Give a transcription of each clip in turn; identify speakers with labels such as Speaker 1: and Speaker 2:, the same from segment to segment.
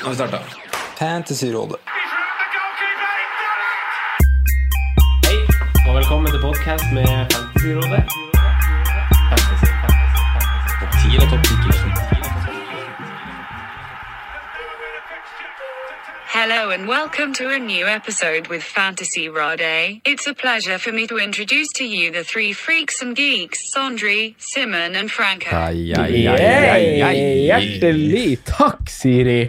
Speaker 1: Nå har vi starta. Fantasyrådet.
Speaker 2: Hei, og velkommen til podcast med Fantasyrådet.
Speaker 3: Hello and welcome to a new episode with Fantasy Rod A. It's a pleasure for me to introduce to you the three freaks and geeks, Sondre, Simon, and Franco.
Speaker 2: Hjertelig takk, Siri.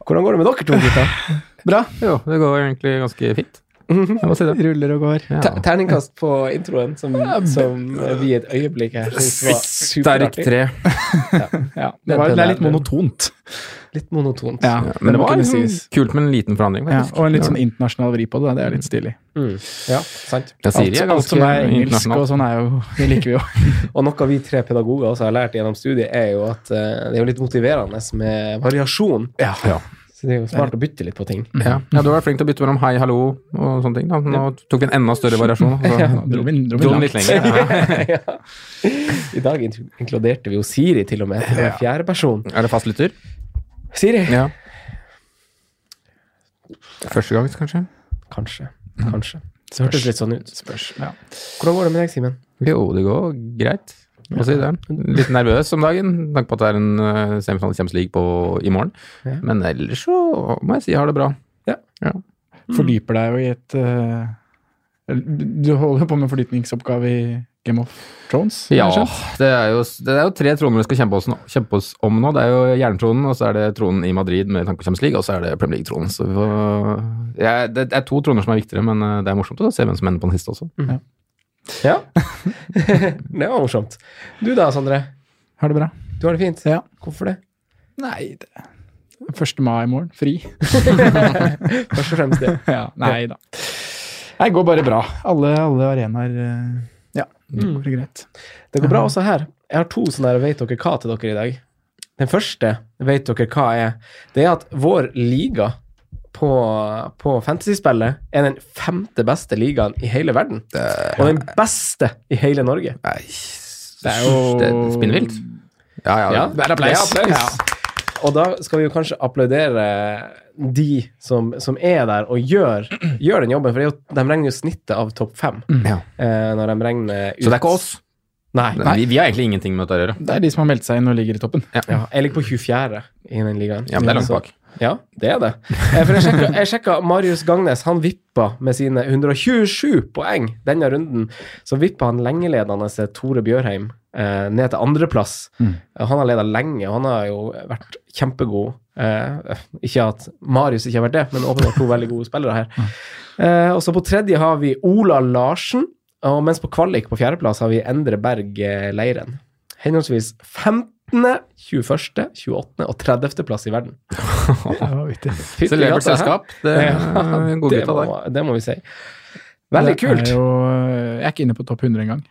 Speaker 2: Hvordan går det med dere to, gutta? Bra?
Speaker 4: Jo, det går egentlig ganske fint. Jeg må si det.
Speaker 2: Ruller og går.
Speaker 4: Ja.
Speaker 2: Terningkast på introen, som, som vi et øyeblikk her syntes var
Speaker 4: Sterk
Speaker 2: superartig.
Speaker 4: tre.
Speaker 2: Ja,
Speaker 5: Det, var, det er litt
Speaker 2: der-
Speaker 5: monotont.
Speaker 2: litt monotont.
Speaker 5: Ja, men det var liksom
Speaker 4: en
Speaker 5: kunne sies.
Speaker 4: kult med en liten forandring.
Speaker 5: Ja,
Speaker 4: faktisk.
Speaker 5: og en litt sånn internasjonal vri på det. da. Det er litt stilig.
Speaker 2: Mm. ja, sant.
Speaker 4: Ja, Siri
Speaker 5: Alt,
Speaker 4: er
Speaker 5: alt
Speaker 4: ganske
Speaker 5: som er engelsk og
Speaker 4: internasjonal.
Speaker 5: sånn, er jo, det liker vi jo.
Speaker 2: Og noe vi tre pedagoger også har lært gjennom studiet, er jo at eh, det er jo litt motiverende med variasjon.
Speaker 5: Ja.
Speaker 2: Så det er jo smart å bytte litt på ting.
Speaker 4: Ja. ja, du har vært flink til å bytte mellom hei, hallo og sånne ting. Da. Nå tok vi en enda større variasjon. da.
Speaker 5: Nå Dro vi, dro
Speaker 4: Så dro
Speaker 5: vi
Speaker 4: den
Speaker 5: langt.
Speaker 4: litt lenger. Ja.
Speaker 2: I dag int- inkluderte vi jo Siri til og med til en fjerde person.
Speaker 4: Er det fastlytter?
Speaker 2: Siri?
Speaker 4: Ja. Første gang, kanskje?
Speaker 2: Kanskje. Kanskje. Det hørtes litt sånn ut.
Speaker 5: Spørs. Ja.
Speaker 2: Hvordan går det med deg, Simen?
Speaker 4: Jo, det går greit. Må si det. Litt nervøs om dagen, med tanke på at det er en eh, semifinale i Champions League på, i morgen.
Speaker 2: Ja.
Speaker 4: Men ellers så må jeg si jeg har det bra.
Speaker 2: Ja.
Speaker 4: ja.
Speaker 5: Fordyper deg jo i et eh, Du holder jo på med fordypningsoppgave i Game of Thrones? har jeg
Speaker 4: Ja,
Speaker 5: skjønt?
Speaker 4: det er, jo, det er jo tre troner vi skal kjempe oss, nå- kjempe oss om nå. Det er jo jerntronen, og så er det tronen i Madrid med tanke på Champions League, og så er det Premier League-tronen. Så vi får, jeg, det er to troner som er viktigere, men eh, det er morsomt å se hvem som ender på den siste også.
Speaker 2: Ja? det var morsomt. Du da, Sondre?
Speaker 5: Har det bra?
Speaker 2: Du har det fint?
Speaker 5: Ja.
Speaker 2: Hvorfor det?
Speaker 5: Nei, det 1. mai i morgen. Fri.
Speaker 2: Først og fremst det.
Speaker 5: ja, nei da. Nei, går bare bra. Alle, alle arenaer eh, Ja, det går greit.
Speaker 2: Det går bra også her. Jeg har to sånne her Vet dere hva til dere i dag. Den første Vet dere hva er. Det er at vår liga på, på fantasyspillet er den femte beste ligaen i hele verden. Og den beste i hele Norge.
Speaker 4: Nei,
Speaker 5: Det er jo
Speaker 4: det er spinnvilt. Ja, ja.
Speaker 2: Ja,
Speaker 4: det er applaus.
Speaker 2: det er applaus.
Speaker 5: Ja.
Speaker 2: Og da skal vi jo kanskje applaudere de som, som er der og gjør, gjør den jobben, for det er jo, de regner jo snittet av topp fem.
Speaker 4: Ja.
Speaker 2: Eh, når de regner
Speaker 4: Mm.
Speaker 2: ut
Speaker 4: Så det er ikke oss.
Speaker 2: Nei.
Speaker 4: Vi, vi har egentlig ingenting med dette å gjøre.
Speaker 5: Det er de som har meldt seg inn og ligger i toppen.
Speaker 2: Ja, jeg ligger på 24. i den ligaen.
Speaker 4: Ja, men det er langt
Speaker 2: Så-
Speaker 4: bak.
Speaker 2: Ja, det er det. Eh, For jeg sjekka, jeg sjekka Marius Gangnes. Han vippa med sine 127 poeng denne runden. Så vippa han lengeledende til Tore Bjørheim eh, ned til andreplass. Eh, Han har leda lenge, og han har jo vært kjempegod. Eh, ikke at Marius ikke har vært det, men åpenbart to veldig gode spillere her. Eh, og så på tredje har vi Ola Larsen, og mens på kvalik på fjerdeplass har vi Endre Berg eh, Leiren. Henholdsvis 15., 21., 28. og 30. plass i verden.
Speaker 5: Det var vittig.
Speaker 2: Fytti
Speaker 4: Celebert
Speaker 2: gata, hæ?
Speaker 4: selskap. Det er
Speaker 2: Ja, det,
Speaker 4: godgutta der.
Speaker 2: må, det må vi si. Veldig kult.
Speaker 5: Det er jo, eh, jeg er ikke inne på topp 100 engang.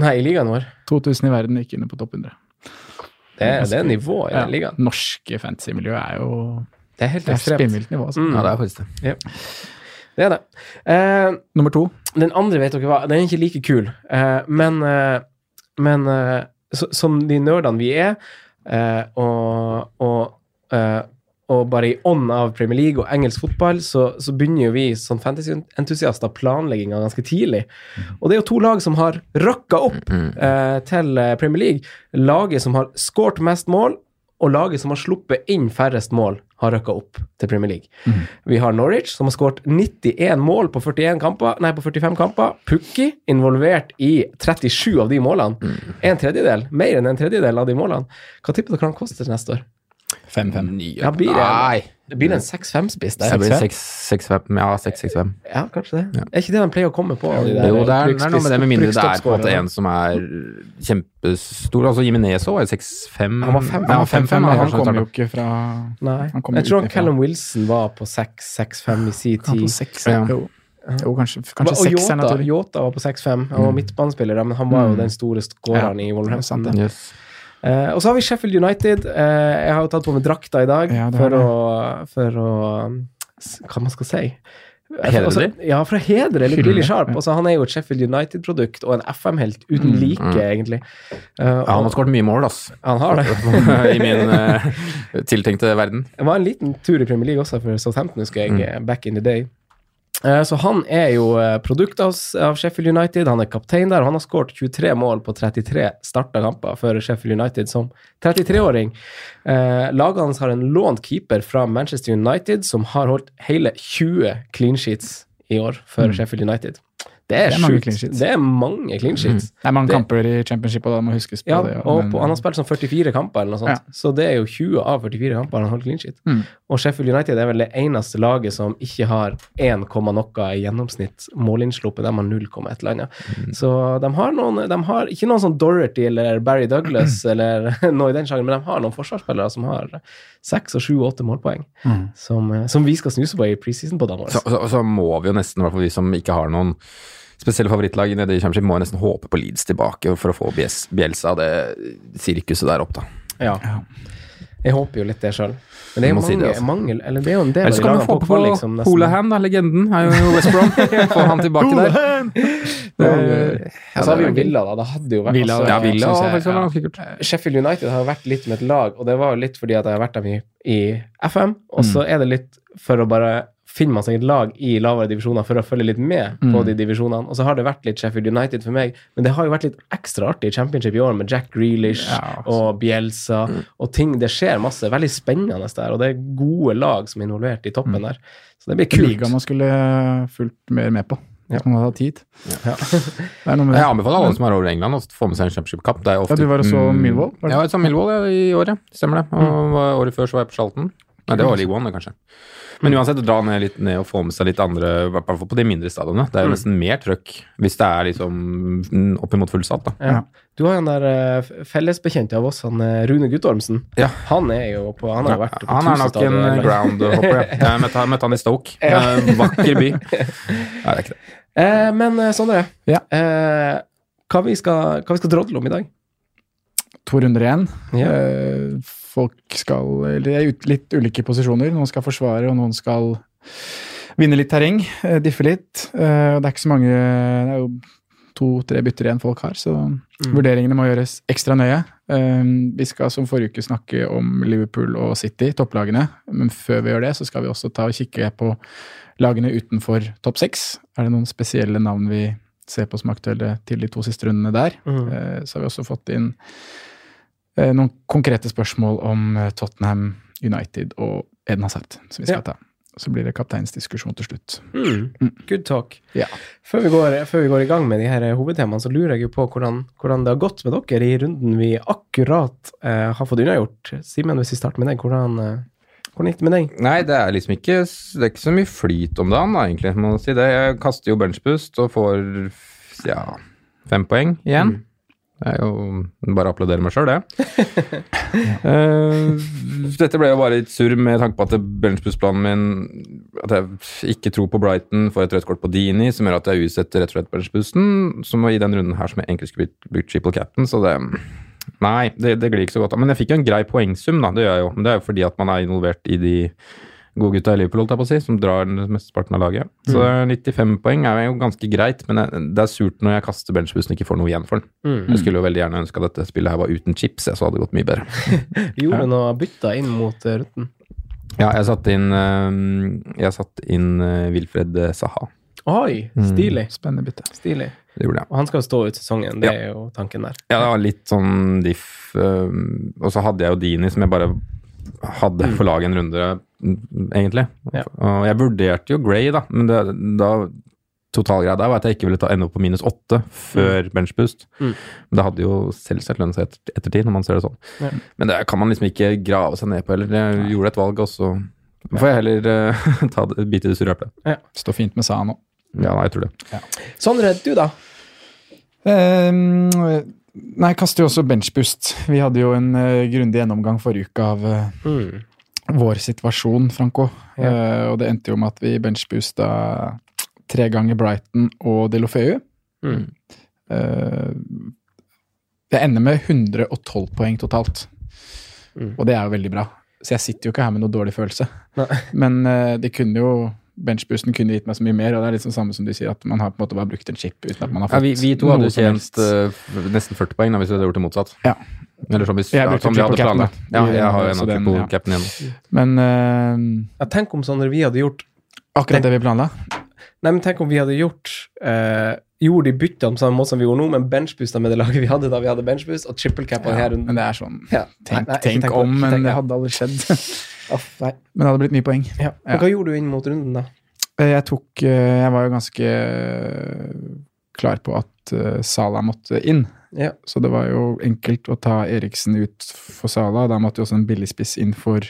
Speaker 2: Nei, i ligaen vår.
Speaker 5: 2000 i verden er ikke inne på topp 100.
Speaker 2: Det, er- det er nivå i
Speaker 5: Ja.
Speaker 2: den eh, ligaen.
Speaker 5: Norske fantasymiljø er jo
Speaker 2: Det er helt
Speaker 5: det er
Speaker 2: ekstremt.
Speaker 5: spinnvilt nivå. Altså.
Speaker 2: Mm,
Speaker 4: Ja, det er faktisk det.
Speaker 2: det er det. Eh,
Speaker 5: Nummer to.
Speaker 2: den andre vet dere hva, den er ikke like kul, eh, men, eh, men eh, så, som de nerdene vi er, eh, og, og, eh, og bare i ånd av Premier League og engelsk fotball, så, så begynner jo vi som fantasyentusiaster planlegginga ganske tidlig. Og det er jo to lag som har røkka opp eh, til eh, Premier League. Laget som har skåret mest mål, og laget som har sluppet inn færrest mål, har røkka opp til Premier League. Vi har Norwich, som har skåret 91 mål på, 41 kamper, nei, på 45 kamper. Pukki involvert i 37 av de målene. En tredjedel, mer enn en tredjedel av de målene. Hva tipper dere han koster til neste år?
Speaker 5: Fem-fem.
Speaker 2: Ja, blir det-
Speaker 4: Nei.
Speaker 2: Det blir en 6-5-spiss
Speaker 4: Det
Speaker 2: der.
Speaker 4: blir 6-6-5. Ja, 6-6-5.
Speaker 2: Ja, kanskje det. Er ikke det de pleier å komme på? de der
Speaker 4: Jo, det er, det er noe med det, med mindre det er på en måte
Speaker 2: plukkstoppskårerne?
Speaker 4: en som er kjempestor. Altså Jimenez òg, var jo 6-5
Speaker 2: Han var
Speaker 4: Nei, han
Speaker 2: fem-
Speaker 5: Ja,
Speaker 4: var 5-5.
Speaker 5: fem-fem.
Speaker 4: ja,
Speaker 5: Han
Speaker 4: kanskje han
Speaker 5: kommer jo
Speaker 4: startet.
Speaker 5: ikke fra
Speaker 2: Nei.
Speaker 5: Han kommer
Speaker 2: Jeg tror han
Speaker 5: utenfra.
Speaker 2: Callum Wilson var på 6-6-5 i si
Speaker 5: Han
Speaker 2: tid.
Speaker 5: på seks.
Speaker 4: Ja.
Speaker 5: Jo. jo, kanskje, kanskje
Speaker 2: Og
Speaker 5: seks er
Speaker 2: Yota,
Speaker 5: naturlig.
Speaker 2: Yota var på 6-5. Han var
Speaker 4: Mm.
Speaker 2: midtbanespiller, da, men han var jo den store skåreren i Wolverhampton.
Speaker 5: sant det.
Speaker 4: Yes.
Speaker 2: Eh, og så har vi Sheffield United. Eh, jeg har jo tatt på meg drakta i dag
Speaker 5: Ja, det
Speaker 2: for,
Speaker 5: har
Speaker 2: å, for å s- Hva man skal si?
Speaker 4: Hederlig.
Speaker 2: Altså, ja, fra heder eller
Speaker 5: Hylle,
Speaker 2: Billy Sharp.
Speaker 5: ja.
Speaker 2: Altså, han er jo et Sheffield United-produkt og en FM-helt uten like, egentlig. Eh,
Speaker 4: Mm. Ja, han har
Speaker 2: og,
Speaker 4: skåret mye mål, ass.
Speaker 2: han har det.
Speaker 4: I min eh, tiltenkte verden.
Speaker 2: Det var en liten tur i Premier League også for Southampton, husker jeg, eh,
Speaker 5: Mm.
Speaker 2: back in the day. Eh, Så han er jo eh, produkt av, av Sheffield United, han er kaptein der, og han har skåret 23 mål på 33 starta kamper for Sheffield United som 33-åring. Eh, Laget hans har en lånt keeper fra Manchester United som har holdt hele 20 clean sheets i år for Sheffield United. Det er,
Speaker 5: Mm. Det er mange
Speaker 2: sjukt.
Speaker 5: clean sheets.
Speaker 2: Det er mange clean sheets.
Speaker 5: Det er mange
Speaker 2: Det-
Speaker 5: kamper i championship, og da må huskes på
Speaker 2: Ja,
Speaker 5: det. ja,
Speaker 2: og
Speaker 5: men-
Speaker 2: på, han har spilt sånn 44 kamper, eller noe sånt. Så det er jo 20 av 44 kamper han holder clean sheet.
Speaker 5: Mm.
Speaker 2: Og Sheffield United er vel det eneste laget som ikke har 1, komma noe i gjennomsnitt målinnsluppet. De har 0, komma et eller annet.
Speaker 4: Mm.
Speaker 2: Så de har, noen, de har ikke noen sånn Dorothy eller Barry Douglas eller noe i den sjangeren, men de har noen forsvarsspillere som har 6 og 7 og 8 målpoeng, som, eh, som vi skal snuse på i preseason på Danmark.
Speaker 4: Mm. Så, så, så må vi jo nesten, i hvert fall vi som ikke har noen spesielle favorittlag nede i Championship, må jo nesten håpe på Leeds tilbake for å få Bies- Bielsa og det sirkuset der opp, da.
Speaker 2: Ja. Jeg håper jo litt det sjøl. Men det er
Speaker 4: Du
Speaker 2: jo
Speaker 4: må si
Speaker 2: mange,
Speaker 4: det, altså.
Speaker 2: mange Eller det er jo en del
Speaker 4: Eller så kan vi håpe på
Speaker 2: kvalik som nesten-
Speaker 4: Holahan, da, legenden. Er jo i West Brom. Få han tilbake der.
Speaker 2: Eh,
Speaker 4: Ja,
Speaker 2: så har vi jo
Speaker 4: det er gøy.
Speaker 2: Villa, da. Det hadde jo vært
Speaker 5: Villa,
Speaker 2: altså,
Speaker 4: Ja, Villa
Speaker 5: Synes
Speaker 4: var
Speaker 5: jeg-
Speaker 4: faktisk
Speaker 5: ja.
Speaker 4: ganske kult.
Speaker 2: Sheffield United har jo vært litt som et lag, og det var jo litt fordi at jeg har vært dem i, i FM, og så
Speaker 5: Mm.
Speaker 2: er det litt for å bare finne man seg et lag i lavere divisjoner for å følge litt med på
Speaker 5: Mm.
Speaker 2: de divisjonene. Og så har det vært litt Sheffield United for meg, men det har jo vært litt ekstra artig i championship i år med Jack Grealish
Speaker 5: Ja, altså. Mm.
Speaker 2: og Bielsa og ting. Det skjer masse veldig spennende der, og det er gode lag som er involvert i toppen der. Så det blir
Speaker 5: Mm. Liga
Speaker 2: kult.
Speaker 5: man skulle fulgt mer med på. Hvis man hadde hatt tid.
Speaker 2: Ja.
Speaker 5: Det er noe med det.
Speaker 4: Jeg anbefaler alle som er over i England å få med seg en championship-kapp. Det er jo ofte
Speaker 5: Ja, du var og så
Speaker 4: Mm,
Speaker 5: Millwall, var det? Mm.
Speaker 4: Ja, jeg så Millwall ja, i år, ja. Stemmer det. Og var- året før så var jeg på Charlton. Nei, det var League One, det, kanskje. Men uansett, å dra ned litt ned og få med seg litt andre, i hvert fall på de mindre stadionene.
Speaker 5: Mm.
Speaker 4: Det er jo nesten mer trøkk hvis det er liksom mm, oppimot fullsatt, da.
Speaker 2: Ja. Du har jo en der eh, f- fellesbekjent av oss, han eh, Rune Guttormsen.
Speaker 4: Ja.
Speaker 2: Han er jo på Han har jo vært på
Speaker 4: han er
Speaker 2: tusen
Speaker 4: nok en eh,
Speaker 2: stadioner i verden.
Speaker 4: groundhopper. ja. Jeg møtte, jeg møtte han i Stoke. Eh, Vakker by. Nei, det er ikke det.
Speaker 2: Eh, men eh, Sondre,
Speaker 5: Ja.
Speaker 2: eh, hva, vi skal, hva vi skal drodle om i dag?
Speaker 5: To runder igjen.
Speaker 2: Ja.
Speaker 5: Eh, Folk skal eller Det er ut- litt ulike posisjoner. Noen skal forsvare, og noen skal vinne litt terreng. eh, Diffe litt. Eh, og Det er ikke så mange Det er jo to-tre bytter igjen folk har, så
Speaker 2: Mm.
Speaker 5: vurderingene må gjøres ekstra nøye. Eh, Vi skal som forrige uke snakke om Liverpool og City, topplagene. Men før vi gjør det, så skal vi også ta og kikke på lagene utenfor topp seks. Er det noen spesielle navn vi ser på som aktuelle til de to siste rundene der?
Speaker 2: Mm.
Speaker 5: Eh, Så har vi også fått inn eh, noen konkrete spørsmål om eh, Tottenham, United og Eden Hazard, som vi skal
Speaker 2: Ja.
Speaker 5: ta. Så blir det kapteinsdiskusjon til slutt.
Speaker 4: Hmm.
Speaker 2: Mm. Good talk.
Speaker 5: Ja.
Speaker 2: Før, vi går, før vi går i gang med de her eh, hovedtemaene, så lurer jeg jo på hvordan, hvordan det har gått med dere i runden vi akkurat eh, har fått unnagjort. Simen, hvis vi starter med deg, hvordan, eh, hvordan gikk det med deg?
Speaker 4: Nei, det er liksom ikke Det er ikke så mye flyt om dagen, da, egentlig. Må man si det. Jeg kaster jo benchboost og får ja, fem poeng igjen. Det er jo bare å applaudere meg sjøl, det. Eh, dette ble jo bare litt surr med tanke på at benchboost-planen min At jeg ikke tror på Brighton, får et rødt kort på Dini, som gjør at jeg utsetter rett og slett benchboosten. Som i den runden her som jeg egentlig skulle blitt- blitt triple cap'n, så det Nei, det, det glir ikke så godt. av. Men jeg fikk jo en grei poengsum, da. Det gjør jeg jo. Men det er jo fordi at man er involvert i de gode gutta i Liverpool, holdt jeg på å si, som drar den mesteparten av laget. Så 95 poeng er jo ganske greit, men det- det er surt når jeg kaster benchbussen og ikke får noe igjen for den. Jeg skulle jo veldig gjerne ønske at dette spillet her var uten chips, jeg, så hadde det gått mye bedre.
Speaker 2: Vi gjorde noe bytta inn mot eh, runden.
Speaker 4: Ja, jeg satte inn, eh, jeg satt inn eh, Wilfred Saha.
Speaker 2: Oi,
Speaker 4: Hmm.
Speaker 2: stilig.
Speaker 5: Spennende bytte.
Speaker 2: stilig.
Speaker 4: Det gjorde jeg.
Speaker 2: Og han skal jo stå ut sesongen, det er jo tanken der.
Speaker 4: Ja, det var litt sånn diff. øhm, Og så hadde jeg jo Dini, som jeg bare hadde for laget en runde, mm, egentlig.
Speaker 2: Ja.
Speaker 4: Og jeg vurderte jo Gray, da, men det, da totalgreia der var at jeg ikke ville ta ende opp på minus åtte før benchboost.
Speaker 2: Mm.
Speaker 4: Men det hadde jo selvsagt lønnet seg etter, ettertid, når man ser det sånn.
Speaker 2: Ja.
Speaker 4: Men det kan man liksom ikke grave seg ned på heller. Jeg gjorde et valg, og så får jeg heller uh, ta det, bite i det sure eplet.
Speaker 5: Står fint med Sano.
Speaker 2: Mm.
Speaker 4: Ja, nei, jeg tror det.
Speaker 2: Sondre, du da?
Speaker 5: Ehm, nei, kaster jo også benchboost. Vi hadde jo en eh, grundig gjennomgang forrige uke av eh,
Speaker 2: Mm.
Speaker 5: vår situasjon, Franco.
Speaker 2: Ja.
Speaker 5: Eh, og det endte jo med at vi benchboosta tre ganger Brighton og Delofeu.
Speaker 2: Mm.
Speaker 5: Eh, det ender med 112 poeng totalt.
Speaker 2: Mm.
Speaker 5: Og det er jo veldig bra. Så jeg sitter jo ikke her med noe dårlig følelse.
Speaker 2: Nei.
Speaker 5: Men eh, det kunne jo benchboosten kunne gitt meg så mye mer. og Det er litt sånn samme som du sier, at man har på en måte bare brukt en chip uten at man har
Speaker 4: Ja,
Speaker 5: fått
Speaker 4: vi, vi to hadde
Speaker 5: noe
Speaker 4: jo
Speaker 5: som helst.
Speaker 4: tjent eh, f- nesten 40 poeng da, hvis vi hadde gjort det motsatt.
Speaker 5: Ja.
Speaker 4: Eller som, hvis,
Speaker 5: Jeg
Speaker 4: ja,
Speaker 5: brukte
Speaker 4: som vi hadde
Speaker 5: triple cap'n, da.
Speaker 4: planlagt. Ja, jeg har jo en
Speaker 5: Så
Speaker 4: av
Speaker 5: den,
Speaker 4: triple
Speaker 5: ja.
Speaker 4: cap'n igjen.
Speaker 5: Men eh,
Speaker 2: Ja, tenk om Sondre, vi hadde gjort
Speaker 5: akkurat det vi planla
Speaker 2: Nei, men tenk om vi hadde gjort eh, Gjorde de byttene på samme måte som vi gjorde nå, men benchboosta med det laget vi hadde da vi hadde benchboost, og trippelcapa
Speaker 5: ja,
Speaker 2: her
Speaker 5: Men
Speaker 2: runden.
Speaker 5: det er sånn
Speaker 2: Ja. Nei,
Speaker 5: Tenk,
Speaker 2: nei, ikke
Speaker 5: tenk
Speaker 2: på det,
Speaker 5: om,
Speaker 2: ikke
Speaker 5: men
Speaker 2: tenk-
Speaker 5: det hadde aldri skjedd.
Speaker 2: Aff, nei.
Speaker 5: men det hadde blitt mye poeng.
Speaker 2: Ja. Men Hva gjorde du inn mot runden, da?
Speaker 5: Eh, Jeg tok eh, Jeg var jo ganske eh, klar på at eh, Sala måtte inn.
Speaker 2: Ja.
Speaker 5: Så det var jo enkelt å ta Eriksen ut for Sala. Da måtte jo også en billigspiss inn for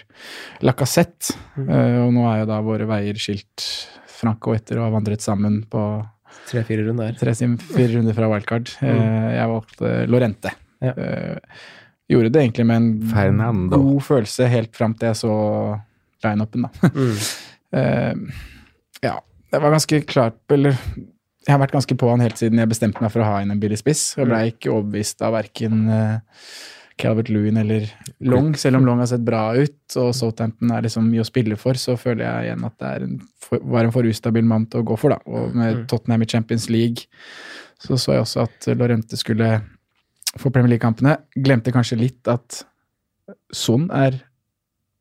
Speaker 5: Lacassette.
Speaker 2: Mhm.
Speaker 5: Eh, Og nå er jo da våre veier skilt Frank og etter å ha vandret sammen på
Speaker 2: Tre-fire runder?
Speaker 5: tre sim- fire runder fra wildcard. Eh, Jeg valgte Lorente.
Speaker 2: Mm. Ja.
Speaker 5: Eh, Gjorde det egentlig med en
Speaker 4: Fernando.
Speaker 5: god følelse helt fram til jeg så line-upen, da.
Speaker 2: Mm.
Speaker 5: Eh, ja, det var ganske klart Eller jeg har vært ganske på han helt siden jeg bestemte meg for å ha inn en billig spiss. Og blei ikke overbevist av verken Calvert Lewin eller Long, selv om Long har sett bra ut. Og Southampton er liksom mye å spille for, så føler jeg igjen at det er en for, var en for ustabil mann til å gå for, da. Og med Tottenham i Champions League så så jeg også at Lorente skulle få Premier League-kampene. Glemte kanskje litt at Son er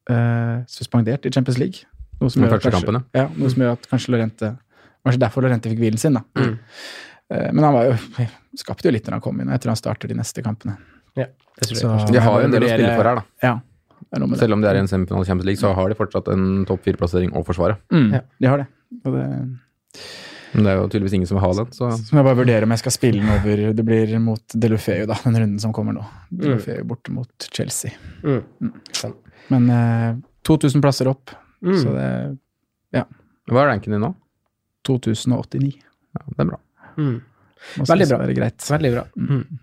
Speaker 5: eh, suspendert i Champions League. Noe
Speaker 4: De
Speaker 5: gjør at
Speaker 4: første
Speaker 5: kanskje-
Speaker 4: kampene.
Speaker 5: ja, noe som gjør at kanskje Lorente Kanskje derfor Lorente fikk hvilen sin, da.
Speaker 2: Mm.
Speaker 5: Eh, Men han var jo, skapte jo litt når han kom inn, og jeg tror han starter de neste kampene.
Speaker 2: Det tror jeg
Speaker 5: Så-
Speaker 2: kanskje.
Speaker 4: De har jo en del å
Speaker 5: Vurdere-
Speaker 4: spille for her, da.
Speaker 5: Ja, det er noe med det.
Speaker 4: Selv om det er en semifinale i Champions League, så har de fortsatt en topp fire-plassering å forsvare.
Speaker 5: Mm,
Speaker 2: Ja.
Speaker 5: De har det. Og det.
Speaker 4: Men det er jo tydeligvis ingen som vil ha den, så
Speaker 5: Så må jeg bare vurdere om jeg skal spille den over Det blir mot Delufeu, da, den runden som kommer nå. Delufeu borte mot Chelsea.
Speaker 2: Mm.
Speaker 5: Men eh, 2000 plasser opp,
Speaker 2: Mm.
Speaker 5: så det er
Speaker 4: Hva er ranken din nå?
Speaker 5: 2089.
Speaker 4: Ja, det er bra.
Speaker 2: Mm.
Speaker 5: Må
Speaker 2: Veldig
Speaker 5: synes
Speaker 2: bra.
Speaker 5: å være greit.
Speaker 2: Veldig bra. Mm.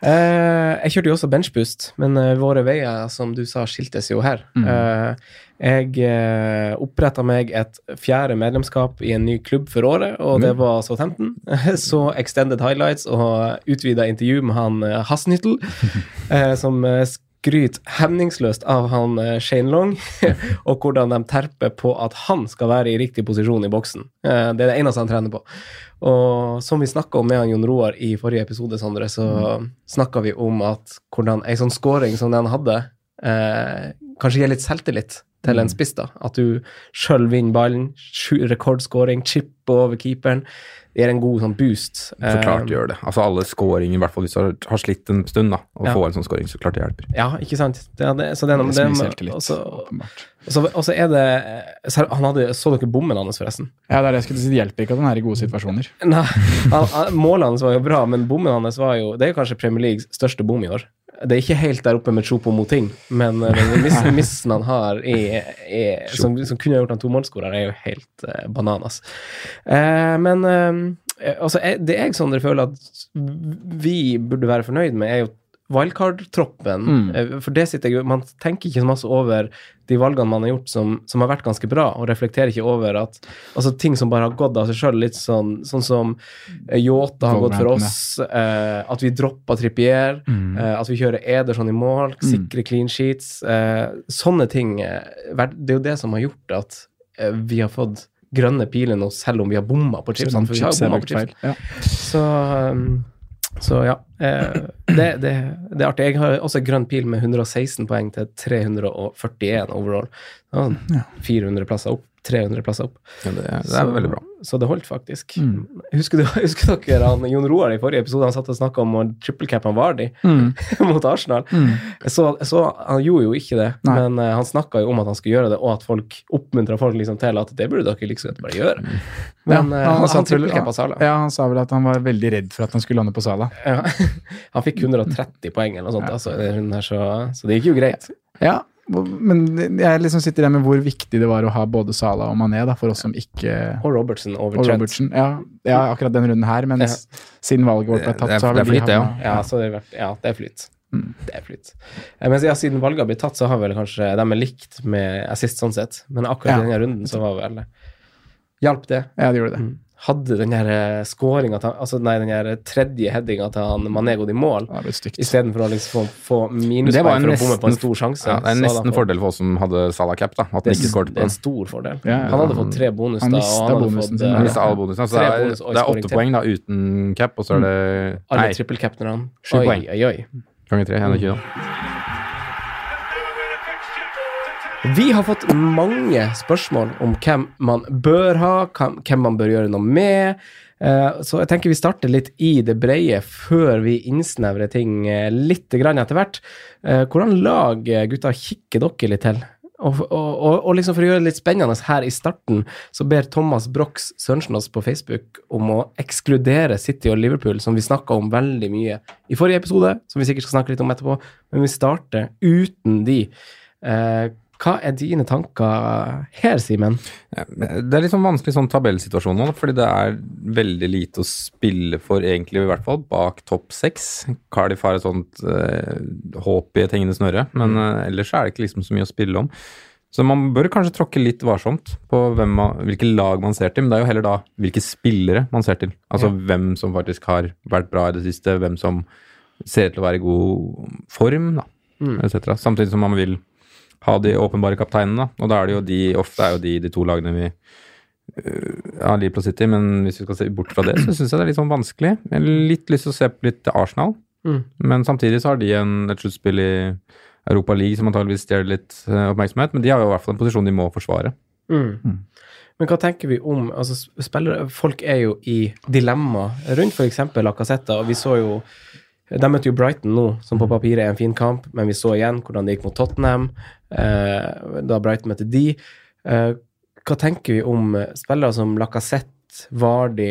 Speaker 2: Eh, jeg kjørte jo også benchboost, men eh, våre veier som du sa, skiltes jo her. Eh, jeg uh, oppretta meg et fjerde medlemskap i en ny klubb for året, og det var Southampton. Så Extended Highlights og utvida intervju med han eh, Hasnyttel, eh, som eh, skryter hemningsløst av han eh, Shane Long, og hvordan de terper på at han skal være i riktig posisjon i boksen. Eh, det er det eneste han trener på. Og som vi snakka om med han Jon Roar i forrige episode, Sondre, så snakka vi om at hvordan ei sånn scoring som den hadde, eh, kanskje gir litt selvtillit til
Speaker 5: Mm.
Speaker 2: en spiss. da, At du sjøl vinner ballen, sju- rekordscoring, chip over keeperen. Det gir en god sånn boost.
Speaker 4: Så klart
Speaker 2: Eh,
Speaker 4: gjør det. Altså alle scoringer, i hvert fall hvis du har, har slitt en stund, da. Å
Speaker 2: Ja.
Speaker 4: få en sånn scoring, så klart det hjelper.
Speaker 2: Ja, ikke sant. Det, er det, så det, er noe-
Speaker 5: Det er så mye
Speaker 2: det,
Speaker 5: selvtillit,
Speaker 2: og så-
Speaker 5: åpenbart.
Speaker 2: og så og så er det så Han hadde, Så dere bommen hans, forresten?
Speaker 5: Ja, det er det jeg skulle si. Det hjelper ikke at han er i gode situasjoner.
Speaker 2: Nei, han, han, Målene hans var jo bra, men bommen hans var jo Det er jo kanskje Premier Leagues største bom i år. Det er ikke helt der oppe med Chopo mot ting, men eh, den miss, missen han har, er, er, som, som kunne ha gjort han tomålsskårer, er jo helt eh, bananas. Eh, men eh, altså, jeg, det jeg Sondre, føler at vi burde være fornøyd med, er jo wildcard-troppen.
Speaker 5: Mm.
Speaker 2: Eh, For det sitter jeg jo Man tenker ikke så masse over de valgene man har gjort som, som har vært ganske bra, og reflekterer ikke over at altså ting som bare har gått av seg sjøl, litt sånn, sånn som eh, Yota har gått for oss, eh, at vi droppa Trippier,
Speaker 5: Mm.
Speaker 2: eh, at vi kjører Ederson i mål, sikre clean sheets eh, Sånne ting eh, verd- Det er jo det som har gjort at eh, vi har fått grønne piler nå, selv om vi har bomma på chipsene. For vi har jo
Speaker 5: Chips Sånn er
Speaker 2: bomma
Speaker 5: brukt
Speaker 2: på chips.
Speaker 5: feil. Ja.
Speaker 2: Så, um, så ja. eh, Det, det, det er artig. Jeg har også en grønn pil med 116 poeng til 341 overall. Ja, 400 plasser opp. 300 plasser opp.
Speaker 4: Ja, det, det er veldig bra.
Speaker 2: Så det holdt faktisk. Husker, du, husker dere han Jon Roar i forrige episode? Han satt og snakka om å trippelcappe Vardi
Speaker 5: Mm,
Speaker 2: mot Arsenal. Så, så han gjorde jo ikke det,
Speaker 5: Nei.
Speaker 2: men eh, han snakka jo om at han skulle gjøre det, og at folk oppmuntra folk liksom til at det burde dere liksom bare gjøre. Men eh,
Speaker 5: Ja,
Speaker 2: han, han,
Speaker 5: satt vel-
Speaker 2: trippelcappa Sala.
Speaker 5: Ja, han sa vel at han var veldig redd for at han skulle lande på Sala.
Speaker 2: Ja. Han fikk 130 poeng eller noe sånt, altså, i den runden her, så, så det gikk jo greit.
Speaker 5: Ja, men jeg liksom sitter der med hvor viktig det var å ha både Sala og Mané da, for oss som ikke
Speaker 2: Og Robertsen over
Speaker 5: Og
Speaker 2: Trent.
Speaker 5: Robertsen. Ja, ja, akkurat den runden her, men
Speaker 2: Ja.
Speaker 5: s- siden valget vårt ble
Speaker 4: Det-
Speaker 5: tatt,
Speaker 4: det er-
Speaker 5: så har
Speaker 4: det er
Speaker 5: vel de
Speaker 4: flyt, det, ja.
Speaker 5: havna-
Speaker 2: Ja, så det, er- ja, det er flyt.
Speaker 4: Mm.
Speaker 2: Det er flyt. Eh, Men ja, siden valget har blitt tatt, så har vel kanskje de er likt med assist sånn sett. Men akkurat
Speaker 5: Ja.
Speaker 2: i denne runden så var vel Hjalp det? Mm.
Speaker 5: Ja, det gjorde det.
Speaker 2: hadde den her eh, scoringen til han- altså nei, den her tredje headinga til han Mané gått i mål,
Speaker 5: Det er blitt stygt.
Speaker 2: istedenfor å liksom få, få
Speaker 4: Det var en
Speaker 2: minuspoeng for å bomme på
Speaker 4: nesten-
Speaker 2: en stor sjanse.
Speaker 4: Ja, det er
Speaker 2: så hadde han
Speaker 4: nesten
Speaker 2: fått-
Speaker 4: fordel for oss som hadde Salah cap, da, at
Speaker 2: Det
Speaker 4: han
Speaker 2: er,
Speaker 4: ikke
Speaker 2: s-
Speaker 4: skåret
Speaker 2: det
Speaker 4: på
Speaker 2: er en
Speaker 4: den.
Speaker 2: stor fordel.
Speaker 5: Ja, ja.
Speaker 2: Han hadde fått tre bonus
Speaker 5: Han
Speaker 2: da,
Speaker 5: mistet
Speaker 2: og han hadde
Speaker 5: bonusen
Speaker 2: fått
Speaker 5: sin,
Speaker 2: eh,
Speaker 5: ja.
Speaker 4: Han mistet alle bonusene, så
Speaker 2: Tre
Speaker 4: det er,
Speaker 2: bonus og
Speaker 4: det er
Speaker 2: scoring
Speaker 4: åtte
Speaker 2: til.
Speaker 4: poeng da, uten cap, og så er det Nei,
Speaker 2: alle trippelcapnerne.
Speaker 4: Sju
Speaker 2: Oi,
Speaker 4: poeng.
Speaker 2: oi, oi.
Speaker 4: ganger tre. 21.
Speaker 2: Vi har fått mange spørsmål om hvem man bør ha, hvem hvem man bør gjøre noe med. Eh, Så jeg tenker vi starter litt i det breie før vi innsnevrer ting eh, litt grann etter hvert. Eh, Hvordan lag, eh, gutta, kikker dere litt til? Og, og, og, og liksom for å gjøre det litt spennende her i starten, så ber Thomas Brox Sørensen oss på Facebook om å ekskludere City og Liverpool, som vi snakka om veldig mye i forrige episode, som vi sikkert skal snakke litt om etterpå, men vi starter uten de. Eh, hva er dine tanker her, Simen?
Speaker 4: Ja, Det er litt sånn vanskelig sånn tabellsituasjon nå, fordi det er veldig lite å spille for, egentlig, i hvert fall, bak topp seks. Cardiff har et sånt eh, håp i et hengende snøre, men eh, ellers er det ikke liksom så mye å spille om. Så man bør kanskje tråkke litt varsomt på hvem man, hvilke lag man ser til, men det er jo heller da hvilke spillere man ser til. Altså hvem som faktisk har vært bra i det siste, hvem som ser ut til å være i god form, da, etc. Samtidig som man vil ha de åpenbare kapteinene, da. Og da er det jo de, ofte er jo de, de to lagene vi øh, ja, Liverpool City, men hvis vi skal se bort fra det, så syns jeg det er litt sånn vanskelig. Jeg har litt lyst til å se på litt Arsenal,
Speaker 2: Mm.
Speaker 4: men samtidig så har de en, et sluttspill i Europa League som antageligvis stjeler litt eh, oppmerksomhet, men de har jo i hvert fall en posisjon de må forsvare.
Speaker 2: Mm.
Speaker 4: Mm.
Speaker 2: Men hva tenker vi om altså sp- spillere, Folk er jo i dilemma rundt f.eks. Lacassetta. og Vi så jo De møtte jo Brighton nå, som på papiret er en fin kamp, men vi så igjen hvordan det gikk mot Tottenham eh, da Brighton møtte de. Eh, hva tenker vi om eh, spillere som Lacassette, Vardi,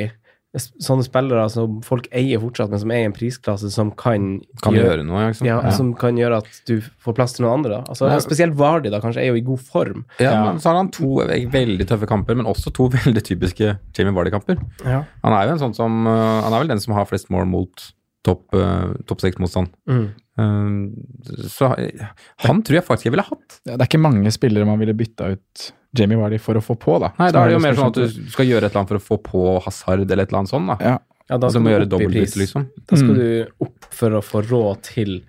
Speaker 2: s- sånne spillere som folk eier fortsatt, men som er i en prisklasse som kan,
Speaker 4: Kan gjøre, noe, ikke sant?
Speaker 2: ja, Som kan gjøre at du får plass til noen andre. Da. Altså,
Speaker 4: Ja.
Speaker 2: spesielt Vardi da, kanskje er jo i god form.
Speaker 4: Ja, men Så har han to ve- veldig tøffe kamper, men også to veldig typiske Jamie Vardy-kamper.
Speaker 2: Ja.
Speaker 4: Han er jo en sånn som øh, Han er vel den som har flest mål mot topp øh, topp seks-motstand.
Speaker 2: Mm.
Speaker 4: så øh, han tror jeg faktisk jeg ville hatt.
Speaker 5: Ja, det er ikke mange spillere man ville bytta ut Jamie Vardy for å få på, da.
Speaker 4: Nei,
Speaker 5: Som
Speaker 4: da er det jo mer sånn
Speaker 5: liksom-
Speaker 4: at du skal gjøre et eller annet for å få på Hazard eller et eller annet sånt, da.
Speaker 5: ja.
Speaker 2: Ja, da
Speaker 4: Altså,
Speaker 2: skal
Speaker 4: må
Speaker 2: du
Speaker 4: gjøre
Speaker 2: opp i pris.
Speaker 4: dobbeltbytte, liksom.
Speaker 2: Da skal
Speaker 5: Mm.
Speaker 2: du opp for å få råd til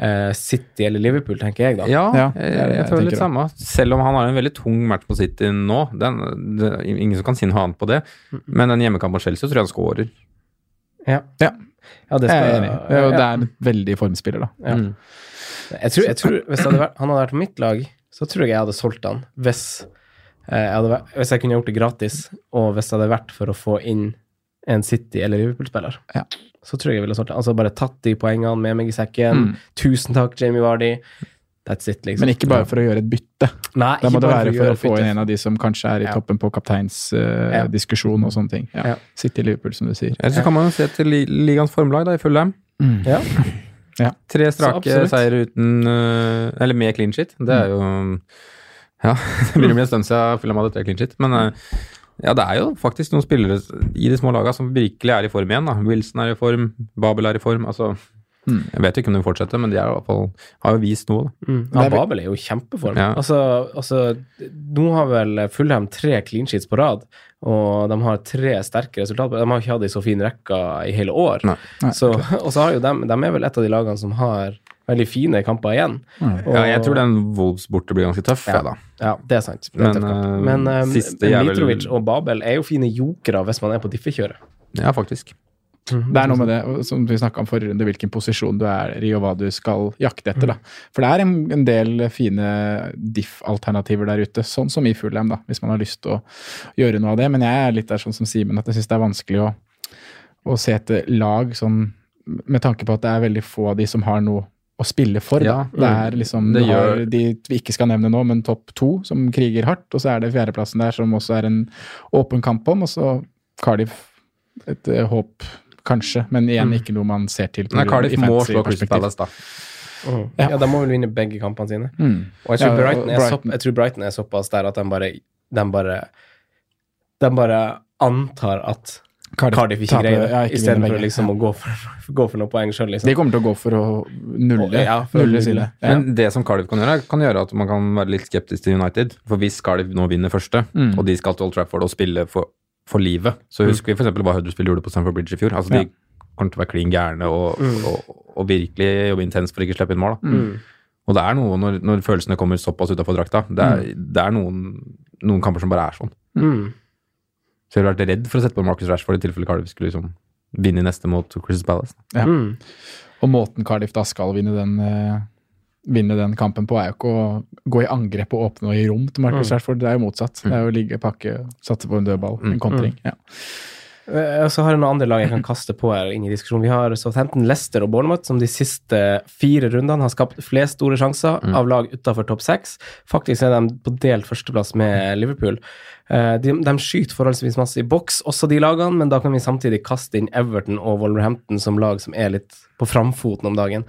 Speaker 2: eh, City eller Liverpool, tenker jeg da.
Speaker 4: Ja,
Speaker 5: Ja, det
Speaker 4: jeg,
Speaker 5: er
Speaker 4: jeg,
Speaker 5: det jeg
Speaker 4: føler
Speaker 5: tenker
Speaker 4: litt samme. Selv om han har en veldig tung match på City nå. Den, det, ingen som kan si noe annet på det. Men en hjemmekamp mot Chelsea tror jeg han scorer.
Speaker 2: Ja, det skal,
Speaker 5: Jeg er enig. Det er jo- Det er en veldig formspiller, da.
Speaker 2: Ja.
Speaker 4: Mm.
Speaker 2: Jeg tror, jeg tror hvis det hadde vært, han hadde vært på mitt lag, så tror jeg jeg hadde solgt han hvis, eh, jeg hadde, vært- hvis jeg kunne gjort det gratis, og hvis det hadde vært for å få inn en City- eller Liverpool-spiller.
Speaker 5: Ja.
Speaker 2: Så tror jeg jeg ville solgt han. Altså bare tatt de poengene med meg i sekken. Tusen takk, Jamie Vardy. That's it, liksom.
Speaker 5: Mm. Men ikke bare for å gjøre et bytte.
Speaker 2: Nei,
Speaker 5: Da må
Speaker 2: ikke
Speaker 5: det
Speaker 2: bare
Speaker 5: være for
Speaker 2: gjøre
Speaker 5: å få
Speaker 2: bytte.
Speaker 5: inn en av de som kanskje er i
Speaker 2: Ja.
Speaker 5: toppen på
Speaker 2: Ja.
Speaker 5: kapteinsdiskusjon og sånne ting.
Speaker 2: Ja.
Speaker 5: Ja. Sitte i Liverpool, som du sier.
Speaker 4: Eller så kan man jo se til li- ligaens formlag, da, i Fulham.
Speaker 2: Ja.
Speaker 4: Tre strake
Speaker 2: absolutt.
Speaker 4: seire uten øh, Eller med clean shit. Det er jo Ja, det begynner å bli en stund siden Fulham hadde tre clean shit. Men øh, ja, det er jo faktisk noen spillere i de små lagene som virkelig er i form igjen. da. Wilson er i form, Babel er i form. altså... Jeg vet ikke om de fortsetter, men de er i hvert fall, har jo vist noe. Da.
Speaker 2: Mm.
Speaker 5: Det
Speaker 2: Ja,
Speaker 5: er vel-
Speaker 2: Babel er jo i kjempeform.
Speaker 4: Ja.
Speaker 2: Altså, altså, nå har vel Fulham tre clean sheets på rad, og de har tre sterke resultater. De har ikke hatt ei så fin rekke i hele år.
Speaker 4: Nei.
Speaker 5: Nei,
Speaker 2: Så, og så har jo de, de er vel et av de lagene som har veldig fine kamper igjen.
Speaker 5: Mm.
Speaker 2: Og-
Speaker 4: Ja, jeg tror den Wolves borte blir ganske tøff. Ja, da.
Speaker 2: Ja, det er sant. Det er
Speaker 4: Men,
Speaker 2: tøft kamp.
Speaker 4: eh,
Speaker 2: Men eh,
Speaker 4: siste
Speaker 2: men
Speaker 4: er vel-
Speaker 2: Mitrovic og Babel er jo fine jokere hvis man er på diffekjøret.
Speaker 4: ja faktisk. Mhm,
Speaker 5: Det er noe med det, og som vi snakka om forrige runde, hvilken posisjon du er i og hva du skal jakte etter. da. For det er en, en del fine diff-alternativer der ute, sånn som i Fulham, da, hvis man har lyst til å gjøre noe av det. Men jeg er litt der sånn som Simen, at jeg syns det er vanskelig å, å se etter lag sånn med tanke på at det er veldig få av de som har noe å spille for.
Speaker 4: Ja,
Speaker 5: da. Det er liksom
Speaker 4: Det
Speaker 5: du har
Speaker 4: gjør-
Speaker 5: de vi ikke skal nevne nå, men topp to som kriger hardt. Og så er det fjerdeplassen der som også er en åpen kamp om, og så Cardiff et eh, håp, kanskje, men igjen ikke noe man ser til. på
Speaker 4: Nei,
Speaker 5: grunn- i
Speaker 4: Cardiff må
Speaker 5: fantasy
Speaker 4: slå Crystal
Speaker 5: perspektiv.
Speaker 4: Palace, da.
Speaker 2: Mhm.
Speaker 5: Ja.
Speaker 2: Ja, de må vel vinne begge kampene sine.
Speaker 5: Mm.
Speaker 2: Og jeg tror,
Speaker 5: Ja, og
Speaker 2: Brighton, er
Speaker 5: Brighton.
Speaker 2: Så, jeg tror Brighton er såpass der at de bare De bare, de bare antar at Cardiff, ikke
Speaker 5: taper-
Speaker 2: greier det,
Speaker 5: ja, ikke vinner
Speaker 2: istedenfor
Speaker 5: begge.
Speaker 2: liksom å gå for, gå for noen poeng sjøl, liksom.
Speaker 5: De kommer til å gå for å nulle,
Speaker 2: Ja, for å nulle.
Speaker 5: nulle sine. Ja.
Speaker 4: Men det som Cardiff kan gjøre, er- kan gjøre at man
Speaker 5: Mm.
Speaker 4: kan være litt skeptisk til United. For hvis Cardiff nå vinner første, og de skal til Old Trafford og spille for, for livet. Så husker vi for eksempel hva Huddersfield gjorde på Stamford Bridge i fjor. Altså,
Speaker 5: Ja.
Speaker 4: De kommer til å være klin gærne og, og, og virkelig jobbe intenst for ikke å slippe inn mål. Da. Og det er noe når, når følelsene kommer såpass utafor drakta. Det er,
Speaker 5: Mm.
Speaker 4: det er noen, noen kamper som bare er sånn.
Speaker 2: Mm.
Speaker 4: Så jeg ville vært redd for å sette på Marcus Rashford i tilfelle Cardiff skulle liksom vinne i neste mot Crystal Palace.
Speaker 5: Ja.
Speaker 2: Mm.
Speaker 5: Og måten Cardiff da skal vinne den, eh, vinne den kampen på, er jo ikke å gå i angrep og åpne og gi rom til
Speaker 2: Mm.
Speaker 5: Marcus Rashford. Det er jo motsatt. Det er jo å ligge, pakke, satse på en dødball,
Speaker 2: Mm.
Speaker 5: en kontring. Ja.
Speaker 2: Eh, Og så har jeg noen andre lag jeg kan kaste på her. inn i diskusjonen. Vi har Southampton, Leicester og Bournemouth, som de siste fire rundene har skapt flest store sjanser av lag utenfor topp seks. Faktisk er de på delt førsteplass med Liverpool. Eh, De, de skyter forholdsvis masse i boks, også de lagene, men da kan vi samtidig kaste inn Everton og Wolverhampton som lag som er litt på framfoten om dagen.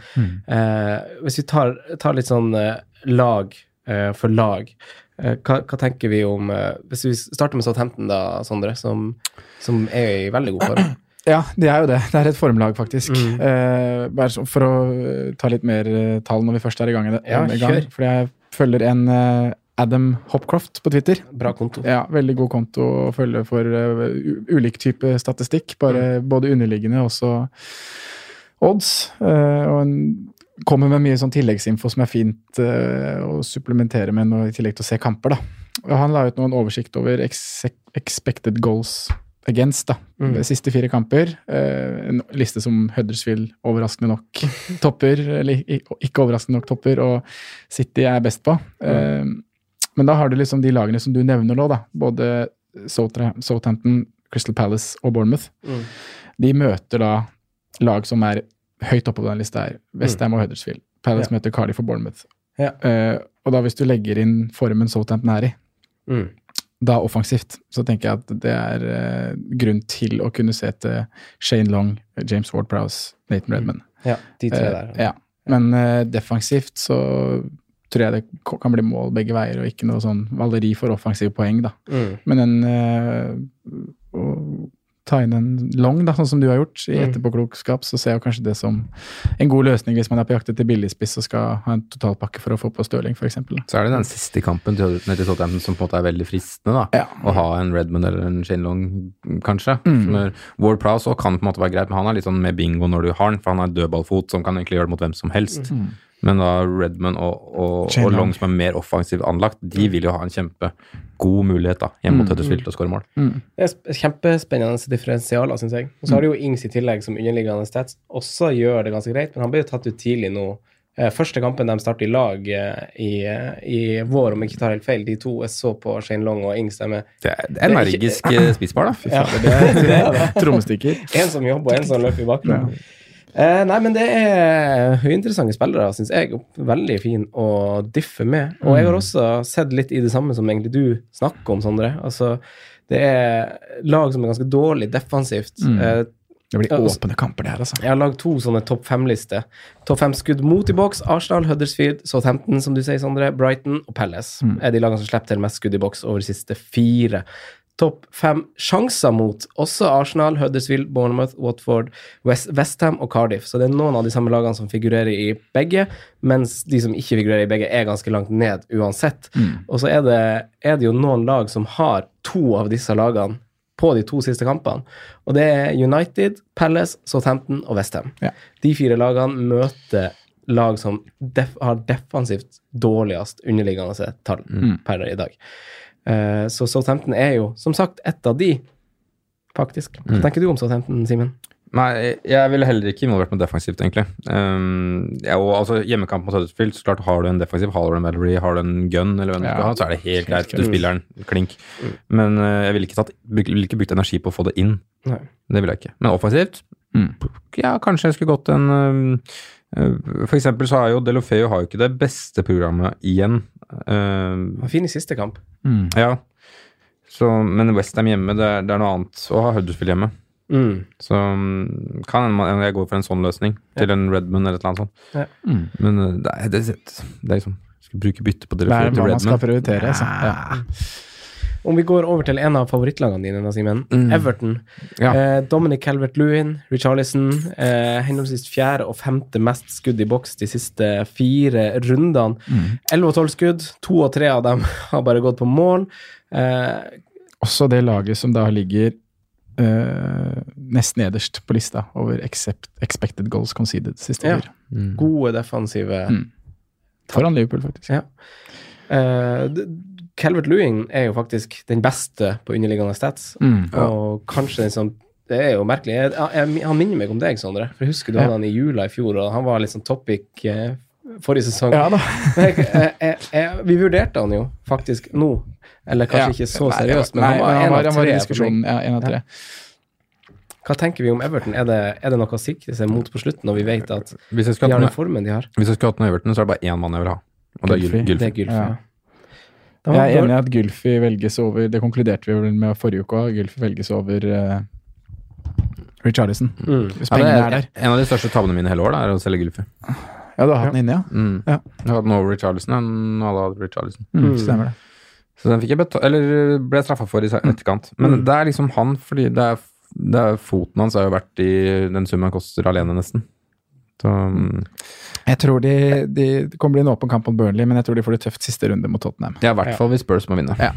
Speaker 2: Eh, Hvis vi tar, tar litt sånn eh, lag eh, for lag, eh, hva, hva tenker vi om eh, Hvis vi starter med Southampton, da, Sondre, som som er i veldig god form.
Speaker 5: Ja, det er jo det. Det er et formlag, faktisk.
Speaker 2: Mm.
Speaker 5: Eh, bare så- for å eh, ta litt mer eh, tall når vi først er i gang. i det-
Speaker 2: Ja,
Speaker 5: i gang
Speaker 2: kjør.
Speaker 5: fordi jeg følger en eh, Adam Hopcroft på Twitter.
Speaker 2: Bra konto.
Speaker 5: Ja, Veldig god konto å følge for eh, u- ulik type statistikk.
Speaker 2: Mm.
Speaker 5: Bare, Både underliggende og også odds. eh, og en kommer med mye sånn tilleggsinfo som er fint eh, å supplementere med når, i tillegg til å se kamper. da. Og han la ut nå en oversikt over ex expected goals against da,
Speaker 2: Mm.
Speaker 5: de siste fire kamper. Eh, en liste som Huddersfield overraskende nok topper, eller i- ikke overraskende nok topper, og City er best på. Eh, men da har du liksom de lagene som du nevner nå, da. Både Soutra- Southampton, Crystal Palace og Bournemouth.
Speaker 2: Mm.
Speaker 5: De møter da lag som er høyt oppe på den lista her. Westham og Huddersfield. Palace møter Cardiff og Bournemouth.
Speaker 2: Mm. Ja.
Speaker 5: Eh, og da hvis du legger inn formen Southampton er i,
Speaker 2: Mm.
Speaker 5: da offensivt, så tenker jeg at det er eh, grunn til å kunne se til Shane Long, James Ward-Prowse, Nathan
Speaker 2: Mm.
Speaker 5: Redman.
Speaker 2: Ja, de tre der.
Speaker 5: Eh, ja. Men eh, defensivt så tror jeg det k- kan bli mål begge veier, og ikke noe sånn valeri for offensive poeng, da.
Speaker 2: Mm.
Speaker 5: Men en eh, å ta inn en long, da, sånn som du har gjort, i
Speaker 2: Mm.
Speaker 5: etterpåklokskap, så ser jeg kanskje det som en god løsning hvis man er på jakt etter billigspiss og skal ha en totalpakke for å få på Stirling, f.eks.
Speaker 4: Så er det den siste kampen til, ned til Southampton som på en måte er veldig fristende. da, Å ha en Redmond eller en Shane Long, kanskje. Mm. Ward Prowse også kan på en måte være greit, men han er litt sånn med bingo når du har den, for han har en dødballfot som kan egentlig gjøre det mot hvem som helst. Men da Redmond og, og,
Speaker 5: Shane
Speaker 4: og
Speaker 5: Long.
Speaker 4: Long, som er mer offensivt anlagt, de vil jo ha en kjempegod mulighet da, hjemme mot Huddersfield til å skåre mål.
Speaker 2: Det er sp- kjempespennende differensialer, syns jeg. Og så har du jo
Speaker 5: Mm.
Speaker 2: Ings i tillegg, som underliggende stats også gjør det ganske greit, men han ble jo tatt ut tidlig nå. Eh, Første kampen de starter i lag eh, i, eh, i vår, om jeg ikke tar helt feil, de to jeg så på Shane Long og Ings, de er
Speaker 4: Det er energisk eh, spisbar, da.
Speaker 2: ja,
Speaker 5: Trommestikker.
Speaker 2: en som jobber, og en som løper i bakgrunnen. Eh, nei, men det er høyinteressante spillere, syns jeg. og Veldig fin å diffe med. Og jeg har også sett litt i det samme som egentlig du snakker om, Sondre. Altså, det er lag som er ganske dårlig defensivt. Eh,
Speaker 5: Det blir
Speaker 2: Ja, og-
Speaker 5: åpne kamper, det her, altså.
Speaker 2: jeg har lagd to sånne topp fem-lister. Topp fem skudd mot i boks. Arsenal, Huddersfield, Southampton, som du sier, Sondre, Brighton og Palace er de lagene som slipper til mest skudd i boks over de siste fire. Topp fem sjanser mot også Arsenal, Huddersfield, Bournemouth, Watford, West, Westham og Cardiff. Så det er noen av de samme lagene som figurerer i begge, mens de som ikke figurerer i begge, er ganske langt ned uansett. Og så er det, er det jo noen lag som har to av disse lagene på de to siste kampene. Og det er United, Palace, Southampton og Westham.
Speaker 5: Ja.
Speaker 2: De fire lagene møter lag som def har defensivt dårligst underliggende tall per i dag. Eh, så Southampton er jo, som sagt, ett av de, faktisk. Hva tenker du om Southampton, Simen?
Speaker 4: Nei, jeg ville heller ikke involvert meg defensivt, egentlig. Um, ja, og altså, Hjemmekamp mot Huddersfield, så klart har du en defensiv, har du en Mallory, har du en gun, eller hvem du
Speaker 5: Ja.
Speaker 4: skal ha, så er det helt greit. Du
Speaker 5: klart.
Speaker 4: spiller den, klink. Men uh, jeg ville ikke, tatt, ville ikke brukt energi på å få det inn.
Speaker 2: Nei.
Speaker 4: Det ville jeg ikke. Men offensivt,
Speaker 5: Mm.
Speaker 4: ja, kanskje jeg skulle gått en um, uh, For eksempel så har jo Delofeu har jo ikke det beste programmet igjen. Um,
Speaker 2: Han var fin i siste kamp.
Speaker 4: ja. Så, men Westham hjemme, det er, det er noe annet å ha Huddersfield hjemme.
Speaker 2: Mm.
Speaker 4: Så mm, kan hende man- jeg går for en sånn løsning, til en Redmond eller et eller annet sånt.
Speaker 2: Ja.
Speaker 4: Men eh, det, er- det, er- det er liksom Skal bruke bytte på
Speaker 5: Det er
Speaker 4: Delefeu til
Speaker 5: hva man skal
Speaker 4: Redmond.
Speaker 5: prioritere, altså. Ja.
Speaker 2: Om vi går over til en av favorittlagene dine, da, Simen.
Speaker 5: Mm.
Speaker 2: Everton.
Speaker 4: Ja.
Speaker 2: Eh, Dominic Calvert-Lewin, Richarlison. Eh, henholdsvis fjerde og femte mest skudd i boks de siste fire
Speaker 5: Mm.
Speaker 2: rundene. Elleve og tolv skudd. To og tre av dem har bare gått på mål. Eh,
Speaker 5: også det laget som da ligger eh, nest nederst på lista over accept, expected goals conceded siste
Speaker 2: Ja.
Speaker 5: år.
Speaker 2: Gode defensive
Speaker 5: Mm. Foran Liverpool, faktisk.
Speaker 2: Ja. Eh, d- Calvert Lewin er jo faktisk den beste på underliggende stats.
Speaker 5: Mm.
Speaker 2: Og kanskje den som Det er jo merkelig. Jeg, jeg, han minner meg om deg, Sondre. For jeg husker du hadde han i jula i fjor, og han var litt sånn topic eh, forrige sesong.
Speaker 5: Ja da.
Speaker 2: Jeg, jeg, jeg, jeg, vi vurderte han jo faktisk nå. Eller kanskje
Speaker 5: Ja.
Speaker 2: ikke så
Speaker 5: Nei,
Speaker 2: seriøst, men
Speaker 5: nei,
Speaker 2: han var en
Speaker 5: han
Speaker 2: av
Speaker 5: var i
Speaker 2: tre. for
Speaker 5: diskusjonen.
Speaker 2: meg.
Speaker 5: Ja, en
Speaker 2: Ja.
Speaker 5: av tre.
Speaker 2: Hva tenker vi om Everton? Er det, er det noe å sikte seg mot på slutten, når vi vet at
Speaker 4: Hvis jeg
Speaker 2: de
Speaker 4: skulle
Speaker 2: har
Speaker 4: hatt
Speaker 2: den
Speaker 4: noe-
Speaker 2: formen de har?
Speaker 4: hvis jeg skulle hatt noe Everton, så er det bare én mann jeg vil ha. Og det er
Speaker 5: Gylfi.
Speaker 4: Gyl- Gylfi.
Speaker 2: Det er Gylfi.
Speaker 5: Ja.
Speaker 2: ja. Da
Speaker 5: Jeg er
Speaker 2: bør-
Speaker 5: enig i at Gylfi velges over Det konkluderte vi vel med forrige uke òg. Gylfi velges over uh, Richarlison.
Speaker 2: Mm.
Speaker 5: Hvis
Speaker 4: Ja, det
Speaker 5: pengene
Speaker 4: er,
Speaker 5: er der.
Speaker 4: en av de største tabbene mine i hele år da, er å selge Gylfi.
Speaker 5: Ja, du har hatt den inne, ja?
Speaker 4: Mm.
Speaker 5: Ja.
Speaker 4: Jeg har hatt den over Richarlison, og alle hadde Richarlison.
Speaker 5: Mm,
Speaker 2: Mm.
Speaker 5: Stemmer det.
Speaker 4: Så den fikk jeg beta eller ble straffa for i se- etterkant. Men det er liksom han, fordi det er, det er foten hans har jo vært i den summen han koster alene, nesten. Så, mm,
Speaker 5: Jeg tror de, de Det kommer bli en åpen kamp mot Burnley, men jeg tror de får det tøft siste runde mot Tottenham.
Speaker 4: ja, i hvert fall hvis Spurs må vinne.
Speaker 5: Ja.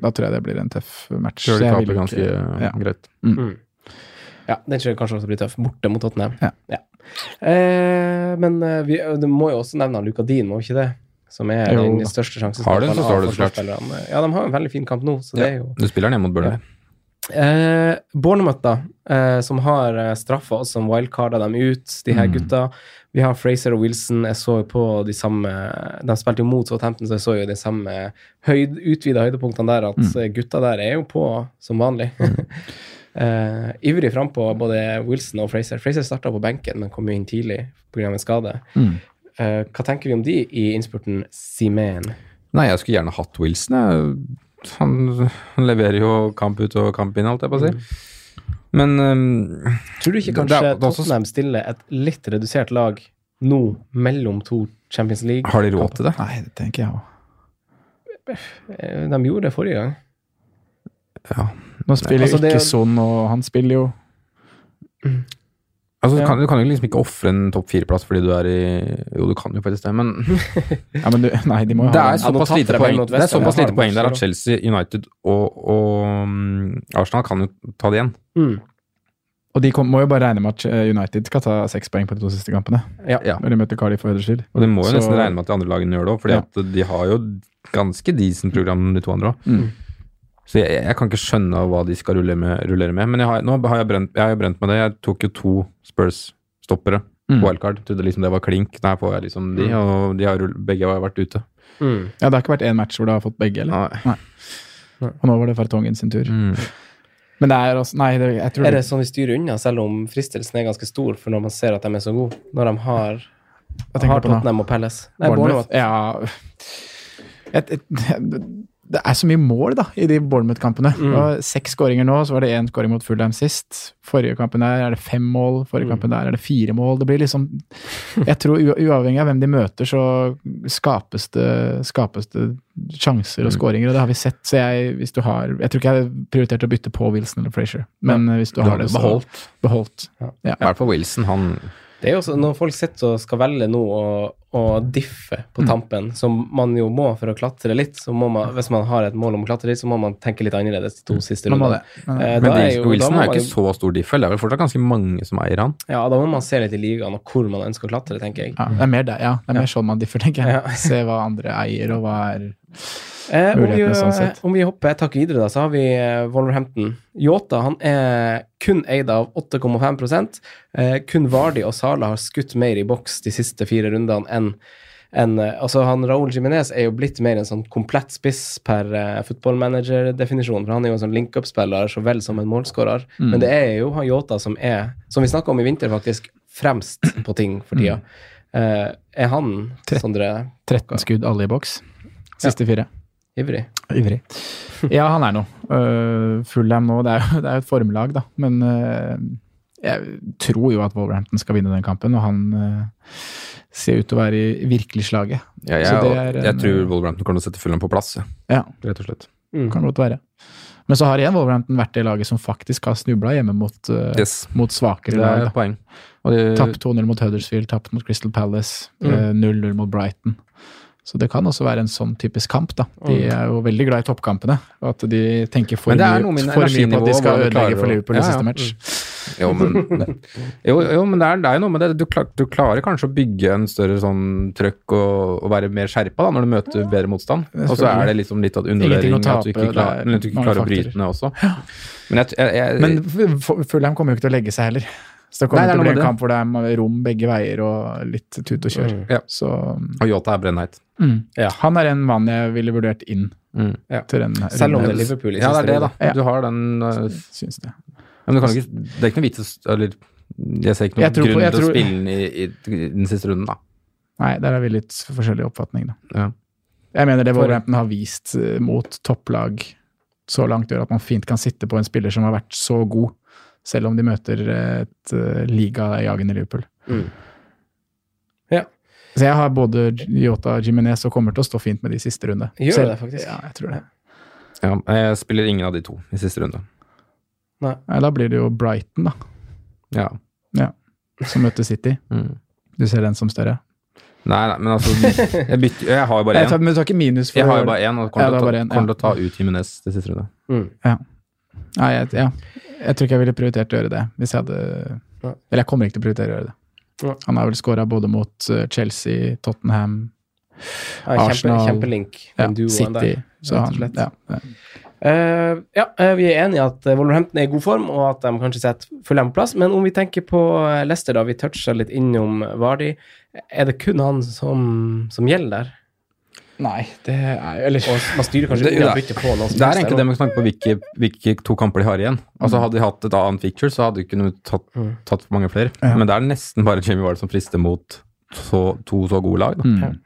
Speaker 5: Da tror jeg det blir en tøff match.
Speaker 4: Tror de
Speaker 5: Jeg vil
Speaker 4: taper ganske eh, mm,
Speaker 5: ja.
Speaker 4: greit.
Speaker 2: Ja, den tror jeg kanskje også blir tøff. Borte mot Tottenham.
Speaker 5: Ja.
Speaker 2: Eh, men eh, vi det må jo også nevne Luka Dean, må vi ikke det? Som er
Speaker 5: Jo,
Speaker 2: den
Speaker 5: da.
Speaker 2: største sjansen.
Speaker 4: Har du den, så står det så klart.
Speaker 2: Ja, de har en veldig fin kamp nå, så det er jo
Speaker 4: Du spiller den hjemme mot Burnley.
Speaker 2: Eh, Bournemouth, da, eh, som har eh, straffa oss som wildcarda dem ut, de her gutta. Vi har Fraser og Wilson. Jeg så jo på de samme De spilte jo mot Southampton, så jeg så jo de samme høyd, utvida høydepunktene der, at eh, gutta der er jo på som vanlig. eh, ivrig frampå, både Wilson og Fraser. Fraser starta på benken, men kom jo inn tidlig pga. en skade.
Speaker 5: Mm.
Speaker 2: Eh, hva tenker vi om de i innspurten Simen?
Speaker 4: Nei, jeg skulle gjerne hatt Wilson. Jeg. Han, han leverer jo kamp ut og kamp inn, holdt jeg på å si.
Speaker 5: Mm.
Speaker 4: Men mm, øhm,
Speaker 2: Tror du
Speaker 4: Det-
Speaker 2: ikke
Speaker 4: det
Speaker 2: kanskje
Speaker 4: er- det er også-
Speaker 2: Tottenham stiller et litt redusert lag nå mellom to Champions League?
Speaker 4: har de råd til det?
Speaker 5: Nei, det tenker jeg òg.
Speaker 2: Eh, De gjorde det forrige gang.
Speaker 4: Ja.
Speaker 5: Nå spiller
Speaker 2: Altså,
Speaker 5: jo
Speaker 2: det er jo-
Speaker 5: ikke Son, og han spiller jo
Speaker 4: Altså, du,
Speaker 2: Ja.
Speaker 4: kan, du kan jo liksom ikke ofre en topp fire-plass fordi du er i Jo, du kan jo faktisk det, men
Speaker 5: Ja, men du, nei, de må jo
Speaker 4: det
Speaker 5: ha
Speaker 4: er
Speaker 5: den.
Speaker 2: Ja, nå
Speaker 4: såpass
Speaker 2: tapte
Speaker 4: lite
Speaker 2: de
Speaker 4: poeng
Speaker 2: mot West
Speaker 4: Det er
Speaker 2: Ham,
Speaker 4: såpass
Speaker 2: ja.
Speaker 4: lite poeng der at
Speaker 2: Så-
Speaker 4: Chelsea, United og, og mm, Arsenal kan jo ta det igjen.
Speaker 5: Og de kom, må jo bare regne med at eh, United skal ta seks poeng på de to siste kampene.
Speaker 2: Ja.
Speaker 4: Ja.
Speaker 5: Når de møter Cardiff og Huddersfield.
Speaker 4: Og de må jo
Speaker 5: Så-
Speaker 4: nesten regne med at de andre lagene gjør det òg, for
Speaker 5: Ja.
Speaker 4: de har jo ganske decent program, de to andre òg.
Speaker 5: Mm.
Speaker 4: Så jeg, jeg kan ikke skjønne hva de skal rulle med, rullere med. Men jeg har, nå har jeg brent, jeg har jo brent med det. Jeg tok jo to Spurs-stoppere.
Speaker 5: Mm.
Speaker 4: Wildcard. Trodde liksom det var klink. Der får jeg liksom de, og de har, rull- begge har vært ute.
Speaker 2: Mm.
Speaker 5: Ja, det har ikke vært én match hvor det har fått begge, eller?
Speaker 4: Nei.
Speaker 5: Og nå var det Fartongen sin tur.
Speaker 4: Mm.
Speaker 5: Men det er altså Nei, det, jeg tror
Speaker 2: Er det sånn de styrer unna, selv om fristelsen er ganske stor for når man ser at de er så gode? Når de har,
Speaker 5: Hva tenker
Speaker 2: har
Speaker 5: du på nå?
Speaker 2: Tottenham og Palace? Nei,
Speaker 5: Bournemouth.
Speaker 2: Bournemouth.
Speaker 5: Ja et, et, Det er så mye mål, da, i de Bournemouth-kampene. Det var Seks skåringer nå, så var det én skåring mot Fulham sist. Forrige kampen der er det fem mål, forrige kampen der er det fire mål. Det blir liksom Jeg tror u- uavhengig av hvem de møter, så skapes det, skapes det sjanser og skåringer, og det har vi sett. Så jeg, hvis du har Jeg tror ikke jeg prioriterte å bytte på Wilson eller Frazier, men hvis du
Speaker 4: Du
Speaker 5: har
Speaker 4: har det
Speaker 5: det, så
Speaker 4: beholdt.
Speaker 5: beholdt. Ja.
Speaker 4: I hvert fall Wilson, han
Speaker 2: Det er jo også når folk sitter og skal velge nå og, og diffe på tampen, som man jo må for å klatre litt, så må man, hvis man har et mål om å klatre litt, så må man tenke litt annerledes de to siste
Speaker 5: Man må
Speaker 2: rundene.
Speaker 5: det. Man må
Speaker 2: Eh,
Speaker 4: Men
Speaker 2: da
Speaker 4: Dean-
Speaker 2: jo- da
Speaker 4: Wilson
Speaker 2: må
Speaker 4: er jo
Speaker 2: man
Speaker 4: ikke så stor diffel. Det er vel fortsatt ganske mange som eier han.
Speaker 2: Ja, da må man se litt i ligaen og hvor man ønsker å klatre, tenker jeg.
Speaker 5: Ja, det er mer det, ja. Det er mer sånn man differ, tenker jeg.
Speaker 2: Ja.
Speaker 5: Se hva andre eier, og hva er
Speaker 2: Eh, om, vi,
Speaker 5: Mulighetene sånn sett.
Speaker 2: om vi hopper et hakk videre, da, så har vi eh, Wolverhampton. Yota han er kun eid av 8,5 eh, Kun Vardi og Sala har skutt mer i boks de siste fire rundene enn enn, eh, altså han Raúl Jiménez er jo blitt mer en sånn komplett spiss per eh, footballmanager-definisjon. for Han er jo en sånn link-up-spiller så vel som en målskårer.
Speaker 5: Mm.
Speaker 2: Men det er jo han Yota som er, som vi snakka om i vinter, faktisk fremst på ting for tida.
Speaker 5: Mm.
Speaker 2: Eh, er han, Sondre,
Speaker 5: 13 skudd alle i boks. Siste fire.
Speaker 2: ivrig?
Speaker 5: Ivrig. Ja, han er noe. Uh, Fullham nå, det er jo det er jo et formlag, da. Men øh, jeg tror jo at Wolverhampton skal vinne den kampen, og han øh, ser ut til å være i virkelig slaget.
Speaker 4: Ja, jeg,
Speaker 5: Så det er en-
Speaker 4: jeg tror Wolverhampton kommer til å sette Fulham på plass, eh, ja.
Speaker 5: Ja,
Speaker 4: rett og slett.
Speaker 2: Mm.
Speaker 5: kan godt være. Men så har igjen Wolverhampton vært det laget som faktisk har snubla hjemme mot, øh,
Speaker 4: Yes,
Speaker 5: mot svakere
Speaker 4: det er
Speaker 5: lag.
Speaker 4: et
Speaker 5: da.
Speaker 4: poeng. Og de,
Speaker 5: Tapt 2-0 mot Huddersfield, tapt mot Crystal Palace,
Speaker 2: Mm.
Speaker 5: øh, 0-0 mot Brighton. Så det kan også være en sånn typisk kamp, da. De
Speaker 2: Mm.
Speaker 5: er jo veldig glad i toppkampene, og at de tenker for
Speaker 4: Men det er
Speaker 5: mye
Speaker 4: noe med
Speaker 5: for mye på at
Speaker 4: energinivå,
Speaker 5: de
Speaker 4: hvordan
Speaker 5: skal
Speaker 4: de klarer
Speaker 5: ødelegge for
Speaker 4: å-
Speaker 5: Liverpool i
Speaker 4: Ja, ja.
Speaker 5: siste match.
Speaker 4: Jo, men, jo, jo, men det, er, det er jo noe med det. Du, klar, du klarer kanskje å bygge en større sånn trøkk og, og være mer skjerpa da, når du møter bedre motstand.
Speaker 5: Det er
Speaker 4: Og så er det liksom litt at undervurdering
Speaker 5: Ingenting å tape,
Speaker 4: at du ikke,
Speaker 5: det er
Speaker 4: klar, men at du ikke
Speaker 5: mange
Speaker 4: klarer å
Speaker 5: faktorer.
Speaker 4: bryte ned også. Men jeg, jeg, jeg,
Speaker 5: Men F- F- Fulham kommer jo ikke til å legge seg heller. Så det
Speaker 4: Mm. Nei, det
Speaker 5: kommer
Speaker 4: er noe
Speaker 5: til å bli
Speaker 4: med
Speaker 5: en
Speaker 4: det.
Speaker 5: kamp hvor det er rom begge veier og litt tut og kjør.
Speaker 2: Mm.
Speaker 4: Ja.
Speaker 5: Så
Speaker 4: og Yota er brennheit.
Speaker 5: mm.
Speaker 2: Ja.
Speaker 5: han er en mann jeg ville vurdert inn
Speaker 4: Mm.
Speaker 2: Ja.
Speaker 5: til den her
Speaker 2: Selv om det er
Speaker 5: runden.
Speaker 2: Liverpool i
Speaker 4: Ja, det er det, da.
Speaker 5: Ja.
Speaker 4: Du har den øh,
Speaker 5: Syns det.
Speaker 4: Men du kan ikke Det er ikke noe vits å s- Eller jeg ser ikke noen
Speaker 5: Jeg tror på-
Speaker 4: grunn
Speaker 5: jeg
Speaker 4: til å
Speaker 5: tror-
Speaker 4: spille den i, i, i den siste runden, da.
Speaker 5: Nei, der har vi litt forskjellig oppfatning, da.
Speaker 4: Ja.
Speaker 5: Jeg mener det
Speaker 2: For-
Speaker 5: Wolverhampton har vist eh, mot topplag så langt, gjør at man fint kan sitte på en spiller som har vært så god, selv om de møter et eh, ligajagende Liverpool.
Speaker 2: Mm. Ja.
Speaker 5: Så jeg har både Jota og Jimenez og kommer til å stå fint med de siste runde.
Speaker 2: Gjør
Speaker 5: Selv-
Speaker 2: det faktisk?
Speaker 5: Ja, jeg tror det.
Speaker 4: Ja, jeg spiller ingen av de to i siste runde.
Speaker 5: Nei, da blir det jo Brighton, da,
Speaker 4: Ja.
Speaker 5: som møter City.
Speaker 4: Mm.
Speaker 5: Du ser den som større.
Speaker 4: Nei, nei, men altså Jeg, bytter, jeg har jo bare
Speaker 5: Jeg tar,
Speaker 4: én.
Speaker 5: men du tar ikke minus for
Speaker 4: Jeg har jo bare én, og kommer
Speaker 5: Ja,
Speaker 4: til
Speaker 5: det
Speaker 4: å
Speaker 5: er
Speaker 4: ta-
Speaker 5: bare én, ja.
Speaker 4: kommer til å ta ut Jimenez til siste runde.
Speaker 2: Mm.
Speaker 5: Nei, jeg, ja. jeg tror ikke jeg ville prioritert å gjøre det. Hvis jeg hadde
Speaker 2: Nei.
Speaker 5: Eller jeg kommer ikke til å prioritere å gjøre det.
Speaker 2: Nei.
Speaker 5: Han har vel skåra både mot eh, Chelsea, Tottenham,
Speaker 2: Ja, kjempe,
Speaker 5: Arsenal.
Speaker 2: kjempelink.
Speaker 5: ja,
Speaker 2: den duoen der.
Speaker 5: City. Så
Speaker 2: rett og
Speaker 5: han,
Speaker 2: slett.
Speaker 5: ja, ja.
Speaker 2: Eh, ja, eh, vi er enige i at eh, Wolverhampton er i god form, og at de kanskje setter Fulham på plass. Men om vi tenker på eh, Leicester, da vi toucha litt innom Vardy, er det kun han som, som gjelder der?
Speaker 5: Nei, det er jo Eller
Speaker 2: Og man styrer kanskje
Speaker 4: Det-
Speaker 2: unna å
Speaker 4: det-
Speaker 2: bytte på noen som
Speaker 4: Det er
Speaker 2: helst
Speaker 4: egentlig det med tanke på hvilke, hvilke to kamper de har igjen. Altså Hadde de hatt et annet feature, så hadde de kunnet tatt,
Speaker 2: Mm.
Speaker 4: tatt mange flere.
Speaker 5: Ja.
Speaker 4: Men det er nesten bare Jamie Ward som frister mot så, to så gode lag. Da.
Speaker 5: mm.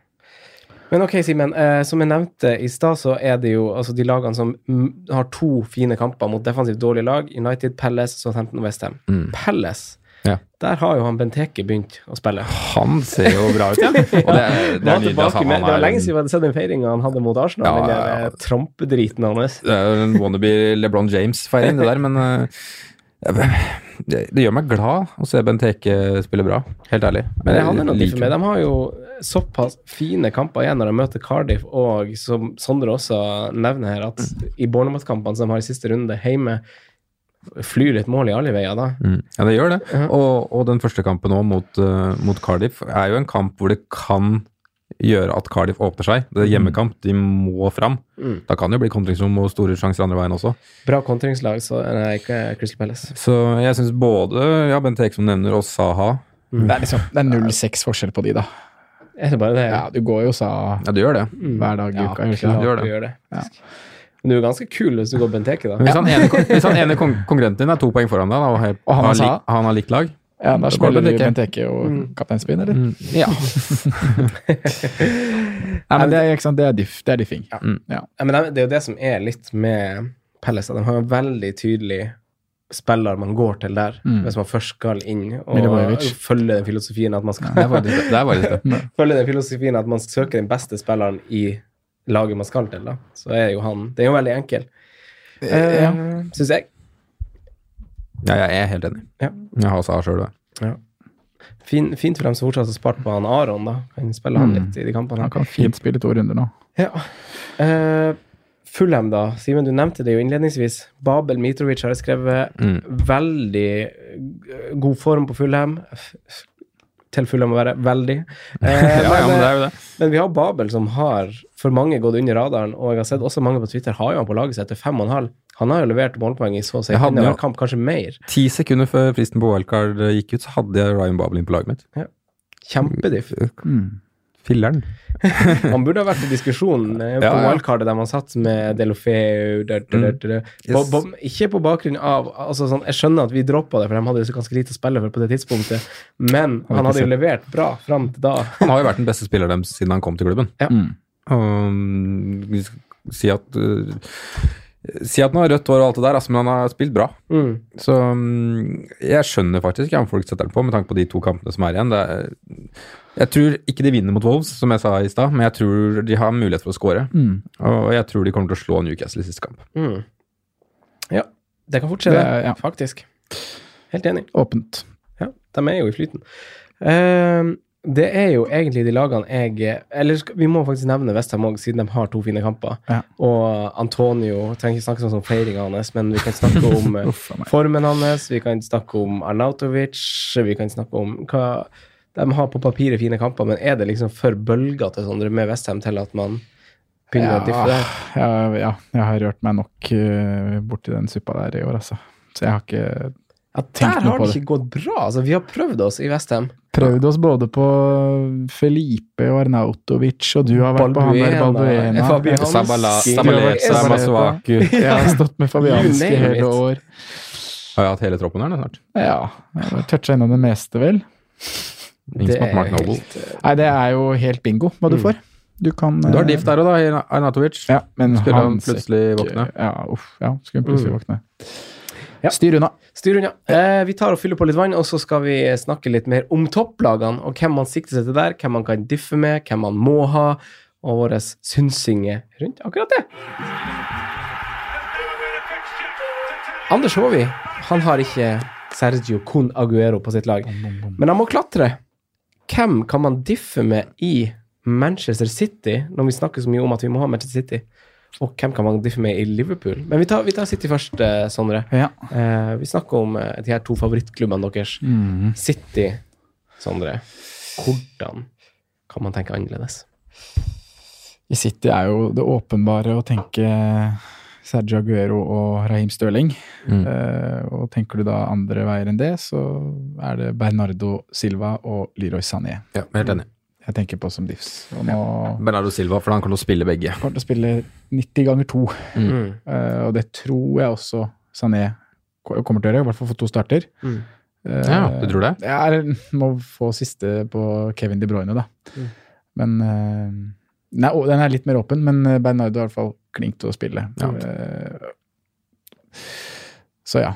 Speaker 2: Men ok, Simen. Eh, som jeg nevnte i stad, så er det jo altså, de lagene som mm, har to fine kamper mot defensivt dårlige lag. United, Palace, Southampton og Westham.
Speaker 4: Mm.
Speaker 2: Palace,
Speaker 4: Ja.
Speaker 2: der har jo han Benteke begynt å spille.
Speaker 4: Han ser jo bra ut, ja. Og det, er- det
Speaker 2: Det,
Speaker 4: er nydelig. Altså, han
Speaker 2: med, det var
Speaker 4: er
Speaker 2: lenge
Speaker 4: en-
Speaker 2: siden vi hadde sett den feiringa han hadde mot Arsenal.
Speaker 4: Ja,
Speaker 2: den
Speaker 4: ja,
Speaker 2: der,
Speaker 4: ja.
Speaker 2: eh, trampedriten hans.
Speaker 4: Det er jo en wannabe LeBron James-feiring, det der, men eh, det, det gjør meg glad å se Benteke spille bra, helt ærlig.
Speaker 2: Men det handler nok
Speaker 4: Jeg
Speaker 2: ikke
Speaker 4: liker
Speaker 2: for meg.
Speaker 4: det.
Speaker 2: De har jo såpass fine kamper igjen når de møter Cardiff, og som Sondre også nevner her, at i Bournemouth-kampene som de har i siste runde hjemme, flyr et mål i alle veier da.
Speaker 4: Mm. Ja, det gjør det.
Speaker 2: Ja.
Speaker 4: Og, og den første kampen nå mot, eh, mot Cardiff er jo en kamp hvor det kan gjøre at Cardiff åpner seg. Det er hjemmekamp, de må fram.
Speaker 2: Mm.
Speaker 4: Da kan det jo bli kontringsrom og store sjanser andre veien også.
Speaker 2: Bra kontringslag, så nei, ikke Crystal Palace.
Speaker 4: Så jeg syns både ja, Benteke som nevner, og Saha
Speaker 5: Det er liksom Det er 0-6 forskjell på de, da.
Speaker 2: Er det bare det?
Speaker 5: Ja, du går jo sa
Speaker 4: Ja, det gjør det.
Speaker 2: Mm.
Speaker 5: hver dag i
Speaker 2: Ja,
Speaker 5: uka. gjør du
Speaker 4: klart.
Speaker 5: ikke det?
Speaker 4: gjør det.
Speaker 2: Du gjør det. faktisk. Men du er jo ganske kul hvis du går Benteke, da.
Speaker 4: Men Hvis han ene, hvis han ene kon- konkurrenten din er to poeng foran deg, da, og, he-
Speaker 5: Og han
Speaker 4: har
Speaker 5: og Saha?
Speaker 4: lik- han har likt lag
Speaker 5: Ja, da
Speaker 4: går
Speaker 5: spiller du
Speaker 4: Benteke.
Speaker 5: Benteke og
Speaker 2: Mm.
Speaker 5: kapteinspinn, eller?
Speaker 4: Ja.
Speaker 5: Nei, men det er, ikke sant, det er, diff, det er diffing. Mm.
Speaker 2: Ja, men det det er jo det som er litt med Palace. at De har en veldig tydelig spiller man går til der,
Speaker 5: Mm.
Speaker 2: hvis man først skal inn og
Speaker 5: Milivojevic.
Speaker 2: følge den filosofien at man skal
Speaker 4: Det er faktisk det. det, er faktisk det.
Speaker 2: følge den filosofien at man søker den beste spilleren i laget man skal til, da. Så er jo han Det er jo veldig enkel, eh,
Speaker 5: Ja.
Speaker 2: syns jeg.
Speaker 4: Ja, jeg er helt enig.
Speaker 2: Ja.
Speaker 4: Jeg har Saha sjøl, det.
Speaker 2: Fin, fint for dem som fortsatt har spart på han Aron, da. Kan spille han
Speaker 5: Mm.
Speaker 2: litt i de kampene. her.
Speaker 5: Han kan fint spille to runder nå.
Speaker 2: Ja. Eh, Fulham, da. Simen, du nevnte det jo innledningsvis. Babel Mitrovic har skrevet
Speaker 4: Mm.
Speaker 2: veldig eh, god form på Fulham. F- f- Til Fulham å være veldig.
Speaker 4: Ja,
Speaker 2: Eh,
Speaker 4: ja, men det
Speaker 2: men,
Speaker 4: er jo det.
Speaker 2: eh, men vi har Babel som har for mange gått under radaren, og jeg har sett også mange på Twitter har jo han på laget sitt til fem og en halv. Han har jo levert målpoeng i så å si
Speaker 4: Jeg hadde
Speaker 2: hver
Speaker 4: jo-
Speaker 2: kamp, kanskje mer.
Speaker 4: Ti sekunder før fristen på wildcard eh, gikk ut, så hadde jeg Ryan Babel inn på laget mitt.
Speaker 2: Kjempediff.
Speaker 5: Mm.
Speaker 4: Filler'n.
Speaker 2: Han burde ha vært i diskusjonen eh, på
Speaker 4: Ja, ja.
Speaker 2: wildcardet der man satt med Delofeu der, der, der, der. På,
Speaker 4: Yes.
Speaker 2: på, Ikke på bakgrunn av altså, sånn, Jeg skjønner at vi droppa det, for de hadde jo så ganske lite å spille for på det tidspunktet, men
Speaker 5: ikke
Speaker 2: han hadde
Speaker 5: sett.
Speaker 2: jo levert bra fram til da.
Speaker 4: Han har jo vært den beste spilleren deres siden han kom til klubben.
Speaker 2: Ja.
Speaker 5: Mm.
Speaker 4: Um, vi skal si at uh, Si at han har rødt hår og alt det der, altså, men han har spilt bra.
Speaker 2: Mm.
Speaker 4: Så um, jeg skjønner faktisk ikke om folk setter den på, med tanke på de to kampene som er igjen. Det er, jeg tror ikke de vinner mot Wolves, som jeg sa i stad, men jeg tror de har mulighet for å score.
Speaker 5: Mm.
Speaker 4: Og jeg tror de kommer til å slå Newcastle i siste kamp.
Speaker 2: Mm. Ja, det kan fortsette,
Speaker 5: Det er- ja.
Speaker 2: faktisk. Helt enig.
Speaker 5: Åpent.
Speaker 2: Ja, de er jo i flyten. Eh, det er jo egentlig de lagene jeg Eller skal- vi må faktisk nevne Westham òg, siden de har to fine kamper.
Speaker 5: Ja.
Speaker 2: Og Antonio trenger ikke snakke sånn om feiringa hans, men vi kan snakke om eh,
Speaker 5: Uff a meg.
Speaker 2: formen hans, vi kan snakke om Arnautovic, vi kan snakke om hva De har på papiret fine kamper, men er det liksom for bølger til Sondre med Westham til at man begynner å diffe der?
Speaker 5: ja, ja, jeg har rørt meg nok eh, borti den suppa der i år, altså. Så jeg har ikke
Speaker 2: Ja,
Speaker 5: tenk
Speaker 2: der
Speaker 5: nå
Speaker 2: har
Speaker 5: på
Speaker 2: det ikke gått bra. Altså, vi har prøvd oss i Westham.
Speaker 5: prøvd oss både på Felipe og Arnautovic, og du har vært på han der Balbuena.
Speaker 2: eh, Fabianski.
Speaker 4: Sabala,
Speaker 5: Sabalek,
Speaker 2: Sabala-
Speaker 5: Sabala-
Speaker 4: Samasuaku Jeg
Speaker 5: Jeg har stått med
Speaker 2: You
Speaker 5: Fabianski
Speaker 2: name it.
Speaker 5: hele år.
Speaker 4: Har jo hatt hele troppen her nå snart.
Speaker 5: Ja. jeg har Toucha innom det meste, vel.
Speaker 4: Ingen som har hatt Mark
Speaker 2: helt-
Speaker 4: Noble.
Speaker 5: Nei, det er jo helt bingo hva du får. Du kan
Speaker 4: Mm. Du har
Speaker 5: eh,
Speaker 4: diff der òg, da, Arnatovic.
Speaker 5: Ja, men
Speaker 4: Skulle han
Speaker 5: Hans-
Speaker 4: plutselig våkne.
Speaker 5: Ja, uff, ja, skulle han plutselig
Speaker 2: Mm.
Speaker 5: våkne.
Speaker 2: Ja.
Speaker 5: Styr unna.
Speaker 2: Styr unna. Eh, vi tar og fyller på litt vann, og så skal vi snakke litt mer om topplagene, og hvem man sikter seg til der, hvem man kan diffe med, hvem man må ha, og våre synsinger rundt akkurat det. Anders Håvi, han har ikke Sergio Con Aguero på sitt lag, men han må klatre. Hvem kan man diffe med i Manchester City, når vi snakker så mye om at vi må ha Manchester City? Og hvem kan man diffe med i Liverpool? Men vi tar, vi tar City først, eh, Sondre.
Speaker 5: Ja.
Speaker 2: Eh, vi snakker om eh, de her to favorittklubbene deres. City, Sondre. Hvordan kan man tenke annerledes?
Speaker 5: I City er jo det åpenbare å tenke Sergio Aguero og Raheem Stirling.
Speaker 4: Mm.
Speaker 5: Eh, og tenker du da andre veier enn det, så er det Bernardo Silva og Leroy Sané
Speaker 4: Ja, helt enig.
Speaker 5: jeg tenker på som diffs. Og nå
Speaker 4: Bernardo Silva, for han kan jo spille begge.
Speaker 5: kommer til å spille 90 ganger 2,
Speaker 2: Mm.
Speaker 5: og det tror jeg også Sané ko- kommer til å gjøre, i hvert fall for to starter.
Speaker 2: Mm.
Speaker 5: Eh,
Speaker 4: Ja, du tror det?
Speaker 5: Jeg er, må få siste på Kevin De Bruyne, da.
Speaker 2: Mm.
Speaker 5: Men eh, nei, å, Den er litt mer åpen, men eh, Bernardo er i hvert fall klink til å spille.
Speaker 4: Ja.
Speaker 5: Eh, så ja.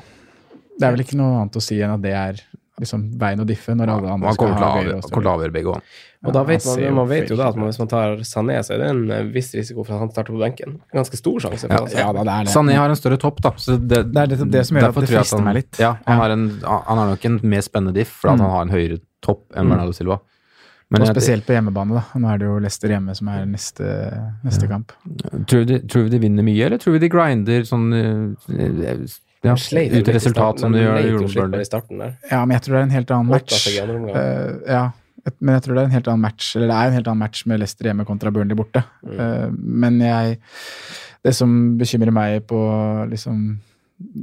Speaker 5: Det er vel ikke noe annet å si enn at det er liksom veien å diffe når alle
Speaker 4: Han
Speaker 5: andre skal
Speaker 4: kommer til
Speaker 5: ha
Speaker 4: å
Speaker 5: Aguero
Speaker 4: avgjøre-
Speaker 5: og
Speaker 4: kommer til
Speaker 5: Stirling.
Speaker 4: å avgjøre begge òg.
Speaker 2: Og da
Speaker 5: Ja,
Speaker 2: vet
Speaker 5: han ser
Speaker 2: man, man vet jo da at
Speaker 5: fake
Speaker 2: man, hvis man tar Sané, så er det en eh, viss risiko for at han starter på benken. Ganske stor sjanse. For
Speaker 4: Sånn, Ja,
Speaker 2: han starter.
Speaker 5: Ja, da, det er det.
Speaker 4: Sané har en større topp, da. Så det,
Speaker 5: Det er nettopp det som gjør at
Speaker 4: derfor
Speaker 5: det
Speaker 4: tror jeg
Speaker 5: frister
Speaker 4: han-
Speaker 5: meg litt.
Speaker 4: Ja, han,
Speaker 5: Ja. Mm.
Speaker 4: Har en, han har nok en mer spennende diff, for at han har en høyere topp enn Bernardo Silva. Men
Speaker 5: og
Speaker 4: jeg-
Speaker 5: spesielt på hjemmebane, da. Nå er det jo Leicester hjemme som er neste, neste kamp.
Speaker 4: Tror vi, de, tror vi de vinner mye, eller tror vi de grinder sånn eh, ja,
Speaker 2: Sleit jo
Speaker 4: ut
Speaker 2: litt i
Speaker 4: i resultat
Speaker 2: starten,
Speaker 4: som
Speaker 2: men
Speaker 4: de gjør
Speaker 2: leit jo
Speaker 4: gjorde mot
Speaker 2: slitt bare
Speaker 4: Burnley?
Speaker 2: i starten der.
Speaker 5: Ja, men jeg tror det er en helt annen
Speaker 2: Åtta
Speaker 5: match.
Speaker 2: seg i andre omgang.
Speaker 5: Eh, ja, et- men jeg tror det er en helt annen match. Eller det er en helt annen match med Leicester hjemme kontra Burnley borte. Eh, men jeg Det som bekymrer meg på liksom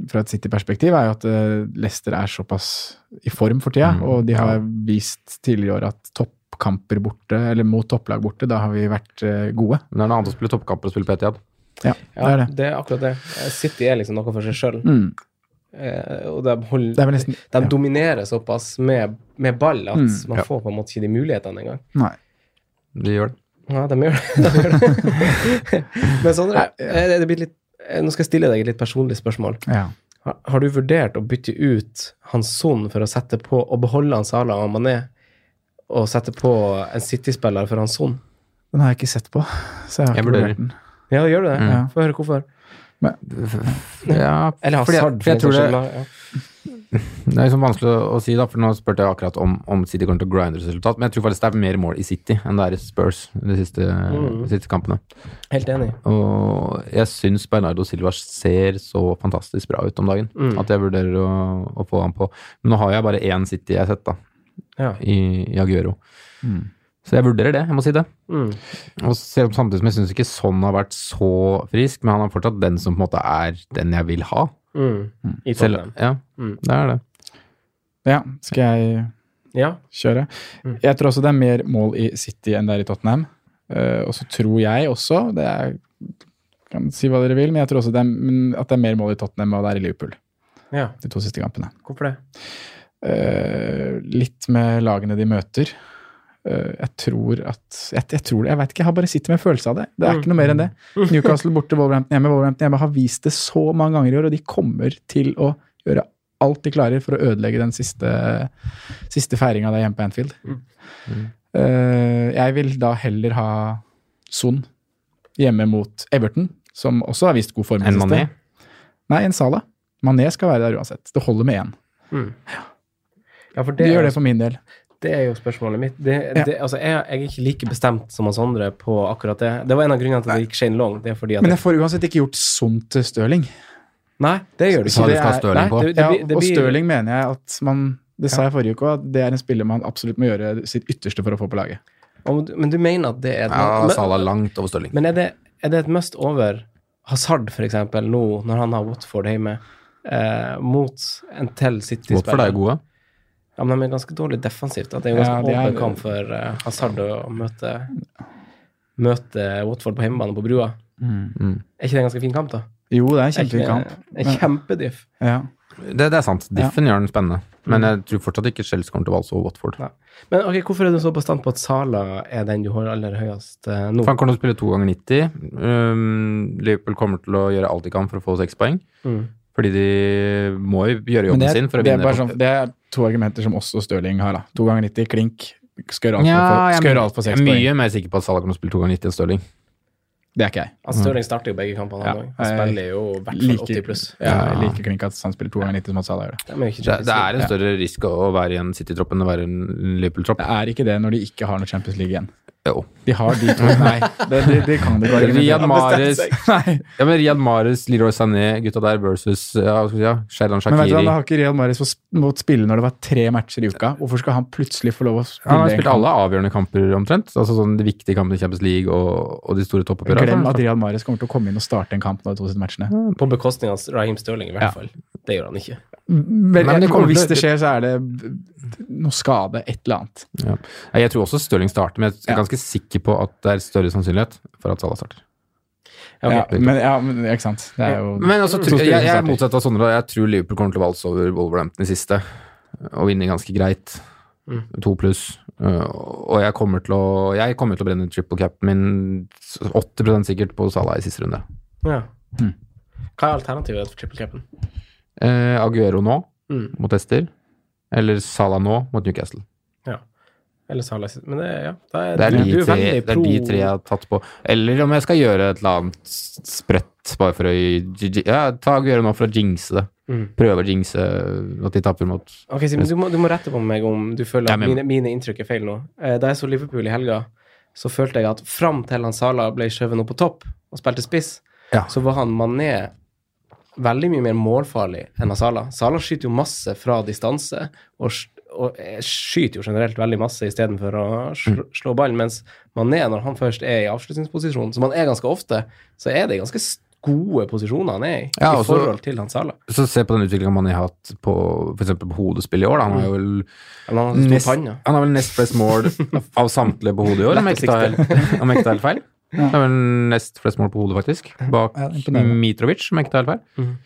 Speaker 5: fra et City-perspektiv, er jo at eh, Leicester er såpass i form for tida,
Speaker 4: Mm,
Speaker 5: og de har
Speaker 4: ja.
Speaker 5: vist tidligere i år at toppkamper borte, eller mot topplag borte, da har vi vært eh, gode.
Speaker 4: Men det er noe annet å spille toppkamp og spille PTJ.
Speaker 5: Ja,
Speaker 2: Ja,
Speaker 5: det
Speaker 2: det
Speaker 5: er
Speaker 2: er,
Speaker 5: det.
Speaker 2: akkurat det. Eh, City er liksom noe for seg sjøl.
Speaker 5: Mm.
Speaker 2: Og de, holder,
Speaker 5: Det er vel nesten
Speaker 2: de
Speaker 5: ja.
Speaker 2: dominerer såpass med, med ball at
Speaker 5: Mm,
Speaker 2: man
Speaker 4: ja.
Speaker 2: får på en måte ikke de mulighetene engang.
Speaker 5: Nei.
Speaker 4: De gjør det.
Speaker 2: Ja, de gjør det. De gjør det. Men Sondre, eh, det blir litt, eh, nå skal jeg stille deg et litt personlig spørsmål.
Speaker 5: Ja.
Speaker 2: Har, har du vurdert å bytte ut Hans Son for å sette på og beholde han Salah og Mané, og sette på en City-spiller for Hans Son?
Speaker 5: Den har jeg ikke sett på, så jeg har
Speaker 4: Jeg
Speaker 5: ikke
Speaker 4: vurderer.
Speaker 5: vurdert den.
Speaker 2: Ja, gjør du det?
Speaker 5: Ja.
Speaker 2: Få høre hvorfor.
Speaker 4: Ja,
Speaker 2: Eller
Speaker 4: fordi jeg-
Speaker 2: Hazard,
Speaker 4: for jeg tror
Speaker 2: den
Speaker 4: det,
Speaker 2: saks skyld, da. Ja.
Speaker 4: det er liksom vanskelig å, å si, da, for nå spurte jeg akkurat om, om City kommer til å grinde resultat, men jeg tror faktisk det er mer mål i City enn det er i Spurs de siste, de siste kampene.
Speaker 2: Helt enig.
Speaker 4: Og jeg syns Bernardo Silva ser så fantastisk bra ut om dagen at jeg vurderer å, å få han på. Men nå har jeg bare én City jeg har sett, da,
Speaker 2: Ja.
Speaker 4: i, i Aguero.
Speaker 5: Mm.
Speaker 4: Så jeg vurderer det, jeg må si det.
Speaker 2: Mm.
Speaker 4: Og selv- samtidig som jeg syns ikke sånn har vært så frisk, men han er fortsatt den som på en måte er den jeg vil ha.
Speaker 2: Mm. I
Speaker 4: Selv,
Speaker 2: Tottenham.
Speaker 4: ja,
Speaker 2: Mm.
Speaker 4: det er det.
Speaker 5: Ja, skal jeg
Speaker 2: Ja.
Speaker 5: kjøre.
Speaker 2: Mm.
Speaker 5: Jeg tror også det er mer mål i City enn det er i Tottenham. Eh, og så tror jeg også det er, kan si hva dere vil, men jeg tror også det er, men at det er mer mål i Tottenham enn det er i Liverpool.
Speaker 2: ja.
Speaker 5: De to siste kampene.
Speaker 2: Hvorfor det?
Speaker 5: Eh, litt med lagene de møter. Eh, jeg tror at Jeg, jeg tror det, jeg vet ikke, jeg har bare sitter med en følelse av det. Det er ikke noe mer enn det.
Speaker 2: Mm.
Speaker 5: Newcastle borte, Wolverhampton hjemme. Wolverhampton hjemme har vist det så mange ganger i år, og de kommer til å gjøre alt de klarer for å ødelegge den siste, siste feiringa der hjemme på Anfield.
Speaker 2: Mm.
Speaker 5: Eh, jeg vil da heller ha Son hjemme mot Everton, som også har vist god form. i det
Speaker 4: En
Speaker 5: siste.
Speaker 4: Mané.
Speaker 5: Nei, en Sala. Mané skal være der uansett. Det holder med én.
Speaker 2: Ja, for
Speaker 5: De
Speaker 2: det,
Speaker 5: gjør
Speaker 2: er-
Speaker 5: det for min del.
Speaker 2: Det er jo spørsmålet mitt. Det,
Speaker 5: Ja.
Speaker 2: det, altså, jeg, jeg er ikke like bestemt som hans andre på akkurat det. Det var en av grunnene til at det gikk Shane Long. Det er fordi at
Speaker 5: Men jeg får uansett ikke gjort sunt til Stirling.
Speaker 2: Nei, det gjør det ikke.
Speaker 5: Så
Speaker 4: Sa du
Speaker 5: det
Speaker 4: skal
Speaker 5: er-
Speaker 4: ha Stirling på?
Speaker 2: Eh, Nei, det-
Speaker 5: Ja,
Speaker 2: blir-
Speaker 5: og
Speaker 2: blir-
Speaker 5: Stirling mener jeg at man Det sa jeg forrige uke òg, at det er en spiller man absolutt må gjøre sitt ytterste for å få på laget.
Speaker 2: Om du- Men du mener at det er et
Speaker 4: Ja, altså.
Speaker 2: men-
Speaker 4: Salah langt over Stirling.
Speaker 2: Men er det, er det et must over Hazard, for eksempel, nå når han har Watford hjemme, eh, mot en
Speaker 4: Watford
Speaker 2: til
Speaker 4: er
Speaker 2: City-spiller?
Speaker 4: jo gode.
Speaker 2: Ja, men de er ganske dårlig defensivt. At det er en
Speaker 5: Ja,
Speaker 2: ganske
Speaker 5: det er-
Speaker 2: åpen kamp for eh, Hazard å møte, møte Watford på hjemmebane på brua.
Speaker 4: Mm.
Speaker 2: Er ikke det en ganske fin kamp, da?
Speaker 5: Jo, det er en
Speaker 2: Er ikke
Speaker 5: kjempefin
Speaker 2: det-
Speaker 5: kamp.
Speaker 2: En kjempediff.
Speaker 5: Ja.
Speaker 4: Det, det er sant. Diffen gjør den spennende.
Speaker 5: Mm.
Speaker 4: Men jeg tror fortsatt ikke Chelsea kommer til å valse over Watford.
Speaker 2: Nei. Men ok, hvorfor er du så bastant på at Sala er den du har aller høyest eh, nå?
Speaker 4: For han kommer til å spille to ganger 90. Um, Liverpool kommer til å gjøre alt de kan for å få seks poeng.
Speaker 2: Mm.
Speaker 4: Fordi de må jo gjøre
Speaker 5: Men
Speaker 4: jobben
Speaker 5: det,
Speaker 4: sin for å
Speaker 5: det, er
Speaker 4: vinne.
Speaker 5: bare sånn, det er to argumenter som også Stirling har. da. To ganger 90, klink. Skal gjøre alt
Speaker 4: Ja,
Speaker 5: for-
Speaker 4: jeg,
Speaker 5: skal gjøre alt for
Speaker 4: jeg
Speaker 5: seks
Speaker 4: er
Speaker 5: poeng.
Speaker 4: mye mer sikker på at Salah kommer til å spille to ganger 90 enn Stirling.
Speaker 5: Det er ikke jeg.
Speaker 4: Mm.
Speaker 2: Altså, Stirling starter jo begge kampene.
Speaker 5: Ja,
Speaker 2: Han, også. han
Speaker 5: jeg
Speaker 2: spiller jo i hvert fall 80 pluss.
Speaker 5: Ja, jeg
Speaker 4: Ja.
Speaker 5: liker klink at han spiller to ganger 90 som at Salah gjør det.
Speaker 2: De er jo ikke
Speaker 4: Det, det
Speaker 2: Champions
Speaker 4: er en større risk å være i en City-tropp enn å være i en Liverpool-tropp.
Speaker 5: Det er ikke det når de ikke har noe Champions League igjen.
Speaker 4: Jo.
Speaker 5: De har de to. Nei, det, de, de kan det ikke
Speaker 4: Riyad
Speaker 5: argumentere.
Speaker 4: Mahrez, ja, men Riyad Mahrez, Leroy Sané, gutta der versus ja, hva skal vi si, ja, Sheridan
Speaker 5: Men vet du hva,
Speaker 4: Shakiri.
Speaker 5: da har ikke Real Maris måttet spille når det var tre matcher i uka. Hvorfor skal han plutselig få lov å spille?
Speaker 4: Han har
Speaker 5: en
Speaker 4: spilt
Speaker 5: kamp?
Speaker 4: alle avgjørende kamper omtrent. Altså sånn De viktige kampene i Champions League og, og de store
Speaker 5: Glem at
Speaker 4: toppoppgjørene.
Speaker 5: Real Maris kommer til å komme inn og starte en kamp nå i to sine matchene.
Speaker 2: League. På bekostning av Raheem Stirling, i hvert fall. Det gjør han ikke.
Speaker 5: Vel,
Speaker 4: Nei, men det kommer
Speaker 5: og hvis
Speaker 4: til-
Speaker 5: det skjer, så er det noe skade, et eller annet.
Speaker 4: Ja. Nei, Jeg tror også Stirling starter, men jeg er
Speaker 5: Ja.
Speaker 4: ganske sikker på at det er større sannsynlighet for at Salah starter.
Speaker 2: Ok.
Speaker 5: Ja, men, ja, men ikke sant. Det er jo
Speaker 4: Men
Speaker 2: Mm.
Speaker 4: også,
Speaker 5: Så
Speaker 4: tror,
Speaker 5: spiller
Speaker 4: jeg,
Speaker 5: vi
Speaker 4: jeg er
Speaker 5: starter.
Speaker 4: motsatt av Sondre. Jeg tror Liverpool kommer til å valse over Wolverhampton i siste og vinne ganske greit.
Speaker 2: Mm.
Speaker 4: To pluss. Uh, Og jeg kommer til å Jeg kommer til å brenne triple cap min 80 sikkert på Salah i siste runde.
Speaker 2: Ja.
Speaker 4: Mm.
Speaker 2: Hva er alternativet for triple capen?
Speaker 4: Eh, Aguero nå
Speaker 2: Mm.
Speaker 4: mot Ester. Eller Salah nå mot Newcastle.
Speaker 2: Eller Salah sitt- Men det, ja, da er,
Speaker 4: Det er,
Speaker 2: du-
Speaker 4: de
Speaker 2: du er
Speaker 4: tre,
Speaker 2: veldig
Speaker 4: det er de tre jeg har tatt på. Eller om jeg skal gjøre et eller annet sprøtt bare for å ja, Ta Aguero nå for å jinxe det.
Speaker 2: Mm.
Speaker 4: Prøve å jinxe at de taper mot
Speaker 2: Ok, Simen, du, må, du må rette på meg om du føler
Speaker 4: Ja,
Speaker 2: at
Speaker 4: men-
Speaker 2: mine, mine inntrykk er feil nå. Eh, Da jeg så Liverpool i helga, så følte jeg at fram til han Salah ble skjøvet nå på topp og spilte spiss,
Speaker 4: Ja.
Speaker 2: så var han Mané veldig mye mer målfarlig enn han Salah. Salah skyter jo masse fra distanse, og, sk- og eh, skyter jo generelt veldig masse istedenfor å slå,
Speaker 4: Mm.
Speaker 2: slå ballen, mens Mané, når han først er i avslutningsposisjon, som han er ganske ofte, så er det ganske s- gode posisjoner han er i,
Speaker 4: Ja,
Speaker 2: i
Speaker 4: og så-
Speaker 2: forhold til han Salah.
Speaker 4: Så se på den utviklingen man har hatt på for eksempel på hodespill i år. Da. Han har jo vel
Speaker 2: Men han har
Speaker 4: nest-
Speaker 2: Mm. stor panne.
Speaker 4: han har vel nest flest mål av samtlige på hodet i år, om jeg ikke tar om jeg ikke tar helt feil. Det er vel nest flest mål på hodet, faktisk, bak
Speaker 5: Ja, imponerende.
Speaker 4: Mitrovic, om jeg ikke tar helt feil.
Speaker 2: Mm.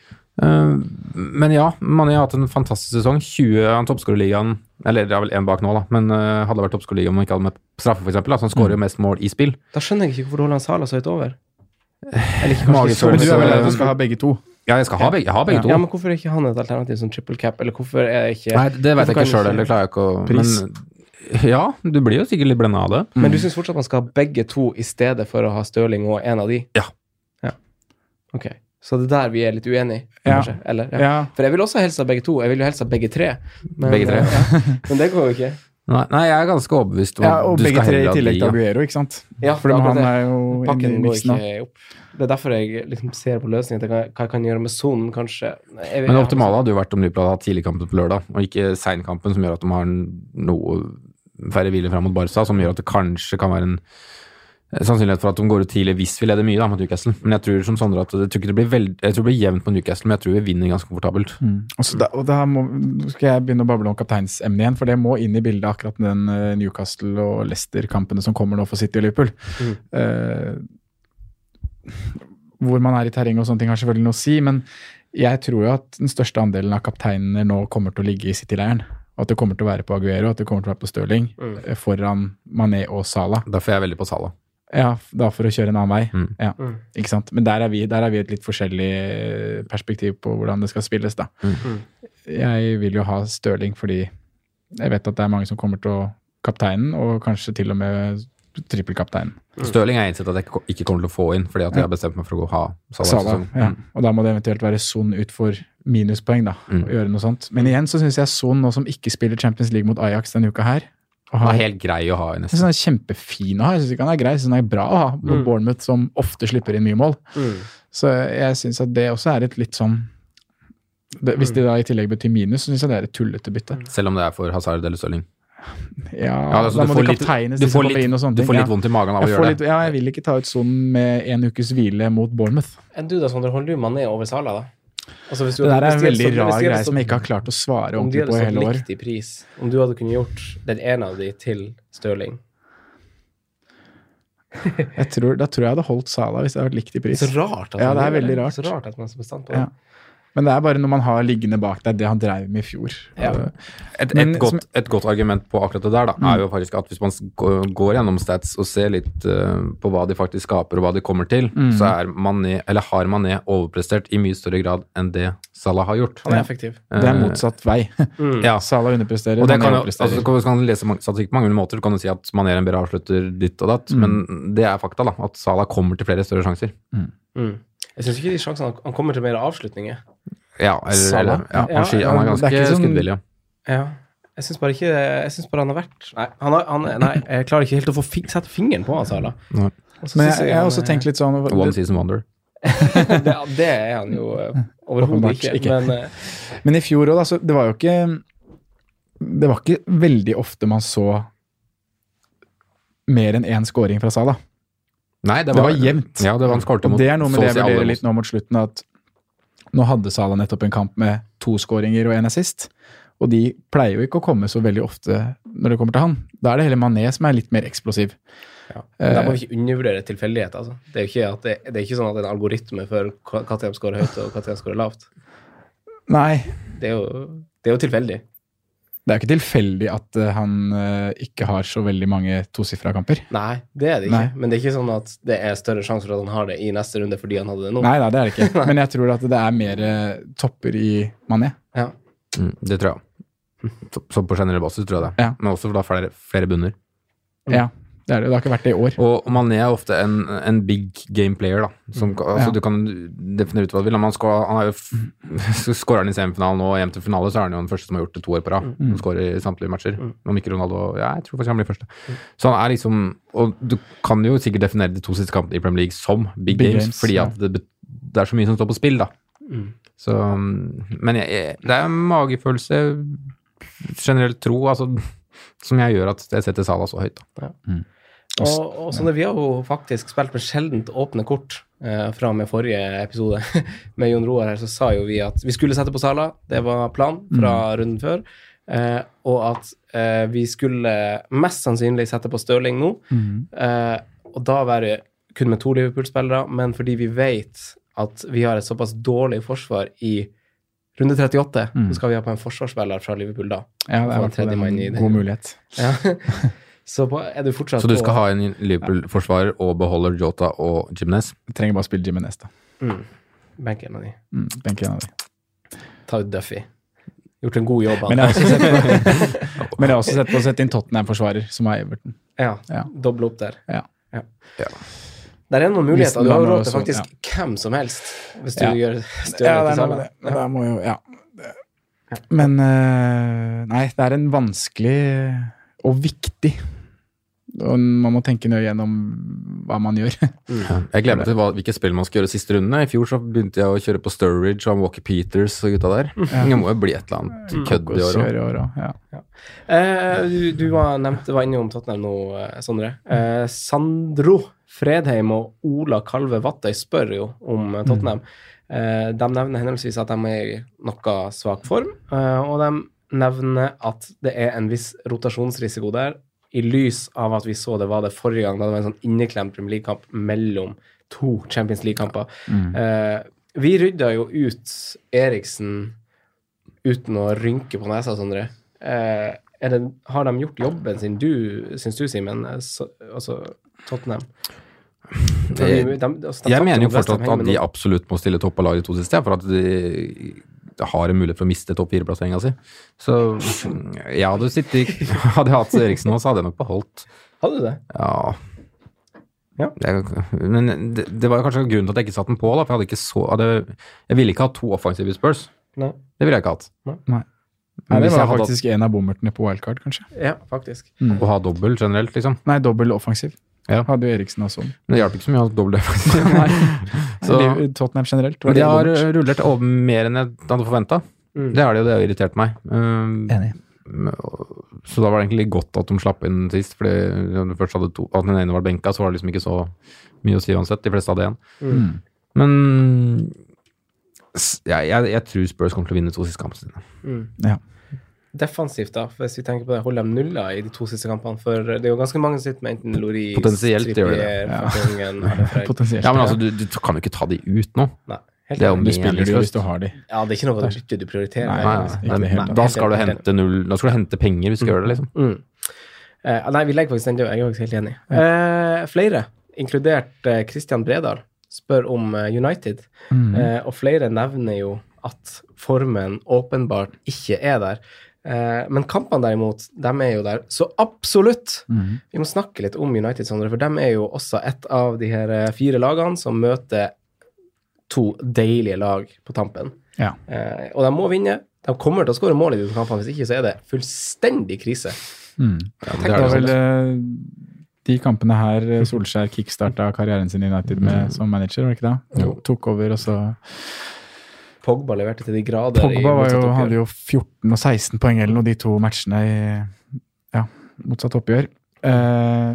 Speaker 4: Eh, men ja, Mané har hatt en fantastisk sesong. 20 han toppskårerligaen Eller det er vel én bak nå, da, men eh, hadde vært toppskårerligaen om han ikke hadde med straffe, for eksempel, da, så han
Speaker 2: Mm.
Speaker 4: skårer jo mest mål i spill.
Speaker 2: Da skjønner jeg ikke hvorfor du holder han Sala så høyt over. Eller ikke
Speaker 4: Magesår.
Speaker 2: kanskje
Speaker 5: Men du er vel
Speaker 4: så-
Speaker 5: at du skal ha begge to?
Speaker 4: Ja, jeg skal ha begge, jeg har begge to.
Speaker 2: Ja, men hvorfor er ikke han et alternativ som triple cap, eller hvorfor er ikke
Speaker 4: Nei, det vet jeg
Speaker 2: Hvorfor
Speaker 4: ikke
Speaker 2: kan
Speaker 4: sjøl,
Speaker 2: ikke-
Speaker 4: eller klarer jeg ikke å
Speaker 5: Pris.
Speaker 4: Men ja, du blir jo sikkert litt blenda av det.
Speaker 5: mm.
Speaker 2: Men du syns fortsatt man skal ha begge to i stedet for å ha Stirling og en av de?
Speaker 4: Ja.
Speaker 2: Ja. Ok. Så det er der vi er litt uenige,
Speaker 5: Ja.
Speaker 2: kanskje? Eller? Ja.
Speaker 5: Ja.
Speaker 2: For jeg vil også helsa begge to. Jeg vil jo helsa begge tre. Men,
Speaker 4: Begge tre.
Speaker 2: Ja. Men det går jo ikke.
Speaker 4: Nei, nei, jeg er ganske overbevist om
Speaker 5: ja,
Speaker 4: at
Speaker 5: og
Speaker 4: du
Speaker 5: begge
Speaker 4: skal
Speaker 5: tre i
Speaker 4: heller ha
Speaker 5: tillegg til
Speaker 4: de, ja.
Speaker 5: Aguero, ikke sant?
Speaker 2: Ja,
Speaker 5: For
Speaker 2: akkurat
Speaker 5: han
Speaker 2: det.
Speaker 5: er jo inne i
Speaker 2: Pakken går
Speaker 5: miksen nå.
Speaker 2: ikke opp. Det er derfor jeg liksom ser på løsninger til hva hva jeg kan gjøre med sonen, kanskje. Jeg vil-
Speaker 4: Men det optimale hadde jo vært om Liverpool hadde hatt tidligkampen på lørdag, og ikke seinkampen, som gjør at de har noe færre hvile fram mot Barca, som gjør at det kanskje kan være en eh, sannsynlighet for at de går ut tidlig hvis vi leder mye da, mot Newcastle. Men jeg tror som Sondre at jeg tror ikke det blir veld... jeg tror det blir jevnt mot Newcastle, men jeg tror vi vinner ganske komfortabelt.
Speaker 5: Og, så da, og da må, nå skal jeg begynne å bable om kapteinsemnet igjen, for det må inn i bildet akkurat med den eh, Newcastle og Leicester-kampene som kommer nå for City og Liverpool. Eh, hvor man er i terreng og sånne ting har selvfølgelig noe å si, men jeg tror jo at den største andelen av kapteinene nå kommer til å ligge i City-leiren. Og At det kommer til å være på Aguero at det kommer til å være på Stirling
Speaker 2: Mm.
Speaker 5: eh, foran Mané og Salah.
Speaker 4: Derfor er jeg veldig på Salah.
Speaker 5: Ja, f- da for å kjøre en annen vei.
Speaker 4: Mm.
Speaker 5: Ja,
Speaker 2: Mm.
Speaker 5: ikke sant? Men der er, vi, der er vi et litt forskjellig eh, perspektiv på hvordan det skal spilles, da.
Speaker 4: Mm.
Speaker 5: Jeg vil jo ha Stirling fordi jeg vet at det er mange som kommer til å kapteinen, og kanskje til og med trippelkapteinen.
Speaker 4: Stirling er innsett at jeg ikke- ikke kommer til å få inn, fordi at jeg har bestemt meg for å gå og ha Salah. i
Speaker 5: Salah,
Speaker 4: sesongen.
Speaker 5: ja. Og da må det eventuelt være Son ut for minuspoeng, da.
Speaker 4: Mm.
Speaker 5: Og gjøre noe sånt. Men igjen så syns jeg Son, nå som ikke spiller Champions League mot Ajax denne uka her, å
Speaker 4: Han
Speaker 5: ha.
Speaker 4: er helt grei å ha i
Speaker 5: Jeg
Speaker 4: nesten.
Speaker 5: synes han er kjempefin å ha. Jeg synes ikke han er grei, jeg synes han er bra å ha. på
Speaker 2: Mm.
Speaker 5: Bournemouth, som ofte slipper inn mye mål.
Speaker 2: Mm.
Speaker 5: Så jeg synes at det også er et litt sånn det, Hvis det da i tillegg betyr minus, så synes jeg det er et tullete bytte.
Speaker 4: Selv om det er for Hazard eller Stirling.
Speaker 5: Ja,
Speaker 4: Ja, altså,
Speaker 5: da
Speaker 4: du
Speaker 5: må
Speaker 4: får
Speaker 5: det
Speaker 4: litt-
Speaker 5: kapteines,
Speaker 4: du
Speaker 5: de som
Speaker 4: får
Speaker 5: kommer
Speaker 4: litt-
Speaker 5: inn og sånne
Speaker 4: Du
Speaker 5: ting.
Speaker 4: får litt
Speaker 5: ja.
Speaker 4: vondt i magen av å
Speaker 5: Jeg, får
Speaker 4: gjøre
Speaker 5: litt,
Speaker 4: det.
Speaker 5: ja, jeg vil ikke ta ut Son med en ukes hvile mot Bournemouth.
Speaker 2: Enn du da, Sondre, holder du Mané over Sala, da? Altså, hvis du
Speaker 5: Det der
Speaker 2: hadde-
Speaker 5: er
Speaker 2: hvis
Speaker 5: en
Speaker 2: de hadde
Speaker 5: veldig
Speaker 2: stått- hvis
Speaker 5: rar
Speaker 2: de hadde
Speaker 5: greie som
Speaker 2: stått-
Speaker 5: jeg ikke har klart å svare
Speaker 2: Om de
Speaker 5: ordentlig
Speaker 2: hadde
Speaker 5: på i
Speaker 2: stått
Speaker 5: hele år.
Speaker 2: likt i pris, om du hadde kunnet gjort den ene av de til Stirling
Speaker 5: Jeg tror, da tror jeg jeg hadde holdt Sala hvis det hadde vært likt i
Speaker 2: Det er
Speaker 5: pris.
Speaker 2: så rart at
Speaker 5: Ja,
Speaker 2: man
Speaker 5: det er
Speaker 2: gjør
Speaker 5: veldig
Speaker 2: Det er så rart at man er så bestandt på det.
Speaker 5: Ja. Men det er bare når man har liggende bak deg det han dreiv med i fjor.
Speaker 2: Ja.
Speaker 5: Eh,
Speaker 4: Et, et,
Speaker 5: Men-
Speaker 4: godt, et godt argument på akkurat det der da, er jo faktisk at hvis man s- går går gjennom stats og ser litt eh, på hva de faktisk skaper og hva de kommer til,
Speaker 5: Mm.
Speaker 4: så er Mané, eller har Mané overprestert i mye større grad enn det Salah har gjort.
Speaker 2: Han er effektiv.
Speaker 5: Det er motsatt vei.
Speaker 4: Ja,
Speaker 5: Sala underpresterer,
Speaker 4: Eh, Mm. Og det
Speaker 5: Mané
Speaker 4: kan, jo-
Speaker 5: overpresterer.
Speaker 4: altså, du kan lese mange- statistikk på mange måter. Du kan jo si at Mané er en bedre avslutter ditt og
Speaker 5: Mm.
Speaker 4: datt, men det er fakta, da. At Salah kommer til flere større sjanser.
Speaker 2: Mm. Jeg syns ikke de sjansene han- Han kommer til mer avslutninger.
Speaker 4: Ja, eller,
Speaker 5: Salah?
Speaker 4: eller ja,
Speaker 2: Ja,
Speaker 4: han, sky- han
Speaker 5: ja,
Speaker 4: er
Speaker 5: det er
Speaker 4: ganske
Speaker 5: ikke sånn-
Speaker 4: skuddvillig. ja.
Speaker 2: Ja. Jeg syns bare ikke Jeg synes bare han har vært Nei, han har, han, nei jeg klarer ikke helt å få fi, sette fingeren på han, Sala.
Speaker 4: Nei.
Speaker 2: Og så
Speaker 5: Men
Speaker 2: synes
Speaker 5: jeg, jeg har
Speaker 2: han
Speaker 5: også
Speaker 2: er-
Speaker 5: tenkt litt sånn
Speaker 4: One
Speaker 5: det,
Speaker 4: season wonder.
Speaker 2: det, det er han jo eh, overhodet
Speaker 5: Åpenbart
Speaker 2: ikke.
Speaker 5: ikke.
Speaker 2: Men eh,
Speaker 5: Men i fjor òg, altså. Det var jo ikke Det var ikke veldig ofte man så mer enn én scoring fra Sala.
Speaker 4: Nei, det
Speaker 5: Det
Speaker 4: var,
Speaker 5: var jevnt.
Speaker 4: Ja, det var han skårte
Speaker 5: Og
Speaker 4: mot
Speaker 5: det er noe med
Speaker 4: så å
Speaker 5: det jeg
Speaker 4: si alle
Speaker 5: vurderer
Speaker 4: mot-
Speaker 5: litt nå mot slutten, at nå hadde Sala nettopp en kamp med to skåringer og en assist, og de pleier jo ikke å komme så veldig ofte når det kommer til han. Da er det heller Mané som er litt mer eksplosiv.
Speaker 2: ja.
Speaker 5: Eh,
Speaker 2: Men der må vi ikke undervurdere tilfeldighet. Altså. Det, er jo ikke at det, det er ikke sånn at det er en algoritme for når de skårer høyt og når de skårer lavt.
Speaker 5: Nei,
Speaker 2: Det er jo, det er jo tilfeldig.
Speaker 5: det er jo ikke tilfeldig at eh, han eh, ikke har så veldig mange tosifra kamper.
Speaker 2: Nei, det er det ikke.
Speaker 5: Nei.
Speaker 2: Men det er ikke sånn at det er større sjanse for at han har det i neste runde fordi han hadde det nå.
Speaker 5: Nei, nei, det er det ikke. Men jeg tror at det er mer eh, topper i Mané.
Speaker 2: Ja.
Speaker 4: Mm, det tror jeg. Så, så på generell basis tror jeg det.
Speaker 5: Ja.
Speaker 4: Men også da flere, flere bunner.
Speaker 2: Mm.
Speaker 5: Ja, det er det. Det har ikke vært det i år.
Speaker 4: Og Mané er ofte en, en big game player, da. Som, ka- altså,
Speaker 5: Ja.
Speaker 4: Du kan definere ut hva du vil. men Han, skår, han er jo, f- skårer han i semifinalen og hjem til finale, så er han jo den første som har gjort det to år på rad. Han skårer i samtlige matcher. Om ikke Ronaldo ja, Jeg tror faktisk han blir første. Så han er liksom Og du kan jo sikkert definere de to siste kampene i Premier League som big,
Speaker 5: Big
Speaker 4: games,
Speaker 5: games,
Speaker 4: fordi
Speaker 5: ja.
Speaker 4: at det, bet- det er så mye som står på spill, da. Så, men jeg, jeg, det er en magefølelse, generell tro, altså, som jeg gjør at jeg setter Salah så høyt, da.
Speaker 2: Og, og sånn, Vi har jo faktisk spilt med sjeldent åpne kort eh, fra og med forrige episode. med Jon Roar her så sa jo vi at vi skulle sette på Sala, det var planen fra
Speaker 4: Mm.
Speaker 2: runden før. Eh, og at eh, vi skulle mest sannsynlig sette på Stirling nå.
Speaker 4: Mm.
Speaker 2: Eh, og da være kun med to Liverpool-spillere, men fordi vi vet at vi har et såpass dårlig forsvar i runde 38,
Speaker 4: Mm.
Speaker 2: så skal vi ha på en forsvarsspiller fra Liverpool da.
Speaker 5: Ja,
Speaker 2: Få en
Speaker 5: det er i hvert fall
Speaker 2: tredje mann i
Speaker 5: en
Speaker 2: det.
Speaker 5: god mulighet.
Speaker 2: Ja. så på, er du fortsatt
Speaker 4: Så du skal
Speaker 2: på-
Speaker 4: ha en Liverpool-forsvarer og beholder Jota og Jimenez?
Speaker 5: Vi trenger bare å spille Jimenez, da.
Speaker 2: benken en av de.
Speaker 5: Mm, tenker jeg av de.
Speaker 2: Ta ut Duffy. Gjort en god jobb. Han.
Speaker 5: Men jeg har også sett på, men jeg har også sett på å sette inn Tottenham-forsvarer, som er Everton.
Speaker 2: ja.
Speaker 5: Ja.
Speaker 2: Doble opp der.
Speaker 5: Ja.
Speaker 2: Der er noen muligheter.
Speaker 5: Listen
Speaker 2: Du har
Speaker 5: var
Speaker 2: jo råd til
Speaker 5: så-
Speaker 2: faktisk hvem som helst, hvis du
Speaker 5: Ja.
Speaker 2: gjør støvet til Sala.
Speaker 5: Men der må jo Ja. Men eh, Nei, det er en vanskelig og viktig og Man må tenke nøye gjennom hva man gjør.
Speaker 4: Jeg glemte hva, hvilke spill man skal gjøre siste runde. I fjor så begynte jeg å kjøre på Sturridge og Walker Peters og gutta der. Det må jo bli et eller annet kødd i år òg.
Speaker 5: Kjøre i år også, ja.
Speaker 2: Eh, du du var, nevnte, var inne om Tottenham nå, eh, Sondre. Eh, Sandro Fredheim og Ola Kalve Vattøy spør jo om eh, Tottenham. Eh, de nevner henholdsvis at de er i noe svak form, eh, og de nevner at det er en viss rotasjonsrisiko der, i lys av at vi så det var det forrige gang, da det var en sånn inneklemt Premier League-kamp mellom to Champions League-kamper. Eh, vi rydda jo ut Eriksen uten å rynke på nesa, Sondre. Eh, er det, har de gjort jobben sin, du, syns du, Simen? Eh, så- Altså Tottenham.
Speaker 4: Eh,
Speaker 2: altså,
Speaker 4: Jeg mener jo fortsatt at de
Speaker 2: ja.
Speaker 4: absolutt må stille topp av laget i to siste, for at de har en mulighet for å miste topp fire-plasseringa si. Så jeg hadde sittet Hadde jeg hatt Eriksen nå, så hadde jeg nok beholdt
Speaker 2: Hadde du det?
Speaker 4: Ja.
Speaker 2: Ja.
Speaker 4: Jeg, men det, det var jo kanskje grunnen til at jeg ikke satte den på, da, for jeg hadde ikke så hadde, Jeg ville ikke ha to offensive Spurs.
Speaker 2: Nei.
Speaker 4: Det ville jeg ikke hatt.
Speaker 2: Nei.
Speaker 5: Nei. Nei, det
Speaker 4: hvis jeg
Speaker 5: var
Speaker 4: hadde hatt-
Speaker 5: faktisk en av bommertene på wildcard, kanskje.
Speaker 2: Ja, faktisk.
Speaker 4: Å ha dobbel generelt, liksom.
Speaker 5: Nei, dobbel offensiv.
Speaker 4: Ja.
Speaker 5: Hadde jo Eriksen også.
Speaker 4: Men det hjalp ikke så mye å ha dobbel der, faktisk.
Speaker 5: Nei,
Speaker 4: Så,
Speaker 5: Liv- eh, Tottenham generelt. var
Speaker 4: men de
Speaker 5: det
Speaker 4: har
Speaker 5: bommert.
Speaker 4: rullert over mer enn jeg hadde forventa.
Speaker 2: Mm.
Speaker 4: Det er det, og det har irritert meg. Um,
Speaker 5: Enig.
Speaker 4: Så da var det egentlig godt at de slapp inn sist, fordi når du først hadde to, at den ene var benka, så var det liksom ikke så mye å si uansett. De fleste hadde én.
Speaker 5: Mm.
Speaker 4: Men s- jeg, jeg, jeg tror Spurs kommer til å vinne de to siste kampene sine.
Speaker 5: Ja.
Speaker 2: Defensivt, da, hvis vi tenker på det, holder de nulla i de to siste kampene? For det er jo ganske mange som sitter med enten Loris,
Speaker 4: Potensielt gjør de det,
Speaker 5: ja.
Speaker 2: Fatongen, Arne Frey.
Speaker 5: Potensielt.
Speaker 4: Ja, men altså, du, du kan jo ikke ta de ut nå.
Speaker 2: Nei, helt
Speaker 4: Det er jo
Speaker 5: Du spiller jo hvis du har de.
Speaker 2: Ja, det er ikke noe av det byttet du prioriterer.
Speaker 5: Nei,
Speaker 4: Nei,
Speaker 5: ikke
Speaker 4: nei,
Speaker 5: det hele
Speaker 4: nei,
Speaker 5: tatt.
Speaker 4: da skal du hente null Da skal du hente penger hvis du skal gjøre det, liksom.
Speaker 2: Mm. Eh, nei, vi legger faktisk den død. Jeg er faktisk helt enig. Eh, flere, inkludert eh, Christian Bredal, spør om eh, United. Eh, og flere nevner jo at formen åpenbart ikke er der. Eh, men kampene derimot, dem er jo der. Så absolutt!
Speaker 4: Mm.
Speaker 5: Mhm.
Speaker 2: Vi må snakke litt om United, Sondre, for dem er jo også et av de her eh, fire lagene som møter to deilige lag på tampen.
Speaker 5: Ja.
Speaker 2: Eh, og de må vinne. De kommer til å skåre mål i de kampene, hvis ikke så er det fullstendig krise.
Speaker 5: Mm.
Speaker 4: Ja,
Speaker 2: tenk
Speaker 4: det
Speaker 5: Det
Speaker 4: er
Speaker 5: var
Speaker 4: det
Speaker 5: vel
Speaker 4: sånn.
Speaker 5: eh, de kampene her eh, Solskjær kickstarta karrieren sin i United med som manager, var det ikke det?
Speaker 4: Mm. Jo.
Speaker 5: Tok over, og så
Speaker 2: Pogba leverte til de grader i
Speaker 5: Pogba var
Speaker 2: motsatt
Speaker 5: jo,
Speaker 2: oppgjør.
Speaker 5: hadde jo 14 og 16 poeng eller noe de to matchene i ja, motsatt oppgjør. Eh,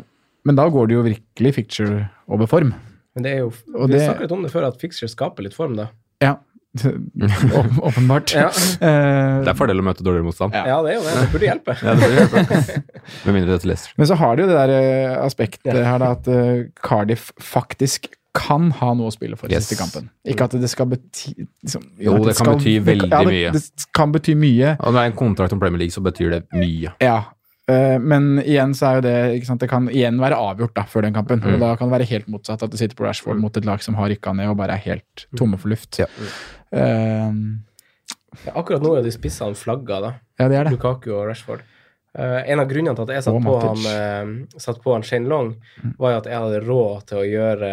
Speaker 5: men da går det jo virkelig picture over form.
Speaker 2: Men det er jo
Speaker 5: Og
Speaker 2: Vi
Speaker 5: det-
Speaker 2: snakket litt om det før, at fixture skaper litt form, da.
Speaker 5: Ja, Åp- åpenbart.
Speaker 2: Ja.
Speaker 5: Eh,
Speaker 4: Det er fordel å møte dårligere motstand.
Speaker 2: Ja, det er jo det. Det burde hjelpe.
Speaker 4: Ja, det blir det. Med mindre dette leser.
Speaker 5: Men så har det jo det der eh, aspektet her, da, at eh, Cardiff faktisk kan ha noe å spille for i
Speaker 4: Yes.
Speaker 5: siste kampen. Ikke at det skal bety liksom,
Speaker 4: Jo,
Speaker 5: at
Speaker 4: det kan bety veldig
Speaker 5: ja, det,
Speaker 4: mye.
Speaker 5: Det kan bety mye,
Speaker 4: Og det er en kontrakt om Premier League, så betyr det mye.
Speaker 5: ja. Eh, Men igjen så er jo det ikke sant? Det kan igjen være avgjort da, før den kampen.
Speaker 4: Mm.
Speaker 5: Og da kan det være helt motsatt, at du sitter på Rashford mot et lag som har rykka ned og bare er helt
Speaker 2: Mm.
Speaker 5: tomme for luft.
Speaker 4: Ja.
Speaker 5: Eh,
Speaker 2: Ja, akkurat nå er de spissene flagga, da.
Speaker 5: ja det er det.
Speaker 2: Lukaku og Rashford. Eh, en av grunnene til at jeg satt,
Speaker 5: Og
Speaker 2: på han,
Speaker 5: Matic. Mm.
Speaker 2: eh, satt på han Shane Long, var jo at jeg hadde råd til å gjøre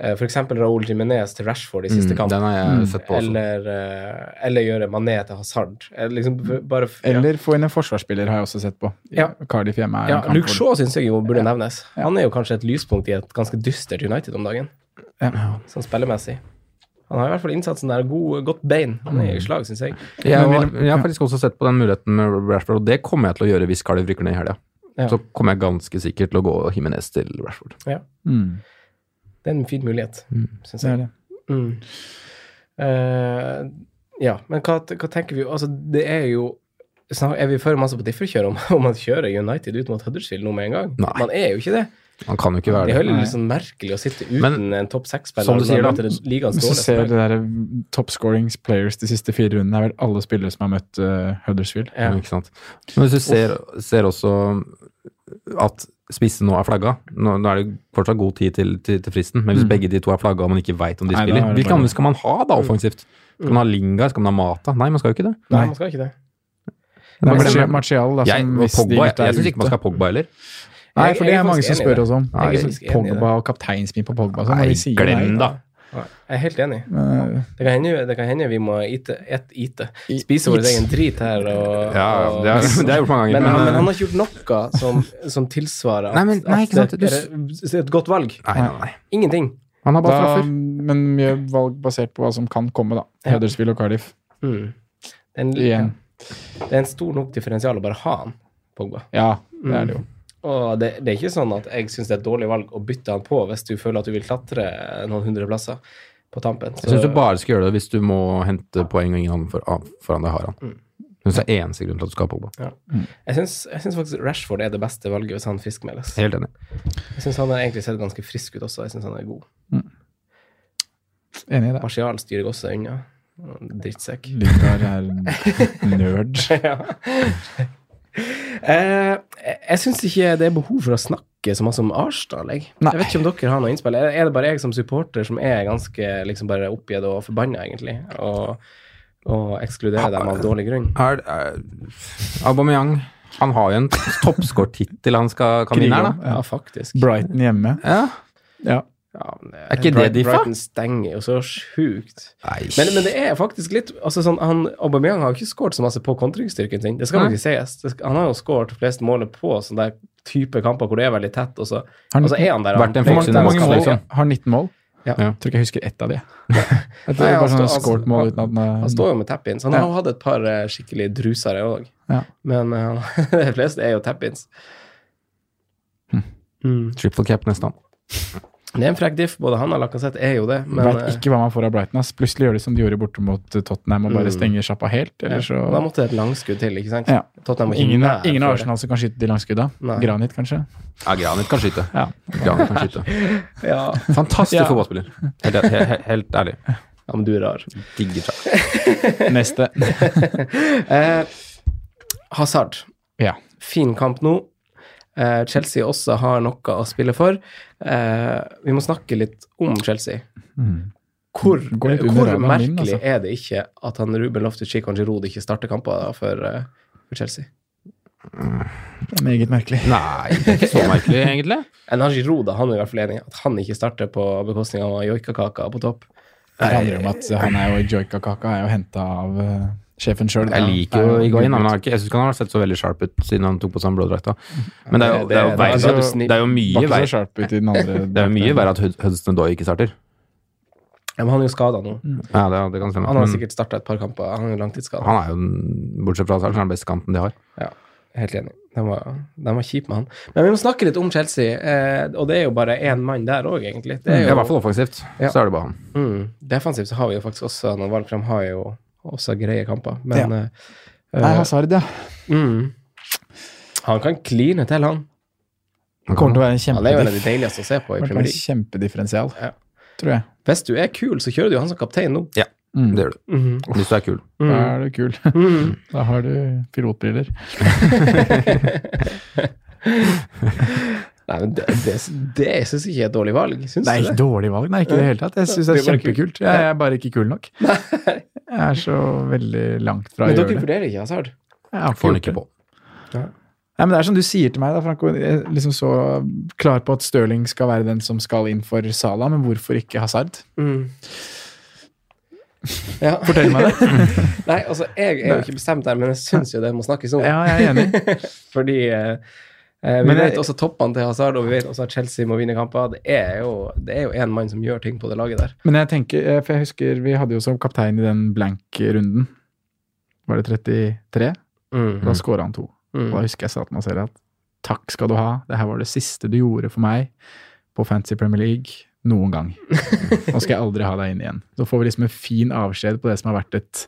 Speaker 2: eh, for f.eks. Raúl Jiménez til Rashford i siste
Speaker 4: Mm,
Speaker 2: kamp.
Speaker 4: Den har jeg sett på også.
Speaker 2: Eller, eh, eller gjøre Mané til Hazard. Eh, Liksom, b- bare f- ja.
Speaker 5: Eller få inn en forsvarsspiller, har jeg også sett på.
Speaker 2: Ja.
Speaker 5: Cardiff hjemme er
Speaker 2: ja,
Speaker 5: en kamp
Speaker 2: Luke
Speaker 5: hvor-
Speaker 2: Shaw syns jeg jo burde nevnes. Han er jo kanskje et lyspunkt i et ganske dystert United om dagen.
Speaker 5: Ja.
Speaker 2: sånn spillemessig. Han har i hvert fall innsatsen der. God, godt bein. Han er i slag, syns jeg.
Speaker 4: Jeg,
Speaker 5: Nå-
Speaker 4: har- jeg har faktisk også sett på den muligheten med Rashford, og det kommer jeg til å gjøre hvis Cardiff rykker ned i helga.
Speaker 2: Ja.
Speaker 4: Så kommer jeg ganske sikkert til å gå Himinez til Rashford.
Speaker 5: Mm,
Speaker 2: Det er en fin mulighet, syns
Speaker 5: det er
Speaker 2: jeg.
Speaker 5: det.
Speaker 2: Mm. Eh, ja, men hva, hva tenker vi Altså, det er jo snak- Er vi for masse på differkjør om, om man kjører United ut mot Huddersfield nå med en gang?
Speaker 4: Nei.
Speaker 2: Man er jo ikke det.
Speaker 4: Han kan jo ikke være
Speaker 2: Det er
Speaker 4: det.
Speaker 2: jo
Speaker 5: Nei.
Speaker 2: litt sånn merkelig å sitte uten
Speaker 4: Men,
Speaker 2: en topp
Speaker 4: som
Speaker 2: seks-spiller
Speaker 4: du
Speaker 2: når
Speaker 4: sier,
Speaker 2: man
Speaker 4: da,
Speaker 2: møter ligaens
Speaker 5: Hvis du
Speaker 2: dårligste
Speaker 5: ser
Speaker 2: lag.
Speaker 5: det der mm, top scoring players de siste fire rundene, er vel alle spillere som har møtt eh, Huddersfield.
Speaker 2: Ja.
Speaker 4: Ikke sant? Men hvis du ser, ser også at spissen nå er flagga Nå, nå er det fortsatt god tid til, til, til fristen, men hvis begge de to er flagga og man ikke veit om de
Speaker 5: Mm. Nei, da
Speaker 4: spiller
Speaker 5: er det
Speaker 4: Hvilke
Speaker 5: bare-
Speaker 4: andre skal man ha da offensivt? Skal man ha Linga? Skal man ha Mata? Nei, man skal jo ikke det.
Speaker 2: Nei,
Speaker 5: Nei.
Speaker 2: man skal ikke det.
Speaker 5: Det er
Speaker 4: Man
Speaker 5: Martial,
Speaker 4: glemmer-
Speaker 5: Martial da, som
Speaker 4: Jeg,
Speaker 5: hvis de
Speaker 4: Pogba, jeg,
Speaker 5: gutta er
Speaker 4: jeg syns ikke man
Speaker 5: ute.
Speaker 4: skal ha Pogba heller.
Speaker 5: Nei,
Speaker 2: Jeg-
Speaker 5: for
Speaker 2: jeg
Speaker 5: det
Speaker 2: er
Speaker 5: er mange
Speaker 2: faktisk
Speaker 5: som
Speaker 2: enig i det.
Speaker 5: spør oss om.
Speaker 4: Jeg er
Speaker 5: Nei,
Speaker 2: faktisk enig i
Speaker 5: Pogba og kapteinspinn på Pogba. og sånn, og
Speaker 4: Nei,
Speaker 5: vi sier
Speaker 4: glem
Speaker 5: nei.
Speaker 4: da!
Speaker 2: Nei, Jeg er helt enig.
Speaker 5: Men, eh,
Speaker 2: Det kan hende, det kan hende vi må ite, et, ite.
Speaker 5: I-
Speaker 2: spise vår
Speaker 5: it.
Speaker 2: egen drit her. Og,
Speaker 4: Ja,
Speaker 2: og-
Speaker 4: det har det har jeg gjort mange ganger.
Speaker 2: Men,
Speaker 4: men,
Speaker 2: han,
Speaker 4: eh,
Speaker 2: men han har ikke gjort noe som, som tilsvarer at,
Speaker 4: Nei, men- nei, ikke sant,
Speaker 2: at
Speaker 4: du
Speaker 2: det
Speaker 4: s-
Speaker 2: er et godt valg.
Speaker 4: Nei, nei, nei.
Speaker 2: Ingenting.
Speaker 4: Han har bare
Speaker 5: Da,
Speaker 4: straffer.
Speaker 5: men mye valg basert på hva som kan komme, da.
Speaker 2: Ja.
Speaker 5: Huddersfield og Cardiff
Speaker 2: Hmm. Det, er en,
Speaker 5: igjen.
Speaker 2: det er en stor nok differensial å bare ha han, Pogba. Hmm.
Speaker 5: Ja, det er det jo.
Speaker 2: Og det, det er ikke sånn at jeg syns det er et dårlig valg å bytte han på hvis du føler at du vil klatre noen hundre plasser på tampen.
Speaker 4: Jeg syns du bare skal gjøre det hvis du må hente poeng og ingen annen for, av- foran deg har han. Jeg synes det er eneste grunn til at du skal ha Pogba.
Speaker 2: jeg syns- jeg syns faktisk Rashford er det beste valget hvis han friskmeldes.
Speaker 4: Helt enig.
Speaker 2: Jeg syns han har egentlig sett ganske frisk ut også. Jeg syns han er god.
Speaker 5: Enig i det.
Speaker 2: Martial styrer også unna. Drittsekk.
Speaker 5: Lindar er nerd.
Speaker 2: ja. eh, jeg syns ikke det er behov for å snakke så masse om Arsenal. Jeg.
Speaker 5: Nei.
Speaker 2: jeg vet ikke om dere har noe innspill. Er er det bare jeg som supporter som er ganske liksom bare oppgitt og forbanna, egentlig? Og, og ekskluderer dem av dårlig grunn?
Speaker 4: er, er Aubameyang Han har jo en toppskårtittel han skal kan vinne her, da.
Speaker 5: Ja.
Speaker 2: Ja, faktisk.
Speaker 5: Brighton hjemme.
Speaker 4: Ja.
Speaker 5: Ja.
Speaker 2: Ja, men det,
Speaker 4: Er ikke det
Speaker 2: Brighton-
Speaker 4: de fa?
Speaker 2: Brighton stenger jo så sjukt. Men, men det er faktisk litt altså sånn, han, Aubameyang har jo ikke skåret så masse på kontringsstyrken sin. Det skal
Speaker 4: Nei.
Speaker 2: jo ikke sies. Det skal, han har jo skåret flest mål på sånne der type kamper hvor det er veldig tett, og så
Speaker 5: Har
Speaker 2: og så er han der.
Speaker 4: Vært en
Speaker 5: Hvor
Speaker 2: han,
Speaker 4: Fox
Speaker 5: mange, hvor mange
Speaker 4: United,
Speaker 5: mål?
Speaker 4: liksom.
Speaker 5: Har 19 mål?
Speaker 2: Ja.
Speaker 5: Jeg tror ikke jeg husker ett av de. Jeg
Speaker 2: Nei,
Speaker 5: tror det er
Speaker 2: han
Speaker 5: bare sånne
Speaker 2: står- han-
Speaker 5: skårtmål uten at
Speaker 2: han
Speaker 5: den
Speaker 2: står jo med tap-ins. Han har jo hatt et par eh, skikkelig drusere òg.
Speaker 5: Ja.
Speaker 2: Men eh, han- de fleste er jo tap-ins.
Speaker 5: Hm.
Speaker 2: Mm.
Speaker 4: Triple cap nesten.
Speaker 2: Det er en frekk diff. Både han og Lacassette er jo det. Men eh,
Speaker 5: Vet ikke hva man får av Brighton. Ass. Plutselig gjør de som de gjorde borte mot eh, Tottenham, og bare
Speaker 2: Mm.
Speaker 5: stenger sjappa helt.
Speaker 2: eh, ja,
Speaker 5: Eller så
Speaker 2: da måtte det et langskudd til, ikke sant?
Speaker 5: Ja.
Speaker 2: Tottenham var ikke
Speaker 5: Ingen,
Speaker 2: nær
Speaker 5: ingen
Speaker 2: før det.
Speaker 5: av Arsenal som kan skyte de langskudda.
Speaker 2: Nei.
Speaker 5: Granit, kanskje.
Speaker 4: Ja, Granit kan skyte.
Speaker 5: Ja.
Speaker 4: Granit kan skyte.
Speaker 2: Ja.
Speaker 4: Fantastisk
Speaker 5: Ja.
Speaker 4: fotballspiller. Helt, e- he- he- helt ærlig.
Speaker 2: ja, men du er rar.
Speaker 4: Digger Jack.
Speaker 5: Neste.
Speaker 2: Eh, Hazard.
Speaker 5: Ja.
Speaker 2: Fin kamp nå. Eh, Chelsea også har noe å spille for. Eh, vi må snakke litt om Chelsea. Hvor,
Speaker 5: Går Mm. litt under
Speaker 2: hvor
Speaker 5: radaren
Speaker 2: merkelig
Speaker 5: min, altså.
Speaker 2: er det ikke at han Ruben Loftus-Cheek og Giroud ikke starter kamper da for, eh, for Chelsea?
Speaker 5: Meget merkelig.
Speaker 4: Nei, det er ikke så merkelig, egentlig.
Speaker 2: En han Giroud da, han er i hvert fall enig i at han ikke starter på bekostning av joikakaka på topp.
Speaker 5: Det handler om at han er jo joikakaka er jo henta av eh, sjefen sjøl.
Speaker 4: Jeg liker jo Higuain, men han har ikke, jeg syns ikke han har sett så veldig sharp ut siden han tok på seg den blå drakta. Men det er jo, det er altså- jo,
Speaker 2: Det er- det er-
Speaker 4: verre- det er jo mye
Speaker 5: Var ikke så
Speaker 4: verre
Speaker 5: sharp ut i den andre.
Speaker 4: det er jo mye verre at Hud- Hudson Doy ikke starter.
Speaker 2: Ja, men han er jo skada nå.
Speaker 5: Mm.
Speaker 4: Ja, det, det kan stemme.
Speaker 2: Han har
Speaker 4: Men
Speaker 2: sikkert starta et par kamper. Han er jo langtidsskada.
Speaker 4: Mm. han er jo, den- bortsett fra Hazard, så er han den beste kanten de har.
Speaker 2: Ja, helt enig. Den var, den var kjip med han. Men vi må snakke litt om Chelsea, eh, og det er jo bare én mann der òg, egentlig. Det er
Speaker 4: Ja, I hvert
Speaker 2: jo,
Speaker 4: fall offensivt.
Speaker 2: Ja.
Speaker 4: Så er det bare han.
Speaker 2: mm, defensivt så har vi jo faktisk også når Valfram har jo også greie kamper, men
Speaker 5: Ja.
Speaker 2: eh,
Speaker 5: Nei, Hazard, ja.
Speaker 2: mm, Han kan kline til, han.
Speaker 4: Han kan-
Speaker 5: Kommer til å være en
Speaker 2: Han er jo en av de
Speaker 5: kjempediff-
Speaker 2: deiligste å se på i
Speaker 5: kommer til å
Speaker 2: Premier
Speaker 5: være en
Speaker 2: League.
Speaker 5: kjempedifferensial,
Speaker 2: Ja.
Speaker 5: tror jeg.
Speaker 2: Hvis du er kul, så kjører du jo han som kaptein nå.
Speaker 5: Mm.
Speaker 4: Det gjør du.
Speaker 2: Mhm,
Speaker 4: Hvis du er kul.
Speaker 5: Da
Speaker 2: mhm,
Speaker 5: er du kul.
Speaker 2: mhm.
Speaker 5: Da har du pilotbriller.
Speaker 2: Nei, men det, det, det syns jeg ikke er et dårlig valg. Syns du det?
Speaker 5: dårlig valg, nei, ikke i det hele tatt. Jeg syns det er kjempekult. Jeg er bare ikke kul nok. Jeg er så veldig langt fra å
Speaker 2: Men
Speaker 5: gjøre
Speaker 2: dere
Speaker 5: det.
Speaker 2: vurderer ikke Hazard?
Speaker 5: Jeg har ikke
Speaker 4: Får han
Speaker 5: gjort
Speaker 4: ikke
Speaker 5: det.
Speaker 4: på.
Speaker 5: Nei, men Det er som du sier til meg, da, Franco. Jeg er liksom så klar på at Stirling skal være den som skal inn for Salah, men hvorfor ikke Hazard?
Speaker 2: Mm. Ja.
Speaker 5: Fortell meg det.
Speaker 2: Nei, altså, jeg er jo ikke bestemt der, men jeg syns jo det må snakkes om.
Speaker 5: Ja, jeg er enig.
Speaker 2: Fordi eh, eh, vi
Speaker 5: Men jeg-
Speaker 2: vet også toppene til Hazard, og vi vet også at Chelsea må vinne kamper. Det er jo det er jo én mann som gjør ting på det laget der.
Speaker 5: Men jeg tenker, eh, for jeg husker vi hadde jo som kaptein i den blank-runden. Var det 33? Da
Speaker 2: Mm.
Speaker 5: skåra han to. Og Da
Speaker 2: Mm.
Speaker 5: husker jeg sa til meg selv at takk skal du ha, det her var det siste du gjorde for meg på Fancy Premier League noen gang. Nå skal jeg aldri ha deg inn igjen. Så får vi liksom en fin avskjed på det som har vært et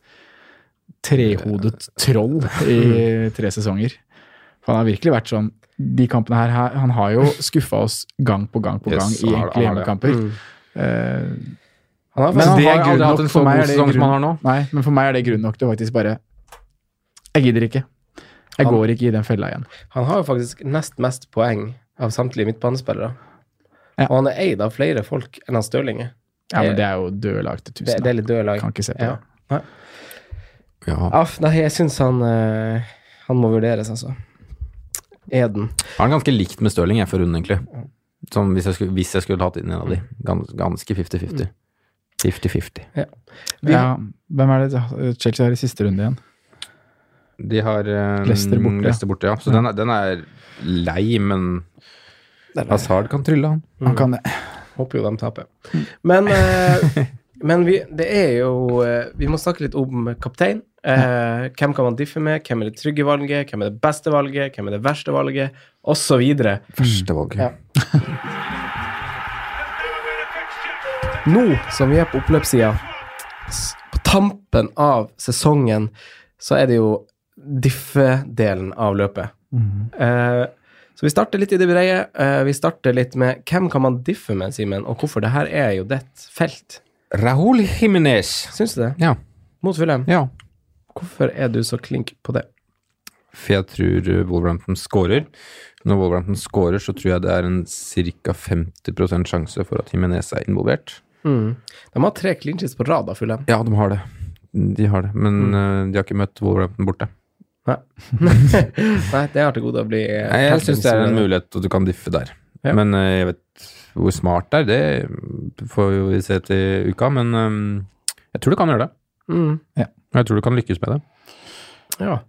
Speaker 5: trehodet troll i tre sesonger. For han har virkelig vært sånn De kampene her, her- han har jo skuffa oss gang på gang på gang
Speaker 4: Yes,
Speaker 5: i
Speaker 4: han har-
Speaker 5: enkle
Speaker 4: han har det.
Speaker 5: hjemmekamper.
Speaker 2: Mm.
Speaker 5: Eh,
Speaker 2: Han har
Speaker 5: Men
Speaker 2: faktisk
Speaker 5: han
Speaker 4: det
Speaker 5: har
Speaker 4: er
Speaker 5: aldri
Speaker 4: grunn
Speaker 5: hatt
Speaker 4: nok
Speaker 5: en
Speaker 4: for
Speaker 5: så
Speaker 4: meg
Speaker 5: god
Speaker 4: er det
Speaker 5: sesong som
Speaker 4: grunn-
Speaker 5: han Nei, men for meg er det grunn nok til å faktisk bare Jeg gidder ikke. Jeg
Speaker 2: Han-
Speaker 5: går ikke i den fella igjen.
Speaker 2: Han har jo faktisk nest mest poeng av samtlige midtbanespillere.
Speaker 5: Ja.
Speaker 2: Og han er eid av flere folk enn han Stirling er.
Speaker 5: Ja, men det er jo døde lag
Speaker 2: Eh,
Speaker 5: til
Speaker 2: Det,
Speaker 5: tusen.
Speaker 2: det er litt døde
Speaker 5: da.
Speaker 2: lag.
Speaker 5: Kan ikke se på
Speaker 2: Ja.
Speaker 5: det.
Speaker 4: Ja.
Speaker 2: Aff, nei, jeg syns han eh, Han må vurderes, altså. Eden.
Speaker 4: Han er ganske likt med Stirling, jeg, for runden, egentlig. Som hvis jeg skulle, hvis jeg skulle tatt inn en av de. Gans, ganske 50-50. 50-50.
Speaker 2: Vi-
Speaker 5: Ja, hvem er det Chelsea har i siste runde igjen?
Speaker 4: De har eh,
Speaker 5: Leicester borte.
Speaker 4: Leicester borte, ja. Så Den, er, den er lei, men Hazard kan trylle, han.
Speaker 5: Han kan det.
Speaker 2: Håper jo de taper. Men, eh, men vi, det er jo eh, Vi må snakke litt om kaptein. Eh, hvem kan man diffe med? Hvem er det trygge valget? Hvem er det beste valget? Hvem er det verste valget? Og så videre.
Speaker 4: Førstevalget.
Speaker 2: Ja. Nå som vi er på oppløpssida, s- på tampen av sesongen, så er det jo diffe-delen av løpet. Eh, så vi starter litt i det brede. Eh, vi starter litt med hvem kan man diffe med, Simen, og hvorfor? Det her er jo ditt felt.
Speaker 4: Rahul Jimenez.
Speaker 2: Syns du det?
Speaker 4: Ja.
Speaker 2: Mot Fulham.
Speaker 4: ja.
Speaker 2: Hvorfor er du så klink på det?
Speaker 4: For jeg tror eh, Wolverhampton scorer. Når Wolverhampton scorer, så tror jeg det er en ca. 50 sjanse for at Jimenez er involvert.
Speaker 2: De har tre clinches på rad, da, Fulham.
Speaker 4: Ja, de har det. De har det, men eh, de har ikke møtt Wolverhampton borte.
Speaker 2: Nei. Nei, det har til gode å bli eh,
Speaker 4: Nei, jeg syns det er en mulighet, og du kan diffe der.
Speaker 2: Ja.
Speaker 4: Men eh, jeg vet hvor smart det er, det får jo vi se til uka. Men ehm, jeg tror du kan gjøre det.
Speaker 2: Mm.
Speaker 4: Jeg tror du kan lykkes med det.
Speaker 2: Ja.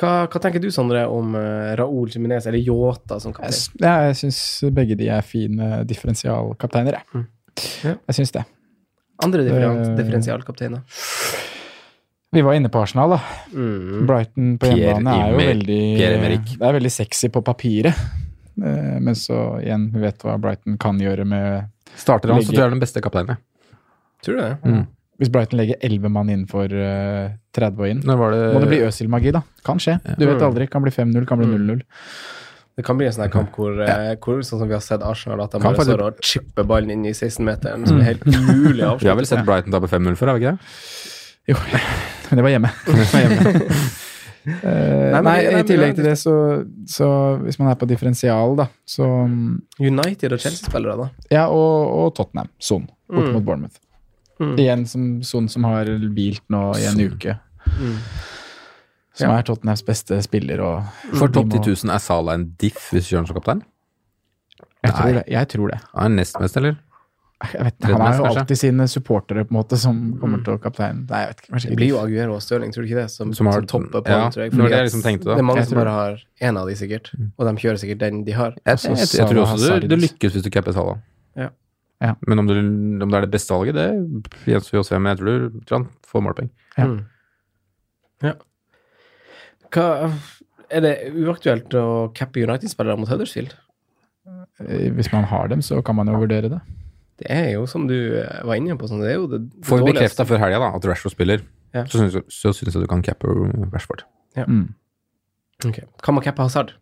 Speaker 2: Hva, hva tenker du, Sondre, om eh, Raoul Jiminez eller Yota som
Speaker 5: Jeg,
Speaker 2: kaptein?
Speaker 5: s- ja, jeg syns begge de er fine differensialkapteiner, jeg.
Speaker 2: Mm. Ja.
Speaker 5: Jeg syns det.
Speaker 2: Andre differen-
Speaker 5: Eh,
Speaker 2: differensialkapteiner.
Speaker 5: Vi var inne på Arsenal, da.
Speaker 2: Mm.
Speaker 5: Brighton på
Speaker 4: Pierre
Speaker 5: hjemmebane er jo
Speaker 4: Emmer-
Speaker 5: veldig
Speaker 4: Pierre Emerick.
Speaker 5: Det er veldig sexy på papiret. Eh, Men så igjen, vi vet hva Brighton kan gjøre med
Speaker 4: Starter han, så
Speaker 5: Legge-
Speaker 4: tror jeg er den beste kapteinen. jeg.
Speaker 2: Tror du det?
Speaker 5: Hvis Brighton legger 11 mann innenfor eh, 30 og inn.
Speaker 4: Nå eh, var det,
Speaker 5: Må det bli Øsil-magi, da. Kan skje. Du vet aldri. Kan bli 5-0, kan bli 0-0.
Speaker 2: Det kan bli en sånn her kamp hvor, eh, hvor sånn som vi har sett Arsenal, at de
Speaker 4: Kan
Speaker 2: bare
Speaker 4: faktisk-
Speaker 2: står og chipper ballen inn i 16-meteren, som er helt umulig å
Speaker 4: Vi har
Speaker 2: avslutte.
Speaker 4: vel sett Brighton tape 5-0 før, har vi ikke det?
Speaker 5: Jo, men det var hjemme. Det var hjemme. Eh,
Speaker 2: Nei, men-
Speaker 5: nei,
Speaker 2: nei,
Speaker 5: i
Speaker 2: men-
Speaker 5: tillegg til det, så, så hvis man er på differensial, da, så
Speaker 2: United og Chelsea-spillere, da.
Speaker 5: Ja, og, og Tottenham. Son, borte
Speaker 2: Mm.
Speaker 5: mot Bournemouth.
Speaker 2: Mm.
Speaker 5: Igjen som Son som har hvilt nå i en uke. Som er Tottenhams beste spiller og
Speaker 4: For topp
Speaker 5: må-
Speaker 4: 10 000 er Salah en diff hvis du kjører han som kaptein?
Speaker 5: Jeg tror
Speaker 4: Nei.
Speaker 5: det. Jeg tror det.
Speaker 4: Er han nestmest, eller?
Speaker 5: Jeg vet, ikke, han
Speaker 4: Redmans,
Speaker 5: har jo
Speaker 4: kanskje?
Speaker 5: alltid sine supportere på en måte som kommer til å kaptein. Nei, jeg vet ikke. kanskje
Speaker 2: Det
Speaker 5: ikke.
Speaker 2: blir jo Aguero og Stirling, tror du ikke det? Som,
Speaker 4: Som
Speaker 2: som,
Speaker 4: har-
Speaker 2: topper på
Speaker 4: ja,
Speaker 2: den, tror jeg.
Speaker 4: det var det jeg
Speaker 2: at
Speaker 4: liksom tenkte da.
Speaker 2: det er mange
Speaker 5: Jeg
Speaker 2: som
Speaker 5: tror-
Speaker 2: bare har én av de, sikkert. Og de kjører sikkert den de har.
Speaker 4: Jeg,
Speaker 5: Altså,
Speaker 4: jeg, jeg,
Speaker 5: Salah
Speaker 4: tror også
Speaker 5: Hazard.
Speaker 4: du, det lykkes hvis du capper Salah.
Speaker 2: Ja.
Speaker 5: Ja.
Speaker 4: Men om, du, om det er det beste valget, det gjenstår jo å se. Men jeg tror, du- tror han får målpoeng.
Speaker 5: Ja.
Speaker 2: Mm. ja. Hva Er det uaktuelt å cappe United-spillere mot Huddersfield?
Speaker 5: Eh, Hvis man har dem, så kan man jo vurdere det.
Speaker 2: Det er jo, som du eh, var inne på, sånn, det er jo det, det
Speaker 4: Får vi
Speaker 2: dårligste.
Speaker 4: bekrefta før helga da, at Rashford spiller,
Speaker 2: altså. Ja.
Speaker 4: så syns så syns jeg du kan cappe Rashford.
Speaker 5: Mm.
Speaker 2: Ok. Kan man cappe Hazard?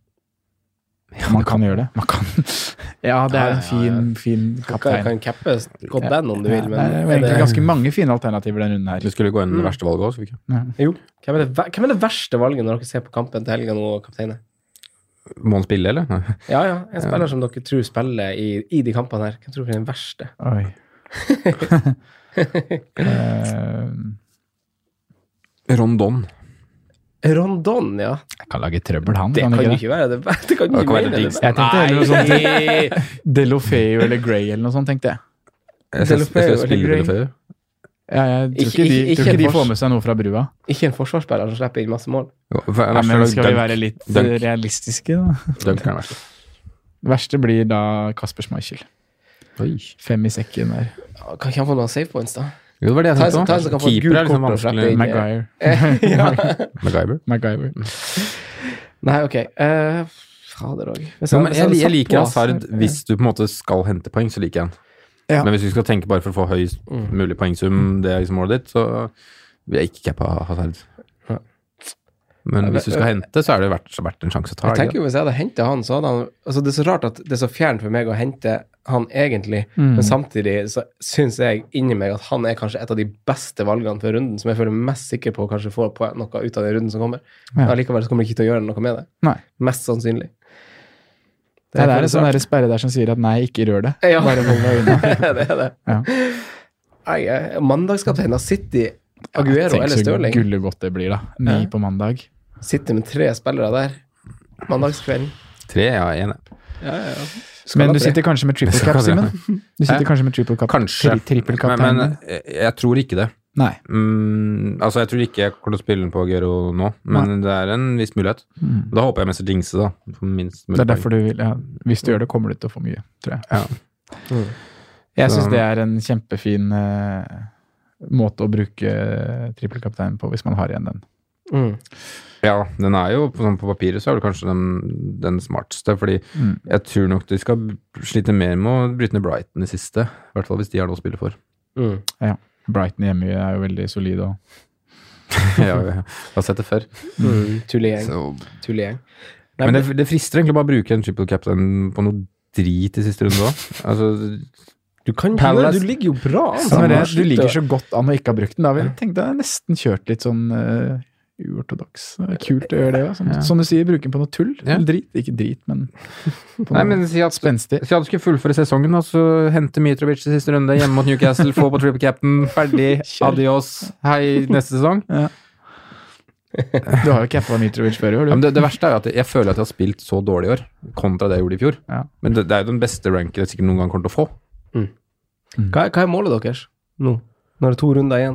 Speaker 5: Man kan gjøre det. Man kan. Ja, det er en fin, fin
Speaker 2: Du kan,
Speaker 5: kaptein.
Speaker 2: kan cappe Scott
Speaker 5: Ja.
Speaker 2: Bann om du vil, men
Speaker 5: det er
Speaker 2: er
Speaker 5: jo
Speaker 2: det,
Speaker 5: egentlig ganske mange fine alternativer den runden her.
Speaker 4: Vi skulle gå inn med
Speaker 2: Mm.
Speaker 4: verste valget òg, skulle vi ikke?
Speaker 2: jo. Hvem, er det, ver- hvem er det verste valget når dere ser på kampen til helga nå, kapteinet?
Speaker 4: Må han spille, eller? Nei.
Speaker 2: Ja, ja. En spiller som dere tror spiller i, i de kampene her. Hvem tror dere er den verste?
Speaker 5: Oi. Eh,
Speaker 4: Rondon.
Speaker 2: Rondon, ja.
Speaker 5: jeg kan lage trøbbel, han.
Speaker 2: Det
Speaker 5: kan
Speaker 2: kan jo
Speaker 5: ikke det?
Speaker 2: ikke være det verste. Det kan
Speaker 4: Det
Speaker 2: ikke
Speaker 4: kan være
Speaker 2: være det
Speaker 4: digg.
Speaker 2: verste.
Speaker 5: Jeg tenkte heller noe sånt
Speaker 4: Nei!
Speaker 5: Delofeo eller Gray eller noe sånt, tenkte jeg.
Speaker 4: Jeg skal, jeg
Speaker 2: Delofeu,
Speaker 4: skal spille
Speaker 2: eller Gray?
Speaker 4: Delofeu.
Speaker 5: Ja, jeg tror
Speaker 2: Ikke-
Speaker 5: ikke,
Speaker 2: ikke-
Speaker 5: de, tror ikke
Speaker 2: ikke
Speaker 5: de får med seg noe fra brua.
Speaker 2: Ikke en forsvarsspiller som slipper inn masse mål.
Speaker 4: Ja, for-
Speaker 5: Ja,
Speaker 4: verste
Speaker 5: men
Speaker 4: er
Speaker 5: skal vi
Speaker 4: Dunk.
Speaker 5: være litt
Speaker 4: Dunk.
Speaker 5: eh, realistiske, da?
Speaker 4: Dunk er den verste.
Speaker 5: Det verste blir da Kasper Schmeichel.
Speaker 4: Oi.
Speaker 5: Fem i sekken der.
Speaker 2: Kan ikke han få noen save points, da?
Speaker 4: Jo, det var det jeg
Speaker 2: Ta en
Speaker 4: tenkte
Speaker 2: som- ta en som kan
Speaker 4: på.
Speaker 2: få et
Speaker 4: Keeper
Speaker 2: gult
Speaker 4: er liksom
Speaker 2: kort og slippe
Speaker 4: vanskelig.
Speaker 2: inn.
Speaker 5: Maguire.
Speaker 4: MacGyver.
Speaker 5: MacGyver.
Speaker 2: Nei, ok. Eh, fader òg.
Speaker 4: Jo, men jeg, jeg liker Hazard hvis du på en måte skal hente poeng, så liker jeg han.
Speaker 5: Ja.
Speaker 4: Men hvis du skal tenke bare for å få høyest mulig poengsum, det er liksom målet ditt, så vil jeg ikke cappe Hazard.
Speaker 2: Ja.
Speaker 4: Men hvis du skal hente, så er det verdt, verdt en sjanse å ta.
Speaker 2: Jeg
Speaker 4: er det
Speaker 2: tenker jo Hvis jeg hadde hentet han, så hadde han altså Det er så rart at det er så fjernt for meg å hente han egentlig,
Speaker 5: Mm.
Speaker 2: men samtidig så syns jeg inni meg at han er kanskje et av de beste valgene for runden, som jeg føler mest sikker på å kanskje få på noe ut av den runden som kommer.
Speaker 5: Ja.
Speaker 2: Men Allikevel så kommer jeg ikke til å gjøre noe med det.
Speaker 5: Nei.
Speaker 2: Mest sannsynlig.
Speaker 5: Det er,
Speaker 2: veldig
Speaker 5: en sånn der sperre der som sier at nei, ikke rør det.
Speaker 2: Ja.
Speaker 5: Bare hold deg unna.
Speaker 2: det er det.
Speaker 5: Ja.
Speaker 2: Nei, jeg- Mandagskapteinen av City, Aguero
Speaker 5: Tenk
Speaker 2: eller
Speaker 5: så
Speaker 2: Stirling,
Speaker 5: gullegodt det blir, da. Ni
Speaker 2: Ja.
Speaker 5: på mandag.
Speaker 2: sitter med tre spillere der mandagskvelden.
Speaker 4: Tre, ja, en.
Speaker 2: Skal
Speaker 5: Men
Speaker 2: da
Speaker 5: du
Speaker 2: tre.
Speaker 5: sitter kanskje med triple cap,
Speaker 4: Skal
Speaker 5: Simen?
Speaker 4: det.
Speaker 5: Du sitter
Speaker 4: Hæ?
Speaker 5: kanskje med triple cap?
Speaker 4: Kanskje.
Speaker 5: tri- Triple cap
Speaker 4: Men, men jeg, jeg tror ikke det.
Speaker 5: Nei.
Speaker 4: Mm, altså, jeg tror ikke jeg kommer til å spille den på Gero nå, men det er en viss mulighet. Da håper jeg mest dingse, da. for Minst mulig
Speaker 5: Mm. Det er
Speaker 4: poeng.
Speaker 5: derfor du vil ja. Hvis du gjør det, kommer du til å få mye, tror jeg.
Speaker 4: Ja.
Speaker 5: Jeg
Speaker 4: Så-
Speaker 5: syns det er en kjempefin eh, måte å bruke triple kaptein på, hvis man har igjen den.
Speaker 2: Mm.
Speaker 4: Ja, den er jo på, sånn, på papiret så er det kanskje den, den smarteste, fordi
Speaker 5: Mm.
Speaker 4: jeg tror nok de skal slite mer med å bryte ned Brighton i siste. I hvert fall hvis de har noe å spille for.
Speaker 2: Mm.
Speaker 5: Brighton hjemme er jo veldig solid og
Speaker 4: jeg, har- jeg har sett det før.
Speaker 2: Mm. Tullegjeng.
Speaker 4: Så,
Speaker 2: Tullegjeng. Nei,
Speaker 4: men det, det frister egentlig bare å bruke en triple captain på noe drit i siste runde òg. Altså,
Speaker 2: Du kan ikke
Speaker 4: Palace-
Speaker 2: gjøre det, du ligger jo bra an.
Speaker 5: Så når det,
Speaker 2: Sander.
Speaker 5: Du ligger så godt an og ikke har brukt den. Da vil jeg tenkte jeg nesten kjørt litt sånn eh, uortodoks. Det er Kult å gjøre det òg. Som,
Speaker 4: Ja.
Speaker 5: som du sier, bruke den på noe tull.
Speaker 4: Ja.
Speaker 5: Eller Drit. Ikke drit, men på
Speaker 4: nei,
Speaker 5: noe
Speaker 4: men si at
Speaker 5: spenstig.
Speaker 4: Så jeg skulle fullføre sesongen, og så hente Mitrovic i siste runde, hjemme mot Newcastle, få på triple cap'n, ferdig,
Speaker 5: Kjør.
Speaker 4: adios, hei, neste sesong.
Speaker 5: Ja. Du har jo cappa Mitrovic før i år,
Speaker 4: Ja, men
Speaker 5: du.
Speaker 4: det, det verste er jo at jeg føler at jeg har spilt så dårlig i år, kontra det jeg gjorde i fjor.
Speaker 5: Ja.
Speaker 4: Men det, det er jo den beste ranken jeg sikkert noen gang kommer til å få.
Speaker 2: Hva, er- hva er målet deres nå? Nå er det to runder igjen.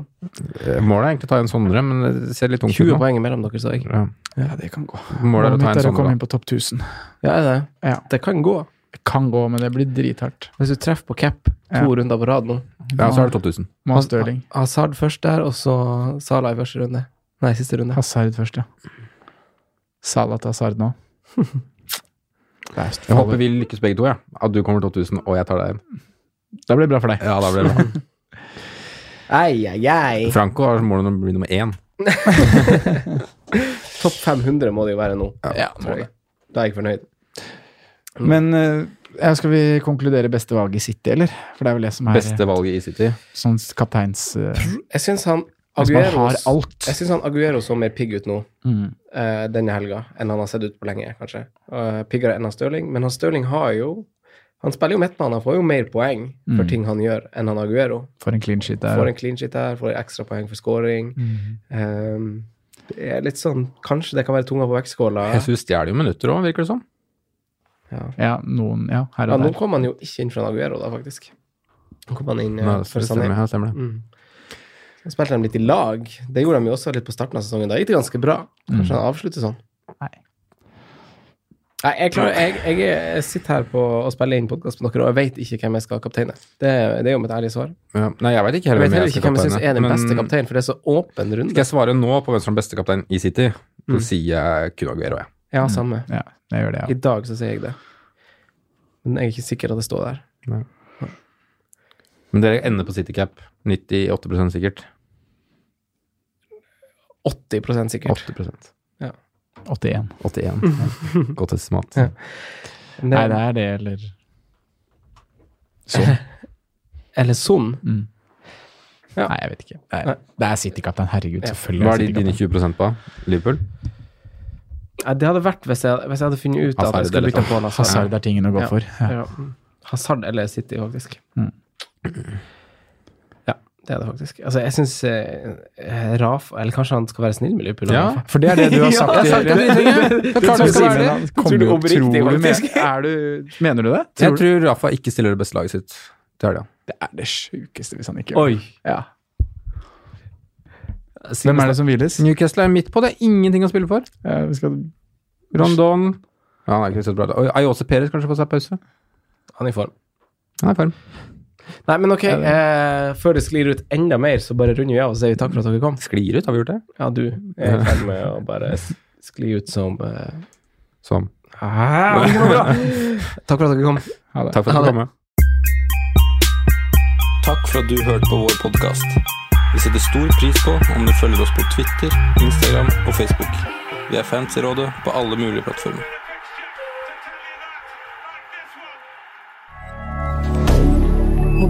Speaker 4: Eh, Målet er egentlig å ta igjen Sondre, men det ser litt tungt ut
Speaker 2: 20
Speaker 4: nå.
Speaker 2: poeng mellom dere, sa jeg.
Speaker 4: Ja.
Speaker 5: Ja, det kan gå.
Speaker 4: Målet er å
Speaker 5: Målet
Speaker 4: ta igjen
Speaker 5: mitt er å komme
Speaker 4: Sondre.
Speaker 5: inn på topp 1000.
Speaker 2: Ja, det, er det.
Speaker 5: Ja.
Speaker 2: det kan gå.
Speaker 5: Kan gå, men det blir drithardt.
Speaker 2: Hvis du treffer på cap to
Speaker 5: Ja.
Speaker 2: runder på rad nå
Speaker 4: da. Ja, så er det 2000.
Speaker 5: Må ha Stirling.
Speaker 2: Hazard først der, og så Salah i første runde. Nei, siste runde.
Speaker 5: Hazard først, ja. Salah til Hazard nå.
Speaker 4: Jeg håper vi lykkes begge to, ja. At du kommer til 2000, og jeg tar deg igjen.
Speaker 5: Da blir det bra for deg.
Speaker 4: Ja, da blir det bra.
Speaker 2: Ei, ei, ei.
Speaker 4: Franco har som mål å bli nummer én.
Speaker 2: Topp 500 må det jo være nå.
Speaker 4: Ja,
Speaker 2: tror jeg. Da er jeg fornøyd.
Speaker 5: Men eh, ja, skal vi konkludere beste valg i City, eller? For det er vel det som er
Speaker 4: Beste valget i City.
Speaker 5: sånn kapteins eh,
Speaker 2: Jeg syns han
Speaker 5: Hvis man
Speaker 2: Aguero,
Speaker 5: har alt.
Speaker 2: jeg synes han Aguero så mer pigg ut nå
Speaker 5: mm.
Speaker 2: eh, denne helga enn han har sett ut på lenge, kanskje. Eh, piggere enn han Stirling. Men han Stirling har jo Han spiller jo midtbane, han får jo mer poeng for
Speaker 5: Mm.
Speaker 2: ting han gjør, enn han Aguero.
Speaker 5: For en clean sheet der.
Speaker 2: Får en clean sheet der, får ekstra poeng for scoring.
Speaker 5: Mm.
Speaker 2: Ehm, det er litt sånn Kanskje det kan være tunga på vektskåla.
Speaker 4: Jesus stjeler jo minutter òg, virker det som.
Speaker 2: Ja.
Speaker 5: Ja, noen, ja, her
Speaker 2: Ja,
Speaker 5: og
Speaker 2: nå
Speaker 5: der.
Speaker 2: kom han jo ikke inn for Aguero, da, faktisk. Nå kom han inn eh,
Speaker 4: Ja,
Speaker 2: for
Speaker 4: det
Speaker 2: Sané.
Speaker 4: stemmer, ja, stemmer det.
Speaker 2: Mm. Så spilte de litt i lag. Det gjorde de jo også litt på starten av sesongen. Da gikk det ganske bra. Kanskje han avslutter sånn.
Speaker 5: Mm. Nei.
Speaker 2: Nei, jeg, klarer, jeg, jeg, er- jeg sitter her på og spiller inn podkast med dere, og jeg vet ikke hvem jeg skal kapteine. Det, det er jo mitt ærlige svar.
Speaker 4: Ja. Nei, jeg veit ikke
Speaker 2: Jeg
Speaker 4: heller
Speaker 2: vet heller ikke hvem jeg syns er den
Speaker 4: men
Speaker 2: beste kapteinen, for det er så åpen
Speaker 4: Skal
Speaker 2: runde.
Speaker 4: jeg svare nå på hvem som er beste kaptein i City, så
Speaker 2: Mm.
Speaker 4: sier jeg kun Aguero, jeg.
Speaker 2: Ja, samme.
Speaker 5: Mm, Ja, jeg gjør det,
Speaker 2: I dag så sier jeg det. Men jeg er ikke sikker at det står der.
Speaker 4: Men dere ender på City cap. 98 sikkert.
Speaker 2: 80 sikkert.
Speaker 4: 8
Speaker 5: ja. 81.
Speaker 4: 81. Godt estimat.
Speaker 2: Ja. Men
Speaker 5: Nei,
Speaker 2: det,
Speaker 5: det er det, eller Sånn.
Speaker 2: eller sånn.
Speaker 5: Mm.
Speaker 2: Ja.
Speaker 5: Nei, jeg vet ikke. Det
Speaker 2: Nei.
Speaker 5: er, det er City-kaptein. Herregud,
Speaker 2: Ja.
Speaker 5: selvfølgelig.
Speaker 4: Hva er
Speaker 5: det
Speaker 4: de, dine 20 på? Liverpool?
Speaker 2: Nei, Det hadde vært hvis jeg, hvis jeg hadde funnet ut at
Speaker 4: Hazard
Speaker 2: jeg skulle
Speaker 4: eller
Speaker 2: bytte på altså. Hazard.
Speaker 5: Hazard er tingen å gå
Speaker 2: Ja.
Speaker 5: for. Ja.
Speaker 2: Ja. Hazard eller City, faktisk.
Speaker 5: Mm.
Speaker 2: Ja, det er det faktisk. Altså, jeg syns eh, Raf Eller kanskje han skal være snill med Liverpool?
Speaker 4: Ja.
Speaker 2: Raf.
Speaker 5: For det er det du har
Speaker 2: Ja,
Speaker 5: sagt.
Speaker 2: jeg har sagt det, det er
Speaker 5: det
Speaker 2: klart
Speaker 5: tror
Speaker 2: det skal være
Speaker 5: Simen,
Speaker 2: det.
Speaker 5: han
Speaker 2: Jeg tror
Speaker 5: kommer
Speaker 2: du
Speaker 5: jo-
Speaker 2: oppriktig,
Speaker 5: tror du men-
Speaker 2: faktisk.
Speaker 5: er du- Mener du det?
Speaker 4: Jeg tror Rafa ikke stiller det beste laget sitt til helga.
Speaker 5: det er det sjukeste hvis han ikke
Speaker 2: Oi!
Speaker 5: Ja. Hvem er det som hviles?
Speaker 4: Newcastle er midt på, det er ingenting å spille for.
Speaker 5: Ja, vi skal
Speaker 4: Rondon ja, han er ikke så bra. Oi, Ayose Perez kanskje får seg pause?
Speaker 2: Han er i form.
Speaker 4: Han er i form.
Speaker 2: Nei, men ok, eh, før det sklir ut enda mer, så bare runder vi av og sier vi takk for at dere kom.
Speaker 4: Sklir ut, har vi gjort det?
Speaker 2: Ja, du er i ferd med å bare s- skli ut som eh,
Speaker 4: Sånn.
Speaker 2: ah, det går bra. Takk for at dere kom.
Speaker 5: ha det.
Speaker 4: Takk for at
Speaker 2: Ha
Speaker 4: du
Speaker 2: det.
Speaker 4: kom. ja.
Speaker 1: Takk for at du hørte på vår podkast. Vi setter stor pris på om du følger oss på Twitter, Instagram og Facebook. Vi er Fantasyrådet på alle mulige plattformer.